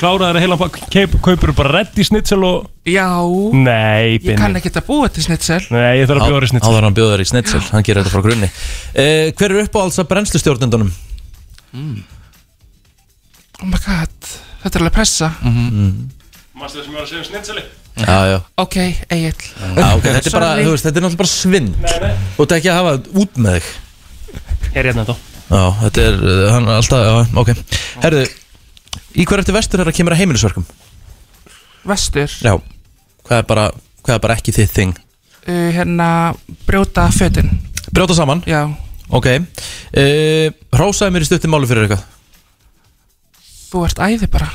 Speaker 4: Kláraður að heila keip, Kaupur bara redd í snitsel og
Speaker 12: Já
Speaker 4: Nei,
Speaker 12: Ég kann
Speaker 4: Binni
Speaker 12: ekki að búa til snitsel
Speaker 4: Nei, ég þarf að bjóða í snitsel
Speaker 2: Áður en hann bjóður í snitsel, hann gerir þetta frá grunni uh, Hver er uppáhalds að brennslustjórnendunum? Mm.
Speaker 12: Oh my god Þetta er alveg pressa
Speaker 2: Mm -hmm.
Speaker 4: Mástu það sem ég var að segja um snitseli?
Speaker 2: Já, já
Speaker 12: Ok, Egil
Speaker 2: Já, Ah,
Speaker 12: [LAUGHS]
Speaker 2: ok, þetta er bara, þú veist, þetta er náttúrulega bara svinn Þú ert ekki að hafa út með þig
Speaker 4: Ég er hérna þá
Speaker 2: Já, þetta er, uh, hann er alltaf, já, ok Herðu, í hver eftir vestur er að kemur að heimilisverkum?
Speaker 12: Vestur
Speaker 2: Já, hvað er bara, hvað er bara ekki þitt þing?
Speaker 12: uh, Hérna, brjóta fötin
Speaker 2: Brjóta saman?
Speaker 12: Já
Speaker 2: Ok, uh, hrósaði mér í stuttum máli fyrir eitthvað
Speaker 12: Þú ert æði
Speaker 2: [LAUGHS]
Speaker 12: bara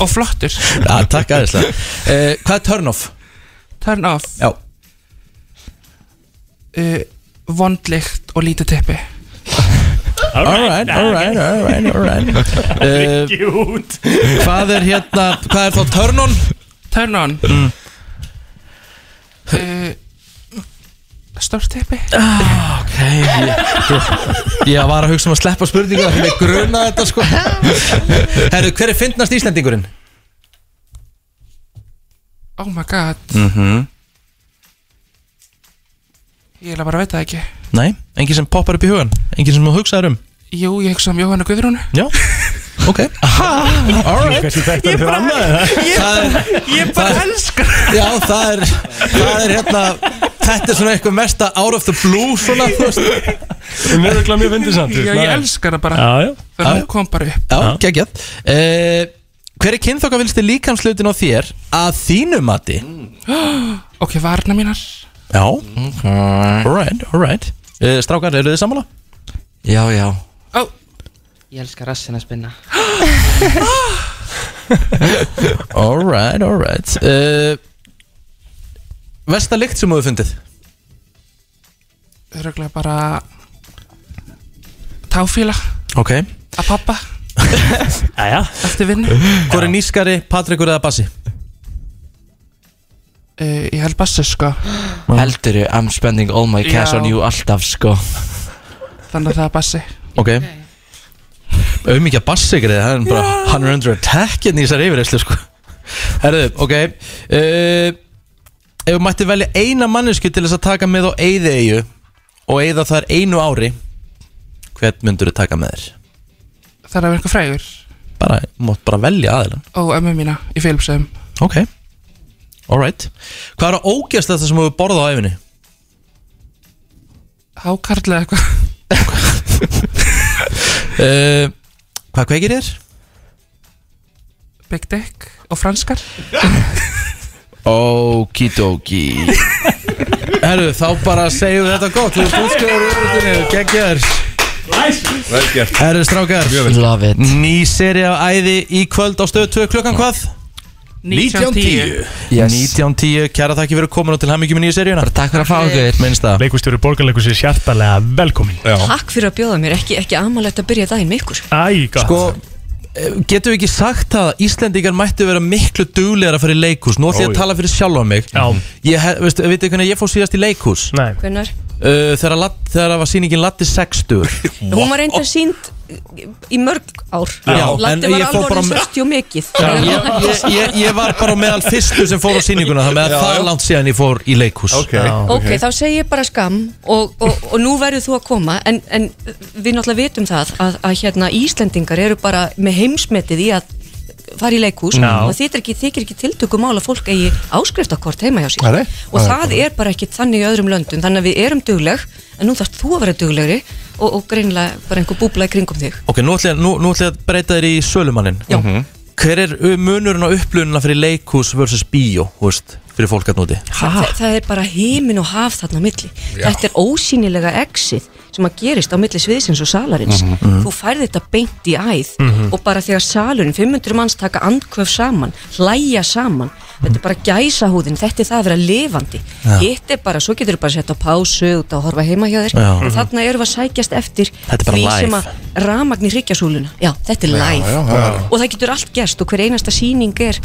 Speaker 12: Og flottur
Speaker 2: Já, takk aðeinslega uh, Hvað er turn off?
Speaker 12: Turn off
Speaker 2: Já
Speaker 12: uh, Vondlikt og lítið teppi
Speaker 2: Alright, alright, alright, [LAUGHS] alright
Speaker 12: [LAUGHS]
Speaker 2: uh,
Speaker 4: Gjút
Speaker 2: Hvað er hérna, hvað er þá turn on?
Speaker 12: Turn on
Speaker 2: mm.
Speaker 12: uh, eh, Stórt teppi
Speaker 2: Ok, ég, ég, ég var að hugsa um að sleppa spurningu Það er með gruna þetta sko Herru, hver er fyndnast Íslendingurinn?
Speaker 12: Oh my god
Speaker 2: Mm -hmm.
Speaker 12: Ég er bara að veit það ekki
Speaker 2: Nei, engin sem poppar upp í hugan Engin sem þú hugsaðir um
Speaker 12: Jú, ég hugsa um Jóhanna Guðrúnu
Speaker 2: Já, ok Alright
Speaker 12: Ég bara, ég bara, ég bara elskar
Speaker 2: Já, það er, það er hérna Þetta er svona eitthvað mesta out of the blue Svona, þú veist
Speaker 4: Mér er ekki mjög fyndið samt þú veist,
Speaker 12: Já, ég
Speaker 4: maður-
Speaker 12: elska hana bara.
Speaker 4: Já, já
Speaker 12: Þannig að hún kom bara upp
Speaker 2: Já, geggjað uh, Hver er kynþokka vilsti líkamslutin á þér að þínu mati?
Speaker 12: [GASPS] Ok, varna mínar
Speaker 2: Já Alright, alright uh, Strákar, eru þið sammála?
Speaker 6: Já, já
Speaker 15: Ég elska rassin að
Speaker 12: [GASPS]
Speaker 15: spinna
Speaker 2: Alright, alright uh, Vesta lykt sem þú hefur fundið?
Speaker 12: Röglega bara Táfíla
Speaker 2: Ok
Speaker 12: Að
Speaker 15: [LAUGHS]
Speaker 12: pappa
Speaker 4: Jæja
Speaker 12: Eftir vinnu
Speaker 2: Hvor er nýskari, Patrikur eða Bassi?
Speaker 12: uh, Ég held bassu sko
Speaker 6: Heldur ég, I'm spending all my cash
Speaker 12: Já.
Speaker 6: on you alltaf, sko
Speaker 12: Þannig að það er bassi
Speaker 2: Ok Auðmikið að Bassi greið Hann, bara, hann er under attack hérna í þessari yfirreyslu sko Herðu, ok uh, Ef þú mætti velja eina mannesku til þess að taka með á eyðeyju og eyða þar einu ári hvern myndur þú taka með þér?
Speaker 12: Þannig að vera eitthvað frægur
Speaker 2: Bara, þú mátt bara velja aðeinan
Speaker 12: Og ömmu mína í Filipsheim
Speaker 2: Ok, alright Hvað er að ógjast þetta sem þú hefur borðað á æfinni?
Speaker 12: Hákarl eða eitthvað
Speaker 2: Uh, hvað kveikir þér?
Speaker 12: Big Dick og franskar
Speaker 2: Okidoki Herru, þá bara segjum við þetta gott Þú bústjóður úrutinu, geggjar
Speaker 11: Vel gert
Speaker 2: Herru, strákar
Speaker 6: Love it
Speaker 2: Ný seri af æði í kvöld á stöð 2 klukkan hvað?
Speaker 12: 19.10.
Speaker 6: Yes.
Speaker 2: 19.10, kæra þakki fyrir komin og til hammingjum í nýju seríuna
Speaker 6: Takk fyrir að fá okkur
Speaker 2: Minnst það
Speaker 4: Leikustjóri borgarleikus er hjartalega velkomin Já
Speaker 5: Takk fyrir að bjóða mér, ekki, ekki amalegt að byrja daginn með ykkur
Speaker 4: Æ, gott
Speaker 2: Sko, eh, getum við ekki sagt það að Íslendingar mættu vera miklu duglegar að fara í leikhús Nú ætlum ég
Speaker 5: Ó,
Speaker 2: að
Speaker 5: já.
Speaker 2: tala fyrir sjálfa mig Já Ég, he- veistu, veitu hvernig ég fór síðast í leikhús?
Speaker 4: Nei
Speaker 5: Hvenær?
Speaker 2: uh, Þegar, ladd, þegar var sýningin Latti 60
Speaker 5: Hún var reynda sínd í mörg ár
Speaker 2: Já,
Speaker 5: Latti
Speaker 2: en
Speaker 5: var
Speaker 2: ég fór bara
Speaker 5: alvorinn
Speaker 2: með-
Speaker 5: 60 og mikið
Speaker 2: Já, ég, ég, ég, ég var bara á meðal fyrstu sem fór á sýninguna Þannig að
Speaker 5: Já,
Speaker 2: það
Speaker 5: já.
Speaker 2: er langt síðan ég fór í leikhús
Speaker 5: Ok, ok, þá segi ég bara skam og, og, og nú verður þú að koma en, en við náttúrulega vitum það að, að hérna Íslendingar eru bara með heimsmetið í að fara í leikhús
Speaker 16: Já.
Speaker 5: og þykir ekki, þykir ekki tiltökum að fólk eigi áskriftakort heima hjá sér
Speaker 16: Nei, nei.
Speaker 5: og
Speaker 16: Nei,
Speaker 5: það er bara ekki þannig í öðrum löndum þannig að við erum dugleg en nú þarf þú að vera duglegri og, og greinlega bara einhver búbla í kringum þig
Speaker 2: Ok, nú ætla ég, nú, nú ætla ég að breyta þér í sölumannin Já Hver er uh, munurinn á upplununa fyrir leikhús versus bíó, þú veist, fyrir fólk hérna að núti?
Speaker 5: Þa, það er bara heimin og haf þarna á milli
Speaker 2: Já.
Speaker 5: þetta er ósýnilega exið sem að gerist á milli sviðsins og salarins
Speaker 16: Mhm, mhm.
Speaker 5: þú færði þetta beint í æð
Speaker 16: Mhm.
Speaker 5: og bara þegar salurinn, 500 manns taka andkvöf saman, hlæja saman þetta er bara gæsahúðin, þetta er það að vera lifandi,
Speaker 16: Já.
Speaker 5: hitt er bara svo getur þú bara sett á pásu út að horfa heima hjá þér
Speaker 16: Já.
Speaker 5: og þarna erum við að sækjast eftir
Speaker 16: Þetta er bara
Speaker 5: því
Speaker 16: live.
Speaker 5: sem að ramagn í hryggjasúluna já, þetta er
Speaker 16: Já,
Speaker 5: live
Speaker 16: já, já, já.
Speaker 5: og það getur allt gerst og hver einasta sýning er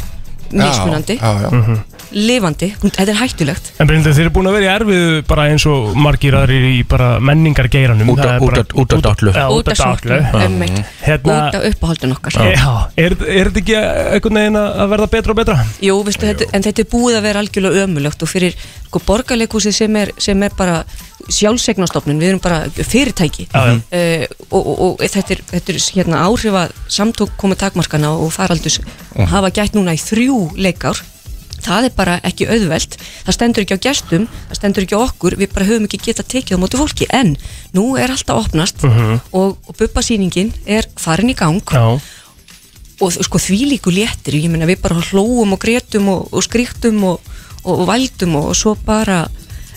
Speaker 5: mismunandi
Speaker 11: já, já.
Speaker 4: Mhm.
Speaker 5: lifandi, þetta er hættulegt
Speaker 4: En Bryndur, þeir eru búin að vera í erfið bara eins og margir aðrir í bara menningargeiranum
Speaker 2: Út af-
Speaker 4: Það er
Speaker 2: út
Speaker 4: bara-
Speaker 2: af- út af dollu.
Speaker 4: Já, Út af dollu
Speaker 5: sorglu, einmitt.
Speaker 4: Hérna
Speaker 5: Út af uppáhaldun okkar
Speaker 4: Já, er, er þetta ekki einhvern veginn að verða betra og betra?
Speaker 5: Jú, veistu, þetta, en þetta er búið að vera algjörlega ömulögt og fyrir sko, borgarleikúsi sem er, sem er bara sjálfsegnastofnun, við erum bara fyrirtæki
Speaker 16: Já, já.
Speaker 5: Eh, og, og, og þetta er, þetta er hérna, áhrif að samtök komu takmarkana og faraldus hafa gætt núna í þrjú leikár það er bara ekki auðvelt það stendur ekki á gestum, það stendur ekki á okkur við bara höfum ekki getað tekið á móti fólki en nú er allt að opnast
Speaker 16: Mhm.
Speaker 5: og, og bubbasýningin er farin í gang
Speaker 4: Já.
Speaker 5: og sko þvílíku léttir ég meina við bara hlóum og grétum og, og skríktum og, og, og vældum og, og svo bara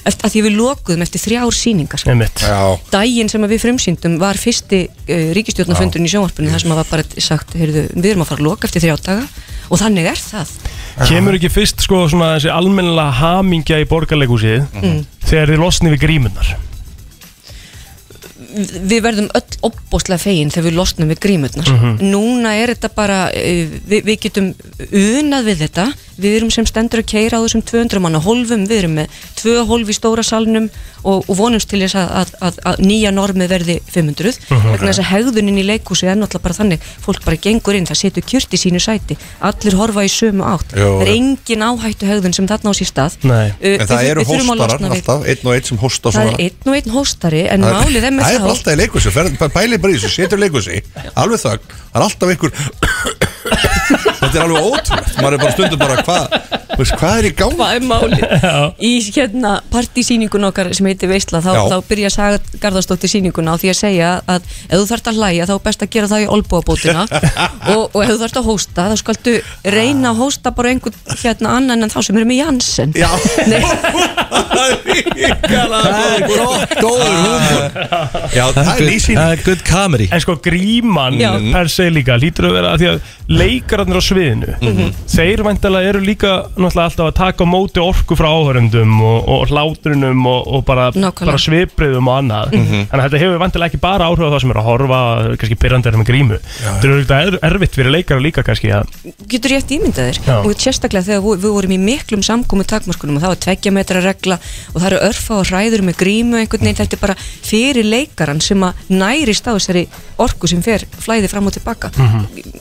Speaker 5: eftir, að því við lokuðum eftir þrjár sýningar
Speaker 4: Einmitt.
Speaker 11: Já.
Speaker 5: daginn sem að við frumsýndum var fyrsti uh, ríkistjórnarfundurinn í sjónvarpinu þar sem að var bara sagt, heyrðu, við erum að fara að loka eftir þrjá daga og þannig er það
Speaker 4: Kemur ekki fyrst sko svona þessi almennilega hamingja í borgarleikúsið
Speaker 5: Mhm.
Speaker 4: þegar þið losni við grímunar
Speaker 5: Vi- við verðum öll opbóstlega fegin þegar við losnum við grímurnar
Speaker 4: Mhm.
Speaker 5: núna er þetta bara eh, við, við getum unað við þetta við erum sem stendur að keira á þessum 200 manna hólfum, við erum með tvö hólf í stóra salnum og, og vonumst til þess að, að, að, að nýja normi verði 500,
Speaker 16: Mhm.
Speaker 5: vegna þess að hegðunin í leikhúsi er náttúrulega bara þannig, fólk bara gengur inn, það setur kjört í sínu sæti allir horfa í sömu átt,
Speaker 11: Jú,
Speaker 5: það er
Speaker 11: já.
Speaker 5: engin áhættu hegðun sem þarna á sér stað
Speaker 4: Nei.
Speaker 5: Eh,
Speaker 11: En það
Speaker 5: við-
Speaker 11: eru
Speaker 5: við þurfum að
Speaker 11: hóstarar
Speaker 5: losna við-
Speaker 11: alltaf, einn og einn sem hósta
Speaker 5: það er
Speaker 11: svona
Speaker 5: einn og einn hóstari en
Speaker 11: Það er-
Speaker 5: málið er með
Speaker 11: Það er
Speaker 5: það
Speaker 11: bara alltaf í leikursu, pælið bara í þessu, setur leikursu Alveg þögn, það er alltaf einhver Þetta er alveg ótrúlegt Maður er bara stundum bara, hvað þú veist, Hvað er í gangi?
Speaker 5: Hvað er málið? í hérna partísýningun okkar sem heitir Veisla þá,
Speaker 11: Já.
Speaker 5: þá byrja Saga Garðarsdóttir sýninguna á því að segja að ef þú þarft að hlæja þá er best að gera það í
Speaker 11: [LAUGHS]
Speaker 5: olbúabótina og, og ef þú þarft að hósta þá skaltu reyna að hósta bara einhvern hérna annan en þá sem eru með Janssen
Speaker 11: Já
Speaker 2: Það er gott, góður húmor
Speaker 11: Já,
Speaker 2: það er ný sýning.
Speaker 4: Það
Speaker 2: er good comedy
Speaker 4: En sko gríman
Speaker 2: Já.
Speaker 4: per se líka lítur að vera að því að leikararnir á sviðinu
Speaker 5: Mhm.
Speaker 4: þeir væntalega eru líka náttúrulega alltaf að taka á móti orku frá áhörendum og, og hlátrunum og, og bara,
Speaker 5: Nákvæmlega.
Speaker 4: bara svipriðum og annað
Speaker 5: Mhm.
Speaker 4: þannig að þetta hefur væntalega ekki bara áhrif á það sem eru að horfa kannski byrjandir með grímu þetta eru auðvitað er, erfitt fyrir leikara líka kannski að
Speaker 5: getur rétt ímyndað þér
Speaker 4: Já.
Speaker 5: og sérstaklega þegar vo- við vorum í miklum samkomi takmörkunum og það var tveggja metra regla og það eru örfa og hræður með grímu einhvern veginn þetta er bara fyrir leikaran sem að nærist á þessari orku sem fer flæði fram og tilbaka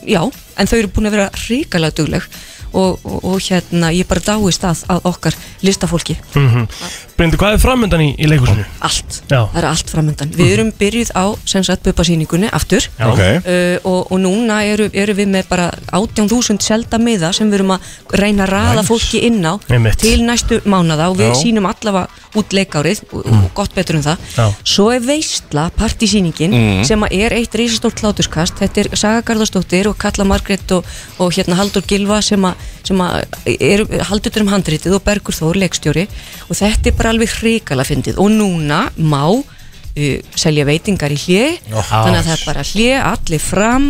Speaker 5: já, en þau eru búin að vera ríkalega dugleg og, og, og hérna ég bara dáist að, að okkar listafólki
Speaker 4: mm Bryndi, hvað er framöndan í, í leikusinu?
Speaker 5: Allt,
Speaker 4: Já.
Speaker 5: það er allt framöndan Við erum byrjuð á sem sagt bubasýningunni aftur
Speaker 4: Mhm. Já. Ok.
Speaker 5: uh, og, og núna eru, eru við með bara 18.000 selda miða sem við erum að reyna að raða
Speaker 4: Nice.
Speaker 5: fólki inn á
Speaker 4: Einmitt.
Speaker 5: til næstu mánada og við
Speaker 4: Já. Mhm.
Speaker 5: sýnum allavega út leikárið og, og gott betur en það
Speaker 4: Já.
Speaker 5: Svo er veistla partísýningin
Speaker 4: Mhm.
Speaker 5: sem að er eitt reisastórt hláturskast þetta er Saga Garðarsdóttir og Kalla Margrét og, og hérna Haldur Gilva sem að, sem að er, haldur um handritið og Bergur Þór leikstjóri og þetta er bara alveg hrikala fyndið og núna má uh, selja veitingar í hlið
Speaker 16: Já.
Speaker 5: þannig að það er bara hlið, allir fram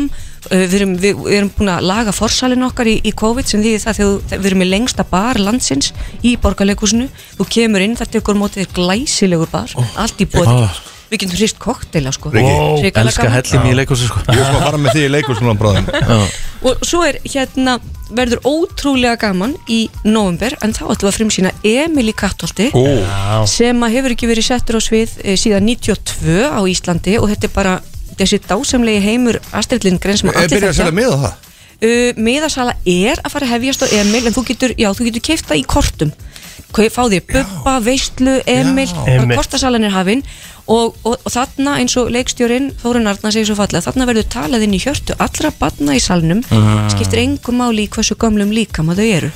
Speaker 5: Uh, við, erum, við, við erum búin að laga forsalin okkar í, í COVID sem því það þegar þú- við erum í lengsta bar landsins í borgarleikusinu þú kemur inn, þetta er ykkur mótið þér glæsilegur bar allt í bóði
Speaker 2: Ah.
Speaker 5: Við getum hrist kokteila sko
Speaker 11: Riki,
Speaker 5: Hrikalega gaman.
Speaker 2: leikursu sko
Speaker 11: Ég er sko að fara með því í leikursu núna bráðum
Speaker 5: Og svo er hérna verður ótrúlega gaman í november en þá ætlum við að frumsýna Emil í Kattolti
Speaker 16: Ó. Já.
Speaker 5: sem að hefur ekki verið settur á svið eh, síðan 92 á Íslandi og þetta er bara þessi dásamlegi heimur Astrid Lindgren sem
Speaker 11: Er byrjað að selja miða á það?
Speaker 5: uh, miðasala er að fara að hefjast á Emil en þú getur, já, þú getur keifta í kortum Kau- fá þér Bubba, Veistlu, Emil
Speaker 16: Einmitt.
Speaker 5: kortasalan er hafinn og, og, og þarna eins og leikstjórin Þórun Arna segir svo fallega, þarna verður talað inn í hjörtu allra batna í salnum
Speaker 4: Mhm.
Speaker 5: skiptir engum máli í hversu gömlum líkama þau eru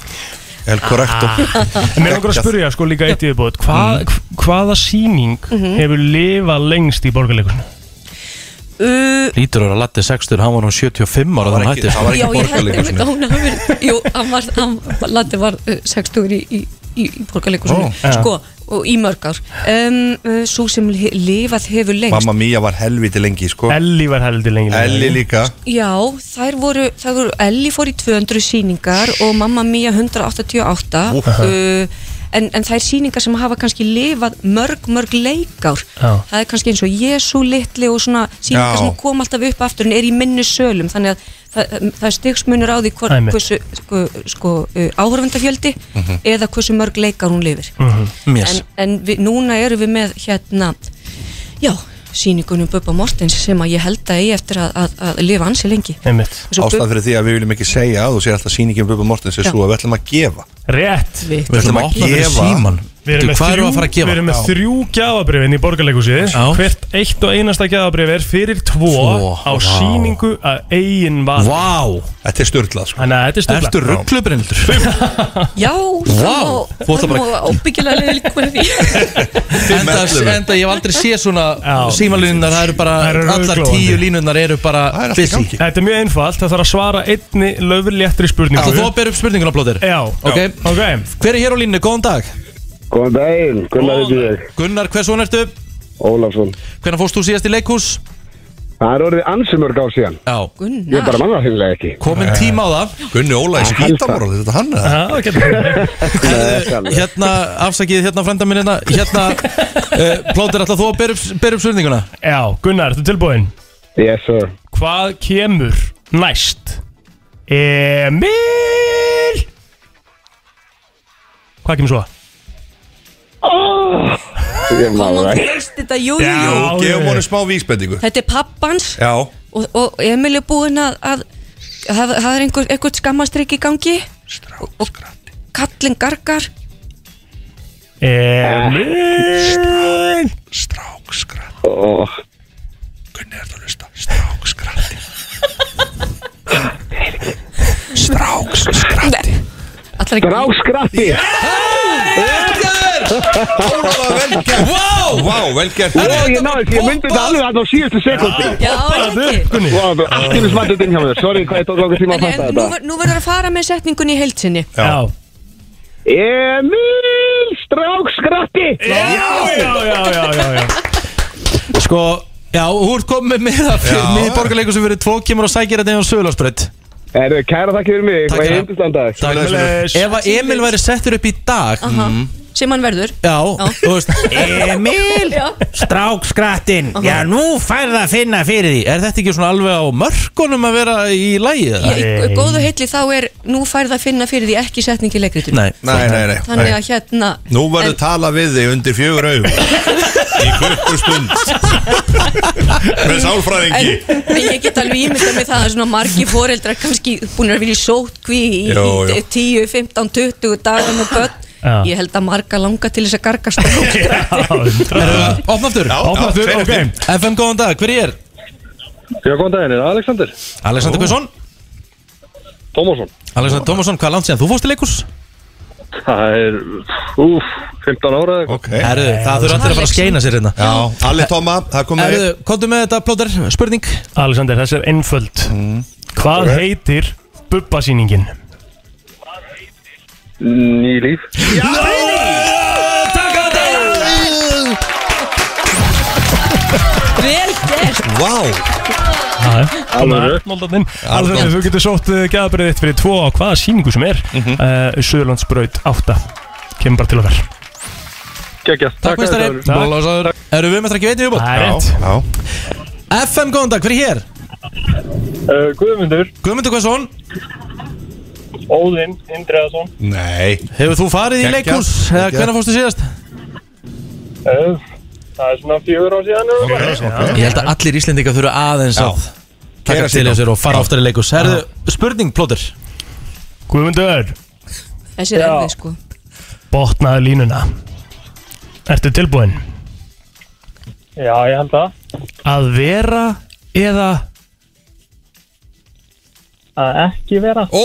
Speaker 11: El correcto
Speaker 4: En mér langar að spyrja sko líka eitt yfirbúð Hva,
Speaker 2: Mhm.
Speaker 4: Hvaða sýning
Speaker 5: Mhm.
Speaker 4: hefur lifað lengst í borgarleikusinu?
Speaker 5: uh,
Speaker 2: Lítur að vera Latti 60, hann var nú 75 ára þannig hætti
Speaker 5: Já, ég held einmitt að hún hafi verið Jú, hann var, hann, Latti var uh, 60 í, í, í, í borgarleikusinu
Speaker 11: Ó, já.
Speaker 5: sko, og í mörg ár um, uh, Svo sem li- lifað hefur lengst
Speaker 11: Mamma Mia var helviti lengi, sko
Speaker 4: Ellie var helviti lengi
Speaker 11: Ellie líka
Speaker 5: Já, þær voru, þær voru Ellie fór í 200 síningar og Mamma Mia 188
Speaker 16: Úff.
Speaker 5: uh, en, en þær síningar sem hafa kannski lifað mörg, mörg leikár
Speaker 16: Já.
Speaker 5: það er kannski eins og Jésu litli og svona síningar
Speaker 16: Já.
Speaker 5: sem kom alltaf upp aftur en er í minni sölum þannig að það, um, það er stigsmunur á því hvort,
Speaker 16: Einmitt.
Speaker 5: hversu sko, sko, uh, áhörfendafjöldi
Speaker 16: Mhm.
Speaker 5: eða hversu mörg leikár hún lifir
Speaker 16: Mér
Speaker 5: en, en við, núna erum við með hérna já, síningunum Bubba Mortens sem að ég held að ég eftir að, að, að lifa ansi lengi Svo Bubba-
Speaker 11: Ástæðan fyrir því að við viljum ekki segja að þú sér alltaf sýningin um Bubba Mortens er
Speaker 5: Já.
Speaker 11: svo að við ætlum að gefa
Speaker 4: Rétt
Speaker 11: Við ætlum að gefa
Speaker 4: Við erum með
Speaker 2: Hvað erum við
Speaker 4: þrjú-
Speaker 2: að fara að gefa?
Speaker 4: Við erum með
Speaker 2: Já.
Speaker 4: þrjú gjafabrifin í borgarleikusið Hvert eitt og einasta gjafabrif er fyrir tvo,
Speaker 2: Tvo,
Speaker 4: á
Speaker 2: vá.
Speaker 4: sýningu að eigin val
Speaker 2: Vá
Speaker 11: Þetta er störtlað sko.
Speaker 4: Þannig að þetta er störtlað
Speaker 2: Ertu rugglubrinnildur?
Speaker 5: Já,
Speaker 2: Vá, þú
Speaker 5: það
Speaker 2: ætlar [LAUGHS] bara-
Speaker 5: má óbyggilega liða líka með því
Speaker 2: enda, enda ég hef aldrei séð svona símalínunar, það eru bara allar
Speaker 4: rauðglóandi.
Speaker 2: tíu línunar eru bara busy
Speaker 4: Þetta er mjög einfalt, það þarf að svara einni löfurléttri spurningu
Speaker 2: Ætlar þú að bera upp spurninguna blóðir?
Speaker 4: Já,
Speaker 2: ok,
Speaker 4: okay.
Speaker 2: Hver er hér á línunni? Góðan dag
Speaker 16: Góðan daginn, Gunnar heitir ég
Speaker 2: Gunnar, hvers von ertu?
Speaker 16: Ólafsson
Speaker 2: Hvernig fórst þú síðast í leikhús?
Speaker 16: Það er orðið ansi mörg á síðan
Speaker 2: Já
Speaker 5: Gunnar
Speaker 16: Ég bara manna hinnlega ekki
Speaker 2: Komin tíma á það
Speaker 11: Gunni Óla í skítamorð, þetta er hann
Speaker 4: eða?
Speaker 16: [LAUGHS]
Speaker 2: Hérna, afsakið hérna frænda minn hérna
Speaker 4: [LAUGHS]
Speaker 2: Hérna, uh, plóðir, ætlar þú að bera upp, bera upp spurninguna?
Speaker 4: Já, Gunnar, ertu tilbúin?
Speaker 16: Yes sir
Speaker 4: Hvað kemur næst? Emil Hvað kemur svo?
Speaker 5: oh,
Speaker 11: Ég maður
Speaker 5: Þú veist þetta, jú, jú,
Speaker 11: Já,
Speaker 5: jú
Speaker 11: gefum honum smá vísbendingu
Speaker 5: Þetta er pappans
Speaker 11: Já,
Speaker 5: og, og Emil er búinn að, að það það er einhver, einhvern skammastrykk í gangi og, og kallin gargar
Speaker 4: Emil
Speaker 16: oh.
Speaker 5: Strákskratti
Speaker 16: Strákskratti
Speaker 2: Vá,
Speaker 11: Vá, vel gert
Speaker 16: Og ég náði því, ég myndi þetta alveg að á síðustu sekundi
Speaker 5: Já, er það ekki?
Speaker 16: Gunni Og allt er smattit inn hjá mér Sorry hvað ég tók langar tíma
Speaker 5: En,
Speaker 16: að
Speaker 5: en
Speaker 16: fatta
Speaker 5: nú,
Speaker 16: þetta
Speaker 5: ver- nú verður að fara með setningunni í heilsinni
Speaker 4: Já
Speaker 16: Emil Strákskratti
Speaker 4: Já, já, já, já, já.
Speaker 2: Sko, já, hú ert komið með það fyrir
Speaker 16: Já.
Speaker 2: miður borgarleikur sem fyrir tvo kemur og sækir þetta einu sögulasbreytt
Speaker 16: Erðu, kæra takk fyrir mig
Speaker 2: Takk
Speaker 16: Hvað
Speaker 2: fyrir.
Speaker 16: ég hefndist þann dag
Speaker 2: Ef að Emil væri settur upp í dag Mhm.
Speaker 5: Aha, sem hann verður
Speaker 2: Já, þú veist
Speaker 5: [LAUGHS]
Speaker 2: Emil, strákskrattin Já, nú færð að finna fyrir því Er þetta ekki svona alveg á mörkunum að vera í lægið?
Speaker 5: Í- í góðu heilli þá er nú færð að finna fyrir því ekki setningi í leikritinu
Speaker 2: Nei,
Speaker 11: nei, nei, nei,
Speaker 5: Þannig að hérna
Speaker 2: [LAUGHS]
Speaker 11: Nú verður tala við þig undir fjögur augum Í kvöldur stund Með sálfræðingi
Speaker 5: en, en ég get alveg ímyndað með það að svona margi foreldrar kannski búin að vera í sótkví í,
Speaker 11: Jó,
Speaker 5: í
Speaker 11: jó.
Speaker 5: 10, 15, 20 dagar með börn
Speaker 4: Já.
Speaker 5: Ég held að marga langa til þess að garga strákskratti
Speaker 2: Opna aftur
Speaker 4: Já, Opna já, aftur, tveir ok. eftir.
Speaker 2: FM, góðan dag, hver er?
Speaker 16: Já, góðan daginn, er það Alexander?
Speaker 2: Alexander Kvesson
Speaker 16: Tómasson
Speaker 2: Alexander Tómasson, hvað er langt síðan? Þú fórst í leikus?
Speaker 16: Það er, úf, 15 ára eða
Speaker 11: okay.
Speaker 2: Herru, það þurfa allir að fara að skeina sér hérna
Speaker 11: Já, Alli Tóma, það kom með
Speaker 2: Herru, komdu með þetta, plóter, spurning
Speaker 4: Alexander, þessi er einföld Hvað
Speaker 2: Ok.
Speaker 4: heitir bubbasýningin?
Speaker 16: Ný líf
Speaker 5: Vel gert
Speaker 11: Vá
Speaker 4: Alveg Alexander, þú getur sótt gæðabrið þitt fyrir tvo á hvaða sýningu sem er mm
Speaker 11: Mhm.
Speaker 4: -hmm. Söðurlandsbraut 8 Kemur bara til okkar
Speaker 16: Kekja,
Speaker 2: Takk, meistari Blóðlásaður Herru, við mestar ekki veitum við búin
Speaker 4: Það er rétt.
Speaker 2: FM, góðan dag, hver er hér?
Speaker 17: Uh, Guðmundur
Speaker 2: Guðmundur Kvesson
Speaker 17: Óðinn Indreðarsson
Speaker 11: Nei
Speaker 2: Hefur þú farið í
Speaker 17: Geggjað,
Speaker 2: leikus?
Speaker 17: geggjað.
Speaker 2: Hvernig fórstu síðast?
Speaker 17: uh, Það er svona fjögur á síðan eða eitthvað.
Speaker 2: Ég held að allir Íslendingar þurfa aðeins
Speaker 17: Já.
Speaker 2: að taka
Speaker 17: Keyra
Speaker 2: til
Speaker 17: sig á.
Speaker 2: þessir og fara oftar í leikus Herðu, spurning, plóter
Speaker 4: Guðmundur,
Speaker 5: Þessi er erfið sko
Speaker 4: botnaðu línuna Ertu tilbúin?
Speaker 17: Já, ég held að
Speaker 4: Að vera eða
Speaker 17: Að ekki vera
Speaker 2: Ó,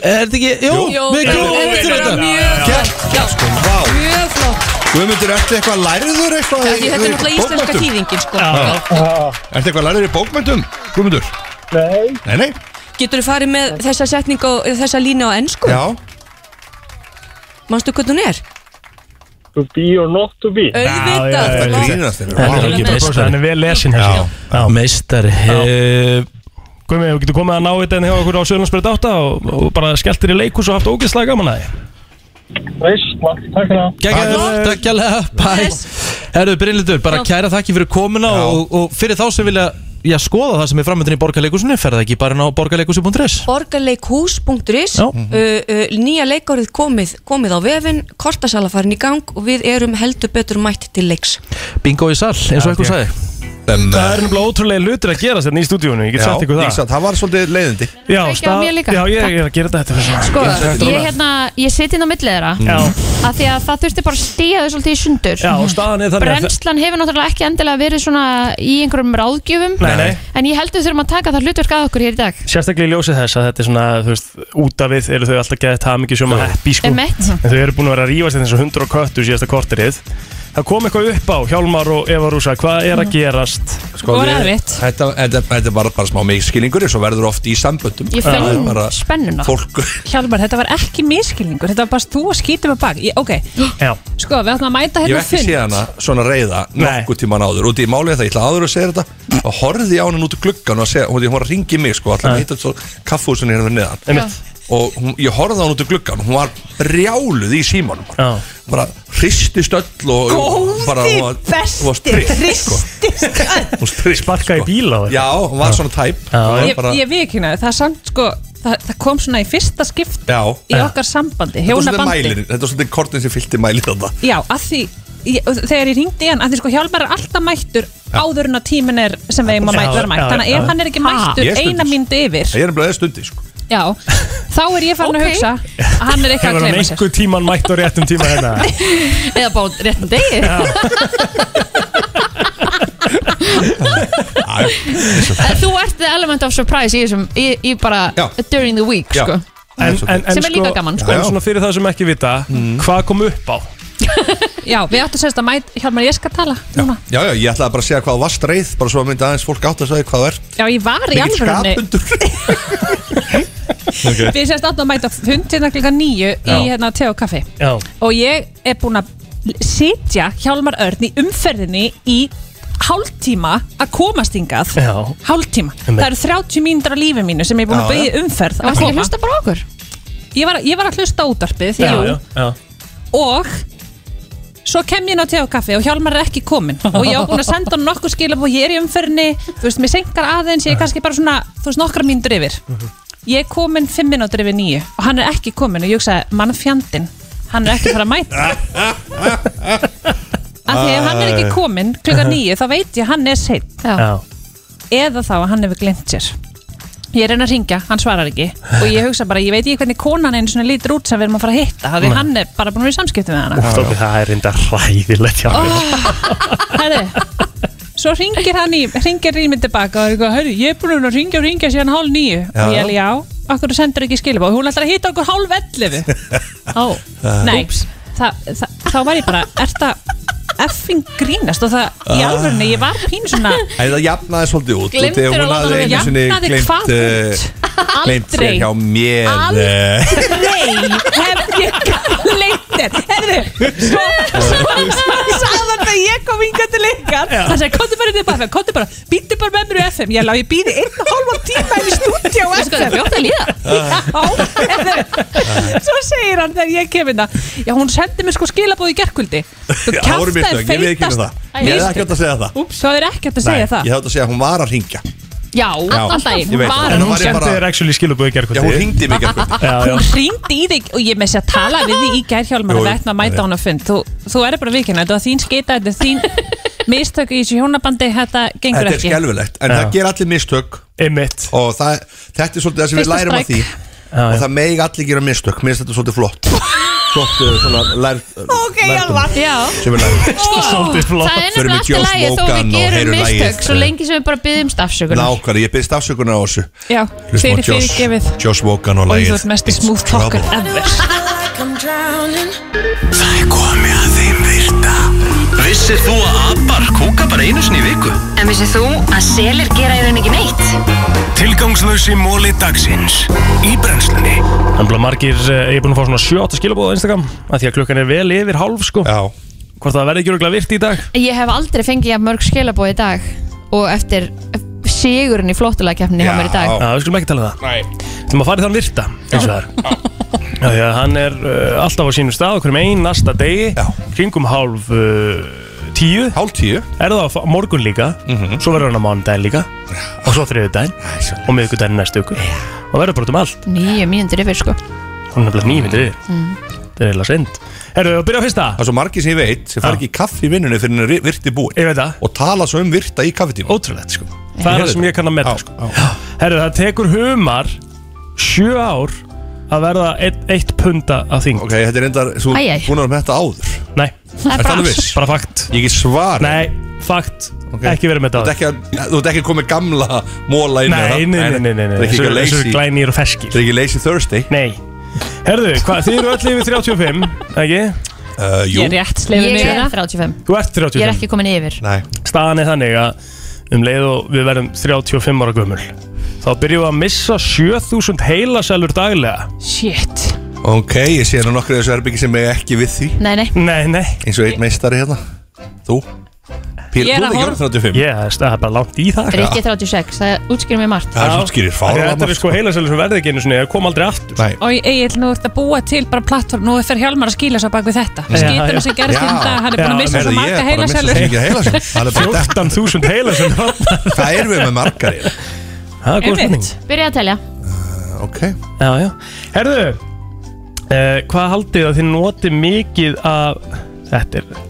Speaker 2: er þetta ekki, jú, við kláum til þetta
Speaker 11: Sko, vá
Speaker 5: Mjög flott
Speaker 11: Guðmundur, ertu eitthvað lærður eitthvað
Speaker 5: Já, því þetta er náttúrulega íslenska þýðingin sko
Speaker 11: Ertu eitthvað lærður í bókmyndum, Guðmundur?
Speaker 17: Nei
Speaker 11: Nei, nei
Speaker 5: Getur þú farið með þessa setningu og- eða þessa línu á ennsku?
Speaker 11: Já
Speaker 5: Manstu hvernig hún er?
Speaker 17: To be or not to be
Speaker 5: Auðvitað. Já, já, já, já.
Speaker 11: Grínast hérna. þér
Speaker 4: Hann er alveg meistari. Hann er vel lesin þessi.
Speaker 2: Meistari
Speaker 4: Guðmi, þú getur komið að ná þetta en hjá okkur á Sjölandsbreyt 8 og, og bara skellt þér í leikus og haft ógeðslega gaman að því
Speaker 17: Veist, takk fyrir það
Speaker 2: Gægjaður, takkjalega, bæ Herðu, Brynlitur, bara kæra þakki fyrir komuna og, og fyrir þá sem vilja já, skoða það sem er framöndin í borgarleikusinu ferða ekki bara inn á borgarleikus.is
Speaker 5: borgarleikhús.is uh, uh, nýja leikárið komið, komið á vefin kortasala farin í gang og við erum heldur betur mætt til leiks
Speaker 2: Bingo í sal, eins
Speaker 5: Já,
Speaker 2: og eitthvað
Speaker 5: ég.
Speaker 2: sagði
Speaker 11: En, eh,
Speaker 4: Það er nefnilega ótrúlega hlutir að gera þetta í stúdíónu, ég get
Speaker 11: Já,
Speaker 4: sagt ykkur það
Speaker 11: ég satt, það var svolítið leiðindi
Speaker 4: Já,
Speaker 3: Ekki á mér líka.
Speaker 4: já ég er að gera þetta þetta
Speaker 3: Sko, ég, hérna, ég siti inn á millið þeirra
Speaker 4: Já.
Speaker 3: að því að það þurfti bara að stíða þau svolítið í sundur
Speaker 4: Já, og staðan er þannig að-
Speaker 3: Brennslan hefur náttúrulega ekki endilega verið svona í einhverjum ráðgjöfum
Speaker 4: Nei, nei.
Speaker 3: En ég heldur þurfum að taka það hlutverk að okkur hér í dag
Speaker 4: Sérstaklega í ljósið þess að þetta er svona, þú veist, út af við eru þau alltaf gett hafa mikið sjóma happy sko
Speaker 3: Einmitt.
Speaker 4: En þau eru búin að vera að rífast þetta eins og hundur og köttur síðasta korterið Það kom eitthvað upp á Hjálmar og Eva Rúsa, hvað
Speaker 3: Mhm.
Speaker 4: er að gerast?
Speaker 11: Sko, við- Þetta, þetta, þetta var bara smá mikilskilningur eins og verður oft í samböndum
Speaker 18: Ég
Speaker 11: Það er
Speaker 18: finn
Speaker 11: bara
Speaker 18: spennuna
Speaker 11: Fólk
Speaker 18: Hjálmar, þetta var ekki miskilningur Þetta var bara þú að skýta með bak ég, Ok,
Speaker 4: Já.
Speaker 18: sko, við ætlum að
Speaker 11: Ég
Speaker 18: mæta hérna
Speaker 11: hef ekki séð hana svona reyða nokkuð tíman áður út í málið það, ég ætla áður að segja þetta og horfði ég á hann út úr gluggan og að segja, hún hún var að ringi mig sko, alltaf hitt svo kaffúsinni hérna fyrir neðan
Speaker 4: Einmitt.
Speaker 11: og hún, ég horfði á hann út úr gluggan og hún var brjáluð í símanum bara, bara hristist öll og
Speaker 18: Góði
Speaker 11: bara, hún var- hún var
Speaker 18: besti,
Speaker 11: strikt, sko.
Speaker 18: hristist öll.
Speaker 11: Hún strikt,
Speaker 4: Sparkaði sko. bíla
Speaker 11: Já, hún var svona tæp Hún var
Speaker 18: Ég,
Speaker 11: bara-
Speaker 18: ég vikina, það er samt sko það, það kom svona í fyrsta skipt
Speaker 11: Já
Speaker 18: í okkar sambandi,
Speaker 11: Þetta var svolítið
Speaker 18: hjónabandi
Speaker 11: mælirinn, Þetta var svolítið kortin sem fylgti mælið þetta
Speaker 18: Já, að því ég, og þegar ég ringdi í hann, að því sko Hjálmar er alltaf mættur áður en að tíminn er sem við eigum að
Speaker 11: Já,
Speaker 18: mætt, vera mætt,
Speaker 11: já,
Speaker 18: þannig að
Speaker 11: já.
Speaker 18: ef hann er ekki
Speaker 11: Ha?
Speaker 18: mættur
Speaker 11: Ég er
Speaker 18: eina
Speaker 11: stundis.
Speaker 18: mynd yfir
Speaker 11: Ég er nefnilega eða stundi sko.
Speaker 18: Já, þá er ég farin að hugsa að hann er eitthvað
Speaker 4: Hefur
Speaker 18: að
Speaker 4: hann
Speaker 18: gleyma sér
Speaker 4: einhver tíman mætt á réttum tíma
Speaker 3: [LAUGHS]
Speaker 4: hérna?
Speaker 3: Eða bara á réttum degi En Þú ert the element of surprise í þessum í, í bara during the week sko.
Speaker 4: En, en, en,
Speaker 3: Sem er líka gaman, sko.
Speaker 4: sko. En svona fyrir það sem ekki vita,
Speaker 11: Mm.
Speaker 4: hvað kom upp á?
Speaker 18: Já, við áttum semst að mæta, Hjálmar ég skal tala núna
Speaker 11: Já, já, ég ætlaði bara að segja hvað þú varst reið bara svo að myndi aðeins fólk átt að segja hvað þú ert
Speaker 18: Já, ég var í
Speaker 11: Mikill
Speaker 18: alvörunni
Speaker 11: okay.
Speaker 18: Við semst áttum að mæta fundina klukkan nýju í
Speaker 11: Já.
Speaker 18: hérna te og kaffi
Speaker 4: Já
Speaker 18: og ég er búin að sitja Hjálmar Örn í umferðinni í hálftíma að komast hingað
Speaker 4: Já.
Speaker 18: hálftíma,
Speaker 4: Einmitt.
Speaker 18: það eru 30 mínútur á lífi mínu sem ég er búin
Speaker 4: Já,
Speaker 18: að
Speaker 4: já.
Speaker 18: byggja umferð
Speaker 3: Varstu ekki að
Speaker 18: hlusta bara okkur? Ég var, ég var að hlusta á útarpið
Speaker 4: Já,
Speaker 18: jú,
Speaker 4: já, já.
Speaker 18: og svo kem ég inn á te og kaffi og Hjálmar er ekki kominn og ég á búin að senda hann nokkur skilab og ég er í umferðinni þú veist, mér senkar aðeins, ég er kannski bara svona þú veist, nokkra mínútur yfir ég er kominn 5 mínútur yfir nýju og hann er ekki kominn og ég hugsaði, mann fjandinn hann er ekki að fara að mæta af því ef hann er ekki kominn klukkan nýju þá veit ég að hann er seitt
Speaker 12: Oh.
Speaker 4: Já.
Speaker 18: eða þá að hann hefur glemt sér ég reyna að ringja, hann svarar ekki og ég hugsa bara, ég veit ekki hvernig konan einu svona lítur út sem við erum að fara að hitta af því
Speaker 4: Nei.
Speaker 18: hann er bara búin að vera í samskiptum með hana
Speaker 4: Úff, Dóri, Það er reynda hræðilegt hjá mér
Speaker 18: svo ringir hann í, ringir í mig tilbaka og er eitthvað, hörru, ég er búin að ringja og ringja síðan hálf nýju og
Speaker 4: Já.
Speaker 18: ég er já, okkur sendur ekki skilabóð hún ætlar að hitta okkur hálf ellifu ó, nei Þa, þa, þá var ég bara, er það effing grínast og það í
Speaker 11: Ah.
Speaker 18: alvörunni, ég var pín svona
Speaker 11: Æ, það jafnaði svolítið út
Speaker 18: Gleymdir
Speaker 11: Þegar
Speaker 18: að
Speaker 11: hún
Speaker 18: láta
Speaker 11: hafði
Speaker 18: það
Speaker 11: einu sinni
Speaker 18: Jafnaði
Speaker 11: gleymt,
Speaker 18: hvað
Speaker 11: eh, gleymt sér
Speaker 18: Aldrei.
Speaker 11: hjá mér eh,
Speaker 18: Aldrei hef ég leitir Herðu, svo sagði hann að ég kom hingað til ykkar Það sagði, komdu bara inn í bafi, komdu bara Býttu bara með mér í FM, ég lág ég býði einn og hálfa tíma í stúdíu á
Speaker 3: Veistu hvað
Speaker 18: FM
Speaker 3: það er fljótt að líða?
Speaker 18: Já, herðu, svo segir hann þegar ég kem inn að Já, hún sendi mér sko skilabóð í gerkvöldi Þú
Speaker 11: [LAUGHS] Já, það voru
Speaker 18: kjaftaði
Speaker 11: mistök, ég við ekki um
Speaker 18: feitast-
Speaker 11: það Ég hefði ekki átt að segja það
Speaker 18: Úps, það er ekki hægt að segja
Speaker 11: Nei,
Speaker 18: það
Speaker 11: Ég hefði átt að segja að hún var að ringja
Speaker 18: Já,
Speaker 11: Já,
Speaker 18: allan
Speaker 11: ég
Speaker 18: daginn, hún
Speaker 11: veit það.
Speaker 18: var
Speaker 11: En
Speaker 18: að
Speaker 11: hún
Speaker 18: ringja.
Speaker 11: sendi þér
Speaker 4: actually skilabóð í gerkvöldi
Speaker 11: Já, hún ringdi mig í gerkvöldi
Speaker 18: hún ringdi í þig og ég með sér að tala við þig í gær hjálmar
Speaker 11: Jú,
Speaker 18: að
Speaker 11: jú.
Speaker 18: vekna að mæta hún að fund þú, þú er bara vikina, þetta var þín skita þetta er þín mistök í þessu hjónabandi þetta gengur
Speaker 11: Þetta er
Speaker 18: ekki
Speaker 11: skelfilegt En
Speaker 4: Já.
Speaker 11: það ger allir mistök
Speaker 4: Einmitt
Speaker 11: Og það, þetta er svolítið það sem við
Speaker 18: Fyrsta
Speaker 11: lærum af
Speaker 18: strike.
Speaker 11: því Og það megi allir gera mistök Mér finnst þetta svolítið flott Flott eh, svona lær Ok, Sem við lærum
Speaker 3: Svolítið flott. Það er
Speaker 11: Förum
Speaker 3: nefnilega
Speaker 11: í
Speaker 3: alltaf lægi þó
Speaker 11: Joe Smokan og
Speaker 3: við gerum
Speaker 11: heyrum lagið,
Speaker 3: mistök svo
Speaker 11: eh,
Speaker 3: lengi sem við bara byggðumst afsökunar
Speaker 11: Nákvæmlega, ég byrst afsökunar á þessu
Speaker 18: Já,
Speaker 11: Hlustum á
Speaker 18: fyrir
Speaker 11: Joss-
Speaker 18: fyrirgefið
Speaker 11: Joss Wogan og
Speaker 18: og
Speaker 11: lagið
Speaker 18: þú ert mest í
Speaker 11: It's
Speaker 18: smooth
Speaker 11: Trouble.
Speaker 18: talker ever
Speaker 1: Það er komið að þeim virta Vissir þú að abar kúka bara einu sinni í viku?
Speaker 19: En vissið þú að selir gera í raun ekki neitt?
Speaker 1: Tilgangslösi móli dagsins Í brennslunni
Speaker 4: Þannig að margir, eh, ég er búin að fá svona 7-8 skilabóð á Instagram að Því að klukkan er vel yfir hálf sko
Speaker 11: Já
Speaker 4: Hvort það verði ekki örgulega virt í dag
Speaker 3: Ég hef aldrei fengið jafn mörg skilabóð í dag og eftir sigurinn í flottulegkeppninni hjá mér í dag
Speaker 4: Já, við skulum ekki tala um það Nei Þú maður farið þann virta, eins og það er Já, já, hann er uh, alltaf á sínum stað okkur með einasta degi já. Kringum hálf uh, tíu
Speaker 11: Hálf tíu Mhm.
Speaker 4: Er það á fa- morgun líka Svo verður hann á mánudaginn líka Og svo þriðudaginn Og miðvikudaginn næstu ykkur Og verður bara út um allt
Speaker 3: Nýju mínundur yfir sko
Speaker 4: Hún er nefnilega nýmyndir yfir
Speaker 3: mm.
Speaker 4: þetta er heila synd Herru, við byrjum á fyrsta Það
Speaker 11: er svo margir sem ég veit sem fara ekki í kaffi í vinnunni fyrir en virti búin
Speaker 4: Ég veit það
Speaker 11: Og tala svo um virta í kaffitíma
Speaker 4: Ótrúlegt sko Það er það sem ég kann að metta sko Herru, það tekur humar sjö ár að verða eitt, eitt punta að þing
Speaker 11: Ok, þetta er endar, þú
Speaker 4: Æ, æ.
Speaker 11: búin að metta áður
Speaker 4: Nei
Speaker 11: Það er Ertu bara- alveg viss?
Speaker 4: Bara fakt
Speaker 11: Ég ekki svar
Speaker 4: Nei, fakt Ekki verið með þetta
Speaker 11: Þú ert ekki að- Þú ert ekki komið gamla móla inn
Speaker 4: Nei, nei, nei, nei, nei,
Speaker 11: Það er
Speaker 4: nei.
Speaker 11: hérna. ekki
Speaker 4: Þessu- þessu
Speaker 11: lazy-
Speaker 4: eru glænýr og ferskir
Speaker 11: Það er ekki lazy Thursday
Speaker 4: Nei Herðu, hvað, þið eru öll yfir 35, ekki?
Speaker 11: Uh,
Speaker 18: Ég er rétt hérna. sleifin
Speaker 3: Ég
Speaker 18: yfir
Speaker 3: er
Speaker 18: það.
Speaker 3: 35
Speaker 4: Þú ert 35
Speaker 3: Ég er ekki komin yfir
Speaker 11: Nei.
Speaker 4: Staðan er þannig að um leið og við verðum 35 ára gömul Þá byrjum við að missa 7000 heilasælur daglega
Speaker 18: Shit
Speaker 11: Ok, ég sé nú nokkur í þessu herbyggi sem er ekki við því
Speaker 3: Nei, nei
Speaker 4: Nei, nei
Speaker 11: Eins og einn meistari hérna Þú Píl,
Speaker 3: Ég er
Speaker 11: þú er
Speaker 3: að
Speaker 11: ekki
Speaker 3: horfa-
Speaker 11: orðin 35
Speaker 4: Ég, það er bara langt í það
Speaker 3: Rikki 36, það útskýrir mér margt
Speaker 11: Það er svo skýrir fárlega
Speaker 4: Þetta er sko heilasælur sem verði ekki einu sinni, það kom aldrei aftur
Speaker 11: Nei
Speaker 18: Og Egil, nú ert að búa til bara plattform Nú fer Hjálmar að skýla svo bak við þetta
Speaker 4: Já, já.
Speaker 18: Skýtum sem gerðist hérna dag, hann er búin að missa svo marga heila sjálfur
Speaker 4: 14.000 heilasælur
Speaker 11: Hvað erum við með margar í?
Speaker 4: Það er góð spurning
Speaker 3: Byrja að telja
Speaker 11: Ok
Speaker 4: Já, já Herðu, uh, hvað haldið að þið notið mikið af Þetta er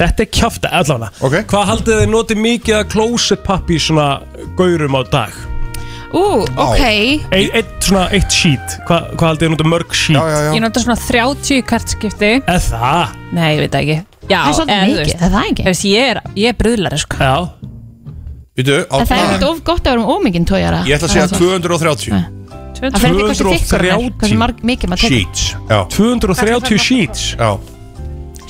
Speaker 4: Þetta er kjáfta, allavega okay. Hvað haldið þið notið mikið af closet pappi svona gaurum á dag?
Speaker 18: Ú, ok
Speaker 4: Ein, eitt, svona, eitt sheet Hvað hva haldið þið notið mörg sheet? Já, já,
Speaker 18: Ég nota svona 30 í hvert skipti
Speaker 4: Eða það?
Speaker 18: Nei, ég veit það ekki Já,
Speaker 3: Það er svolítið
Speaker 18: eða þú
Speaker 3: mikið,
Speaker 18: veist.
Speaker 3: það er það ekki?
Speaker 18: Þú veist, Ég er, ég er bruðlari sko
Speaker 4: Já
Speaker 11: Vítu, á
Speaker 3: En það er ekkert of gott að vera um ómikinn tójara
Speaker 11: Ég ætla að segja 230
Speaker 3: Það fer ekki hversu þykkur hann er,
Speaker 11: 230.
Speaker 3: hversu marg- mikið maður tekur
Speaker 11: Sheets Já
Speaker 4: 230 sheets
Speaker 11: Já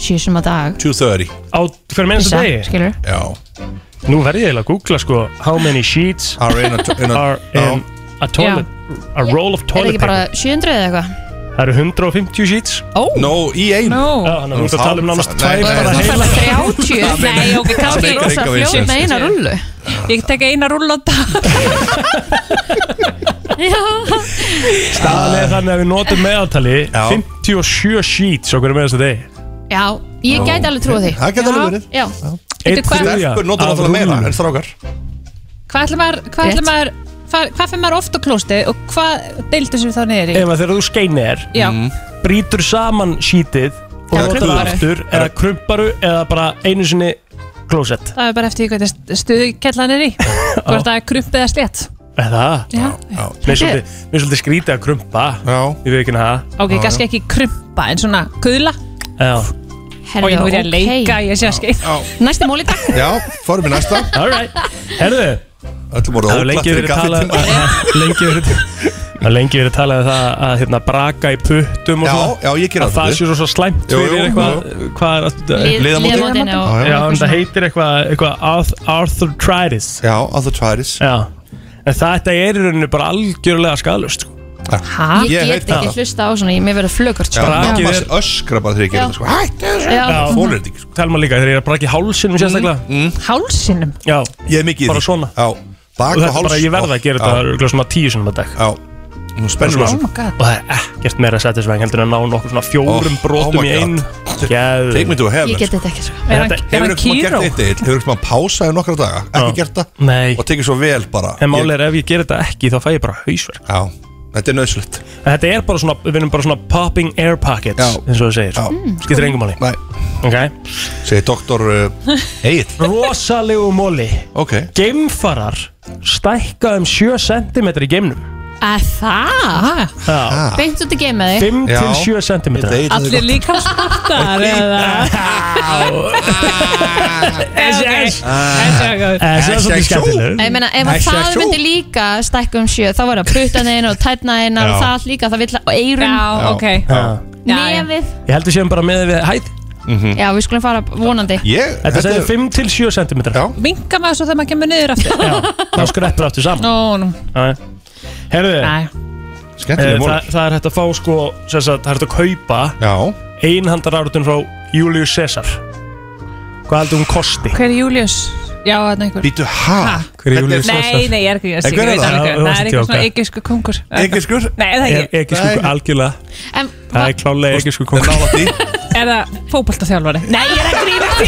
Speaker 3: Sjúsum að dag
Speaker 11: 230
Speaker 4: Á hver mennstu
Speaker 3: Pizza,
Speaker 4: degi?
Speaker 3: skilurðu.
Speaker 11: Já
Speaker 4: Nú verð ég eiginlega að googla sko How many sheets
Speaker 11: Are in a- in a-
Speaker 4: are in a toilet A roll of
Speaker 3: Er
Speaker 4: toilet
Speaker 3: ekki bara
Speaker 4: paper
Speaker 3: 700 eða eitthvað?
Speaker 4: Það eru 150 sheets
Speaker 3: Ó.
Speaker 11: No, í einu
Speaker 3: No.
Speaker 4: Já, þannig að þú ert að tala um nánast
Speaker 11: Nei,
Speaker 4: tvær
Speaker 11: nei,
Speaker 4: bara
Speaker 11: nei, nei.
Speaker 4: heila [LAUGHS]
Speaker 18: 30 Nei, ok,
Speaker 11: Það
Speaker 18: kannski
Speaker 11: meikar
Speaker 18: rosa
Speaker 11: enga vesen.
Speaker 18: fljóð með eina rullu Ég tek eina rullu á [LAUGHS] dag Já
Speaker 3: [LAUGHS]
Speaker 4: Staðan er þannig að við notum meðaltali 57 sheets okkur með þessu degi
Speaker 3: Já, ég
Speaker 4: Já.
Speaker 3: gæti alveg trúið því
Speaker 11: Það gæti alveg verið.
Speaker 3: Já
Speaker 4: Einn
Speaker 18: Veitu hvað-
Speaker 4: þriðja
Speaker 11: Stelpur notar
Speaker 4: af
Speaker 11: náttúrulega meira
Speaker 4: rúllum.
Speaker 11: en strákar
Speaker 18: Hvað ætlum maður, hvað ætlum maður Hvað, hvað fyrir maður ofta klóstið og hvað deildu sem þá niður í?
Speaker 4: Ef að þegar þú skeinir
Speaker 18: Já.
Speaker 11: Mm.
Speaker 4: Brýtur saman sheetið og
Speaker 18: Já,
Speaker 4: notar það
Speaker 18: krumparu.
Speaker 4: aftur eða krumparu eða bara einu sinni klósett
Speaker 18: Það er bara eftir því hvernig stuðkellan
Speaker 4: [LAUGHS]
Speaker 18: er í Hvort það er krumpið eða slétt
Speaker 4: Eða
Speaker 18: Já.
Speaker 4: Mér er svolítið- mér er svolítið skrítið að krumpa Já Ég veit ekki hana
Speaker 18: Ok, kannski ekki krumpa en svona kuðla
Speaker 4: Já
Speaker 18: Herðu, og ég nú er ég að leika, ég sé að skeið
Speaker 3: Næsti móli takk
Speaker 11: Já, fórum við næsta
Speaker 4: Alright Herðu
Speaker 11: Öllum voru
Speaker 4: Það hefur lengi
Speaker 11: óglatt
Speaker 4: verið talað Lengi verið Það hefur lengi verið talað um það að hérna, braka í puttum og
Speaker 11: Já,
Speaker 4: svona
Speaker 11: já, ég geri
Speaker 4: Að
Speaker 11: það
Speaker 4: það
Speaker 11: stundum.
Speaker 4: sé svo svo slæmt
Speaker 11: Jú,
Speaker 4: fyrir
Speaker 11: jú,
Speaker 4: eitthvað Hvað er
Speaker 11: Lið- Liðamótin. liðamótin
Speaker 4: Já,
Speaker 11: og-
Speaker 4: já,
Speaker 11: og
Speaker 4: en það
Speaker 11: svona.
Speaker 4: heitir eitthvað eitthvað arth- arthritis
Speaker 11: Já, arthritis
Speaker 4: Já En þetta er í rauninu bara algjörlega skalust sko.
Speaker 3: Ha? Ég get ekki hlusta á svona, ég- mér verður flögurt
Speaker 4: Já, brakið er-
Speaker 11: öskra bara þegar ég
Speaker 3: Já.
Speaker 11: gerir það sko Hætti þessu
Speaker 3: Já.
Speaker 4: Já.
Speaker 11: Þolir þetta ekki sko. Mm,
Speaker 4: Telma líka þegar ég er að braka í hálsinum sérstaklega
Speaker 18: Hálsinum?
Speaker 4: Já
Speaker 11: Ég er mikið í því
Speaker 4: Bara svona
Speaker 11: Já Bak
Speaker 4: og
Speaker 11: og
Speaker 4: þetta er
Speaker 11: háls
Speaker 4: bara, ég verða að gera
Speaker 11: Já.
Speaker 4: þetta örugglega svona tíu sinum að dag
Speaker 11: Já, nú spennum við
Speaker 4: Svona-
Speaker 11: þessu.
Speaker 18: Oh God.
Speaker 4: Og það er ekkert meira satisfying heldur en að ná nokkur svona
Speaker 11: Oh,
Speaker 4: fjórum
Speaker 11: oh
Speaker 4: brotum
Speaker 11: my
Speaker 4: í
Speaker 11: God.
Speaker 4: einn Geð
Speaker 11: Take me to heaven
Speaker 3: Ég get þetta ekki sko
Speaker 4: Er hann-
Speaker 11: Hefur eitthvað gert eitt eitt Hefur eitthvað pásaði nokkra daga Ekki gert það
Speaker 4: Nei
Speaker 11: Og tekið svo vel bara
Speaker 4: En málið er ef ég ger þetta ekki þá fæ ég bara hausverk
Speaker 11: Já, þetta er nöðslegt
Speaker 4: Þetta er bara svona, við vinnum bara svona popping air pockets
Speaker 11: Já.
Speaker 4: eins og þú segir
Speaker 11: Já.
Speaker 4: Skiptir engum máli
Speaker 11: Nei
Speaker 4: Ok
Speaker 11: Segir doktor uh,
Speaker 4: [LAUGHS]
Speaker 11: Egil
Speaker 4: Rosalegu móli
Speaker 11: Ok
Speaker 4: Geimfarar stækka um 7 cm í geimnum
Speaker 3: Að það?
Speaker 4: Já
Speaker 3: Beint út í geima þig
Speaker 4: 5 til 7 cm
Speaker 18: Allir líka spartar eða
Speaker 4: SS
Speaker 18: SS
Speaker 4: SS er svolítið skemmtilegur
Speaker 3: Ég meina, ef að það myndi líka stækka um sjö þá var það prutaninn og tætnaðinn og
Speaker 4: Já.
Speaker 3: það allt líka, það vill að og eyrun
Speaker 18: Já, ok.
Speaker 3: Nefið
Speaker 4: Ég heldur séum bara með við hæð
Speaker 11: Mhm.
Speaker 3: Já, við skulum fara vonandi
Speaker 4: Þetta segir 5 til 7 cm Já
Speaker 18: Minka maður svo þegar maður kemur niður aftur
Speaker 4: Þá skreppur aftur saman
Speaker 18: Nó, nú
Speaker 4: Nei. Herðu
Speaker 11: Skemmtileg
Speaker 4: Eh,
Speaker 11: mólar.
Speaker 4: það, það er hægt að fá sko sem sagt, Það er hægt að kaupa Já Einhandarárutun frá Julius Caesar Hvað heldur hún kosti?
Speaker 18: Hver er Július? Já, þarna einhver
Speaker 11: Býtu, ha?
Speaker 4: Hver er Július Caesar?
Speaker 18: Nei, nei, ég er ekki ég
Speaker 4: En hver er
Speaker 18: veit
Speaker 4: það? Eh,
Speaker 18: alveg hver-
Speaker 4: Já,
Speaker 18: Það er eitthvað
Speaker 4: þú varst að
Speaker 18: svona
Speaker 4: djóka.
Speaker 18: egypskur kungur
Speaker 11: Egypskur?
Speaker 18: Nei, það er ekki
Speaker 4: Ekki sko algjörlega
Speaker 18: En
Speaker 4: Það er klálega ekki sko kongur
Speaker 18: er það fótboltaþjálfari? Nei, ég er að grínast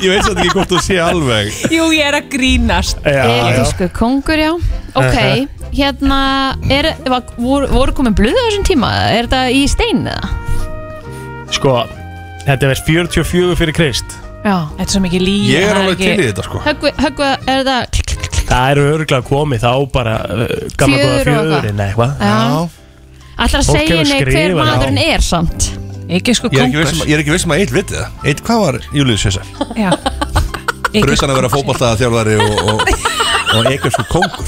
Speaker 11: Ég veit svolítið ekki hvort þú sé alveg
Speaker 18: Jú, ég er að grínast
Speaker 4: Já,
Speaker 3: Egypsku kongur, já Ok, hérna, er, var, voru, voru komin blöðu á þessum tíma? Er þetta í stein eða?
Speaker 4: Sko, þetta verð 44 fyrir Krist
Speaker 3: Já. Þetta
Speaker 18: er svo mikið líf.
Speaker 4: Ég er alveg til í þetta, sko.
Speaker 3: Höggva, höggva er það
Speaker 4: Það eru örgulega komið þá bara uh, gamla
Speaker 3: Fjögur og
Speaker 4: góða
Speaker 3: eitthvað.
Speaker 4: fjörin eitthvað
Speaker 3: Já. Allra að
Speaker 4: Ah, Fólk
Speaker 3: segja
Speaker 4: hefur
Speaker 3: henni hver
Speaker 4: skrifað á.
Speaker 3: maðurinn er samt. Ekki sko
Speaker 11: Ég er ekki viss um- ég er ekki viss um að eitt viti það Eitt, hvað var Július Sjösa?
Speaker 18: Já.
Speaker 11: Brusan að vera fótballtaða þjálfari og, og, og eitthvað kóngur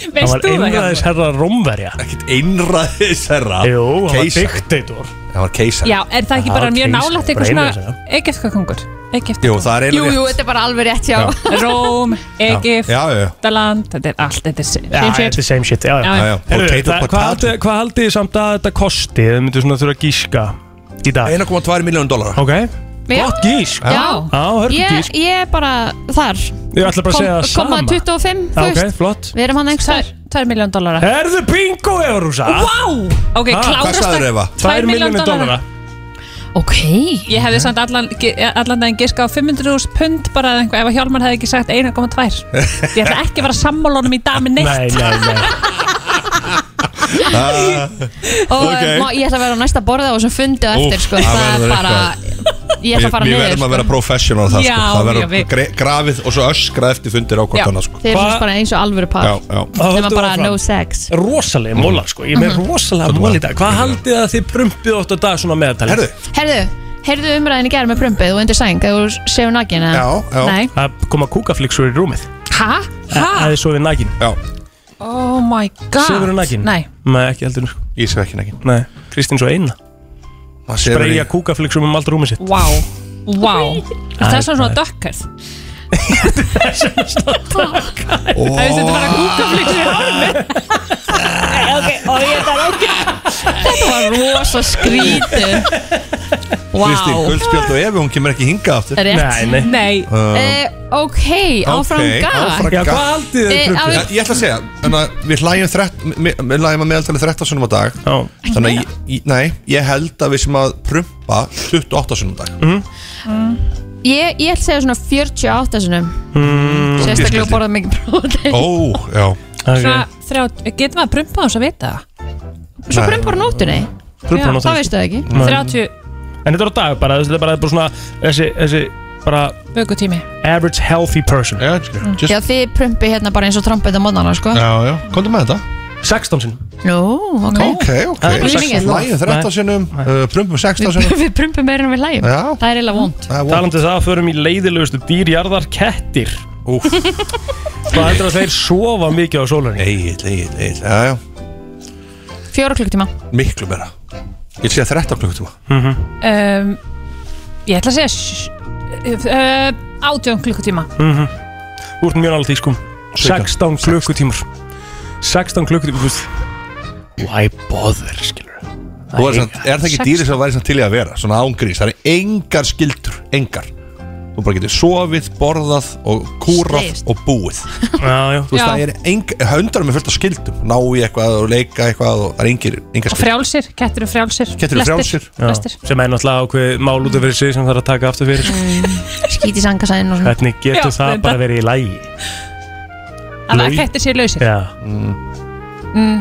Speaker 4: Það var einræðisherra Rómverja
Speaker 11: Ekkert einræðisherra
Speaker 4: Jú, hann var
Speaker 11: Keisari.
Speaker 4: diktator
Speaker 11: Það var keisar
Speaker 18: Já, er það ekki bara mjög nálægt eitthvað svona Egefka kongur? Egefka
Speaker 11: Jú, það er
Speaker 3: Jú,
Speaker 11: eiginlega
Speaker 3: jú,
Speaker 11: rétt.
Speaker 3: þetta er bara alveg rétt hjá.
Speaker 11: Já.
Speaker 18: Róm, Egift,
Speaker 11: Já, já, já.
Speaker 18: Daland, þetta er allt, þetta er same
Speaker 4: Já,
Speaker 18: shit.
Speaker 4: þetta er same shit, já, já.
Speaker 18: Já, já.
Speaker 11: Já, já.
Speaker 4: Heyrðu,
Speaker 11: Potato,
Speaker 4: það- Hvað
Speaker 11: potato.
Speaker 4: haldið- hvað haldið þið samt að þetta kosti Þið myndu svona þurfa að gíska í dag
Speaker 11: 1,2 miljónu dólarar
Speaker 4: Ok,
Speaker 3: Já.
Speaker 4: gott gísk
Speaker 3: Já.
Speaker 4: Já, hörðu
Speaker 3: Ég,
Speaker 4: gísk
Speaker 3: ég er bara þar.
Speaker 4: Ég ætla bara að segja það
Speaker 3: Komma
Speaker 4: sama.
Speaker 3: 25,
Speaker 4: Já,
Speaker 3: þú
Speaker 4: ok,
Speaker 3: veist.
Speaker 4: flott.
Speaker 3: Við erum hann einhvers
Speaker 4: [LAUGHS]
Speaker 3: þar.
Speaker 18: 2 miljón dólara.
Speaker 4: Herðu bingo, Evrúsa
Speaker 18: Vá! Ok,
Speaker 4: Ha,
Speaker 18: klárast
Speaker 4: hvað sagðirðu, Eva? Tvær milljónir dollara.
Speaker 3: Ok.
Speaker 18: Ég hefði samt allan, ge- allan daginn giska á 500.000 pund bara eða einhver, ef að Hjálmar hefði ekki sagt 1,2. Ég ætla ekki að vera sammálunum í dag með neitt.
Speaker 4: Nei, nei, nei
Speaker 11: [LAUGHS] Ah,
Speaker 3: Og
Speaker 11: ok.
Speaker 3: okay. má, ég ætla að vera á næsta borða og sem fundi á eftir,
Speaker 11: Úf,
Speaker 3: sko.
Speaker 11: það
Speaker 3: Það
Speaker 11: verður
Speaker 3: er bara, ég ætla að fara
Speaker 11: Við-
Speaker 3: niður,
Speaker 11: Við verðum
Speaker 3: sko.
Speaker 11: að vera professional það
Speaker 3: Já,
Speaker 11: sko. Það
Speaker 3: já,
Speaker 11: verður
Speaker 3: við-
Speaker 11: gre- grafið og svo öskra eftir fundir á hvort annað sko.
Speaker 3: Þeir eru svona bara eins og alvöru par
Speaker 11: Já, já.
Speaker 3: Nefna
Speaker 4: Það höldum
Speaker 3: bara
Speaker 4: áfram.
Speaker 3: no sex
Speaker 4: Rosalega mólar sko, ég er með rosalega mól í dag Hvað haldið þið að þið brumpið ótt að dag svona meðaltali? Herðu
Speaker 3: Herðu, heyrðu umræðin í gerð með prumpið og undir sæng að þú séu nakin eða? Nei
Speaker 4: Að koma kúkaflixur í rúmið
Speaker 3: Hæ?
Speaker 4: Að að þið sofið nakin Já
Speaker 18: Oh my god.
Speaker 4: Sefurðu nakin?
Speaker 18: Nei.
Speaker 4: Nei, ekki heldur sko.
Speaker 11: Ég sef ekki nakin
Speaker 4: Nei, Kristín svo eina
Speaker 11: sefur
Speaker 4: Spreyja
Speaker 11: í-
Speaker 4: kúkaflixum um allt rúmið sitt
Speaker 18: Vá. Vá. Það er svona dökkærð. Það er svona bara kúkaflixur í hálfum. Ok, og ég þarf ekki.
Speaker 3: Þetta var rosa skrítið Vá
Speaker 11: Kristín, guldspjöld og ef hún kemur ekki hingað aftur
Speaker 3: Rétt nei.
Speaker 11: Uh,
Speaker 3: Eh, Ok, áfram
Speaker 11: ok, áfram
Speaker 3: gag
Speaker 11: gag.
Speaker 3: Eh, á-
Speaker 11: Ég- Ég ætla að segja, þannig að við hlægjum þrett, við við hlægjum að meðaltali 13 sunnum á dag Já. Þannig að, ég- ég- nei, ég held að við sem að prumpa 28 sunnum á dag mm.
Speaker 3: Ég, ég ætla að segja svona 48 sinum
Speaker 11: Mm.
Speaker 3: Sérstaklega að borða mikið prótein
Speaker 11: Ó, já
Speaker 18: Svona þrjá, getur maður að prumpa þess að vita það?
Speaker 3: Svo prumpar á nóttunni
Speaker 4: Prumpa á
Speaker 3: Já,
Speaker 4: nóttunni.
Speaker 3: Það veistu það ekki
Speaker 4: Nei. 30. En þetta er á dag bara, þetta er bara, bara svona Þessi, þessi, bara
Speaker 18: Vökutími
Speaker 4: Average healthy person
Speaker 11: Já,
Speaker 3: Mm. Já, þið prumpi hérna bara eins og trompið á mótnarna, sko
Speaker 11: já, komdu með þetta
Speaker 4: 16 sinn
Speaker 3: Nú, ok
Speaker 11: Ok, ok,
Speaker 3: Það er bara mikið.
Speaker 11: hlægjum 13 sunnum, uh, prumpum 16
Speaker 3: Við, [LAUGHS]
Speaker 11: sunnum
Speaker 3: við prumpum meira en við hlægjum
Speaker 11: Já.
Speaker 3: Það er eiginlega vond
Speaker 4: Talandi um það, förum í leiðilegustu dýrjarðar kettir Úf Hvað heldur að þeir sofa mikið á sólarni?
Speaker 11: Egil, egil, egil, já, já
Speaker 3: Fjóra klukkutíma
Speaker 11: Miklu meira Ég sé 13 klukkutíma
Speaker 18: um, Ég ætla að segja sj- uh, Átjón klukkutíma
Speaker 4: Mhm. Þú ert mjög náttúrulega tískum 16 klukkutímur 16 klukkutímur þú veist. Why bother, skilur
Speaker 11: Þú er, samt, er það ekki dýri sem væri samt til í að vera Svona ángrís, það er engar skildur Engar Þú bara getur sofið, borðað og kúrað
Speaker 4: Slegist.
Speaker 11: og búið
Speaker 4: [LAUGHS] Já, já
Speaker 11: Þú veist,
Speaker 18: Já.
Speaker 11: það er engar, höndar með fullt af skildum Ná í eitthvað og leika eitthvað og það er engir, engar
Speaker 18: Og
Speaker 11: skildur
Speaker 18: frjálsir, kettir eru frjálsir
Speaker 11: Kettir eru
Speaker 18: Flestir,
Speaker 11: frjálsir. Já.
Speaker 18: flestir.
Speaker 4: Sem er náttúrulega ákveð mál út af fyrir sig sem þarf að taka aftur fyrir sko.
Speaker 3: Skít í sangasæðin og svona
Speaker 4: Hvernig getur
Speaker 18: Mm. Já,
Speaker 4: það
Speaker 18: reyndar.
Speaker 4: bara verið í lægi?
Speaker 18: Þannig að kettir séu lausir
Speaker 4: Já
Speaker 18: mm,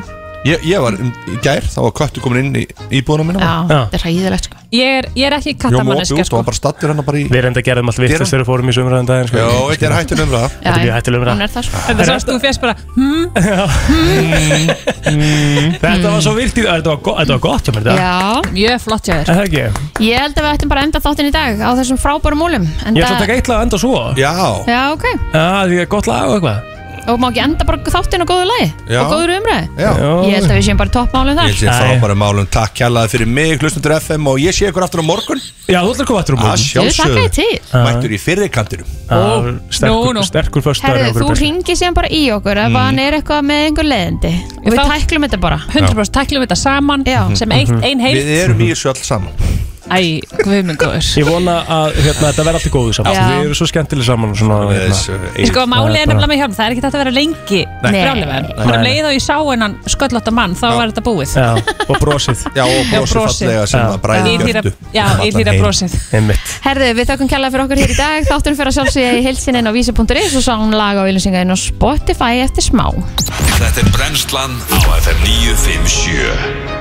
Speaker 11: ég, ég var um, í gær, þá var köttu komin inn í íbúðuna mína
Speaker 3: Já, þetta er hæðilegt sko
Speaker 18: ég, er, ég er ekki
Speaker 11: Jón var opið
Speaker 18: kattamanneska
Speaker 11: út og
Speaker 18: sko.
Speaker 11: var bara stattur hennar bara í
Speaker 4: Við reynda gerðum allt vittast þegar við fórum í sumraðan daginn sko.
Speaker 11: Já, þetta er hættur umra
Speaker 4: Þetta er mjög hættileg umræða.
Speaker 3: Hún er það sko Hmm?
Speaker 18: Þetta er svo að þú fjast bara hmm,
Speaker 4: Mm. Þetta var svo virt í Þetta var, go þetta var gott hjá mér þetta
Speaker 3: Já, mjög flott hjá
Speaker 4: Er
Speaker 3: þér
Speaker 4: Það ekki
Speaker 3: Ég held að við ættum bara að enda þáttinn í dag á þessum frábærum múlum
Speaker 4: Ég ætla að taka eitt lag að enda svo
Speaker 11: Já
Speaker 3: Já, ok
Speaker 4: Já, því er gott lag og eitthvað
Speaker 3: Og má ekki enda bara þáttinn á góðu lagi
Speaker 11: Já.
Speaker 3: Og góður umræði
Speaker 11: Já.
Speaker 3: Ég held að við séum bara í
Speaker 11: Ég
Speaker 3: toppmálum þar
Speaker 11: sé frábæra málum, takk kjallaði fyrir mig Hlustundur FM og ég sé ykkur aftur á morgun
Speaker 4: Já, þú ætlar að koma aftur á morgun.
Speaker 3: Þú þakka þér til.
Speaker 11: Mættur í fyrrikantinum
Speaker 4: Já, Ah. sterkur-
Speaker 3: nú, nú.
Speaker 4: Sterkur fyrst
Speaker 3: Herðu, þú ringir síðan bara í okkur ef
Speaker 4: Mm.
Speaker 3: hann er eitthvað með einhver leiðindi og við
Speaker 18: Þá-
Speaker 3: tæklum þetta bara
Speaker 4: Mhm.
Speaker 18: 100% tæklum við þetta saman Já. sem eitt, ein heilt
Speaker 11: Við erum í þessu all saman
Speaker 18: Æ, guðmengóður
Speaker 4: Ég vona að hérna, þetta verði alltaf góðu saman
Speaker 18: Já.
Speaker 4: Við erum svo skemmtileg saman og svona, hérna.
Speaker 11: eh,
Speaker 18: Sko, málið er
Speaker 4: bara-
Speaker 18: nefnilega með hjálm, það er ekki þetta að vera lengi
Speaker 4: Nei.
Speaker 18: brjálega
Speaker 4: Nei.
Speaker 18: Bara um leið og ég sá hennan sköllótta mann, þá var þetta búið
Speaker 4: Já, og brosið
Speaker 11: Já, og
Speaker 18: Já,
Speaker 11: brosið
Speaker 18: brosið.
Speaker 11: fallega sem
Speaker 4: Já.
Speaker 11: það bræði
Speaker 18: Ylýra- já, ylýra brosið.
Speaker 4: Einmitt
Speaker 3: Herðu, við þökkum kjalla fyrir okkur hér í dag Þátturinn fyrir að sjálfsögja í heilsininn á vísi.is og sá hún laga og ylusingaðinn á Spotify eftir smá
Speaker 1: Þetta er brennslan á FM 957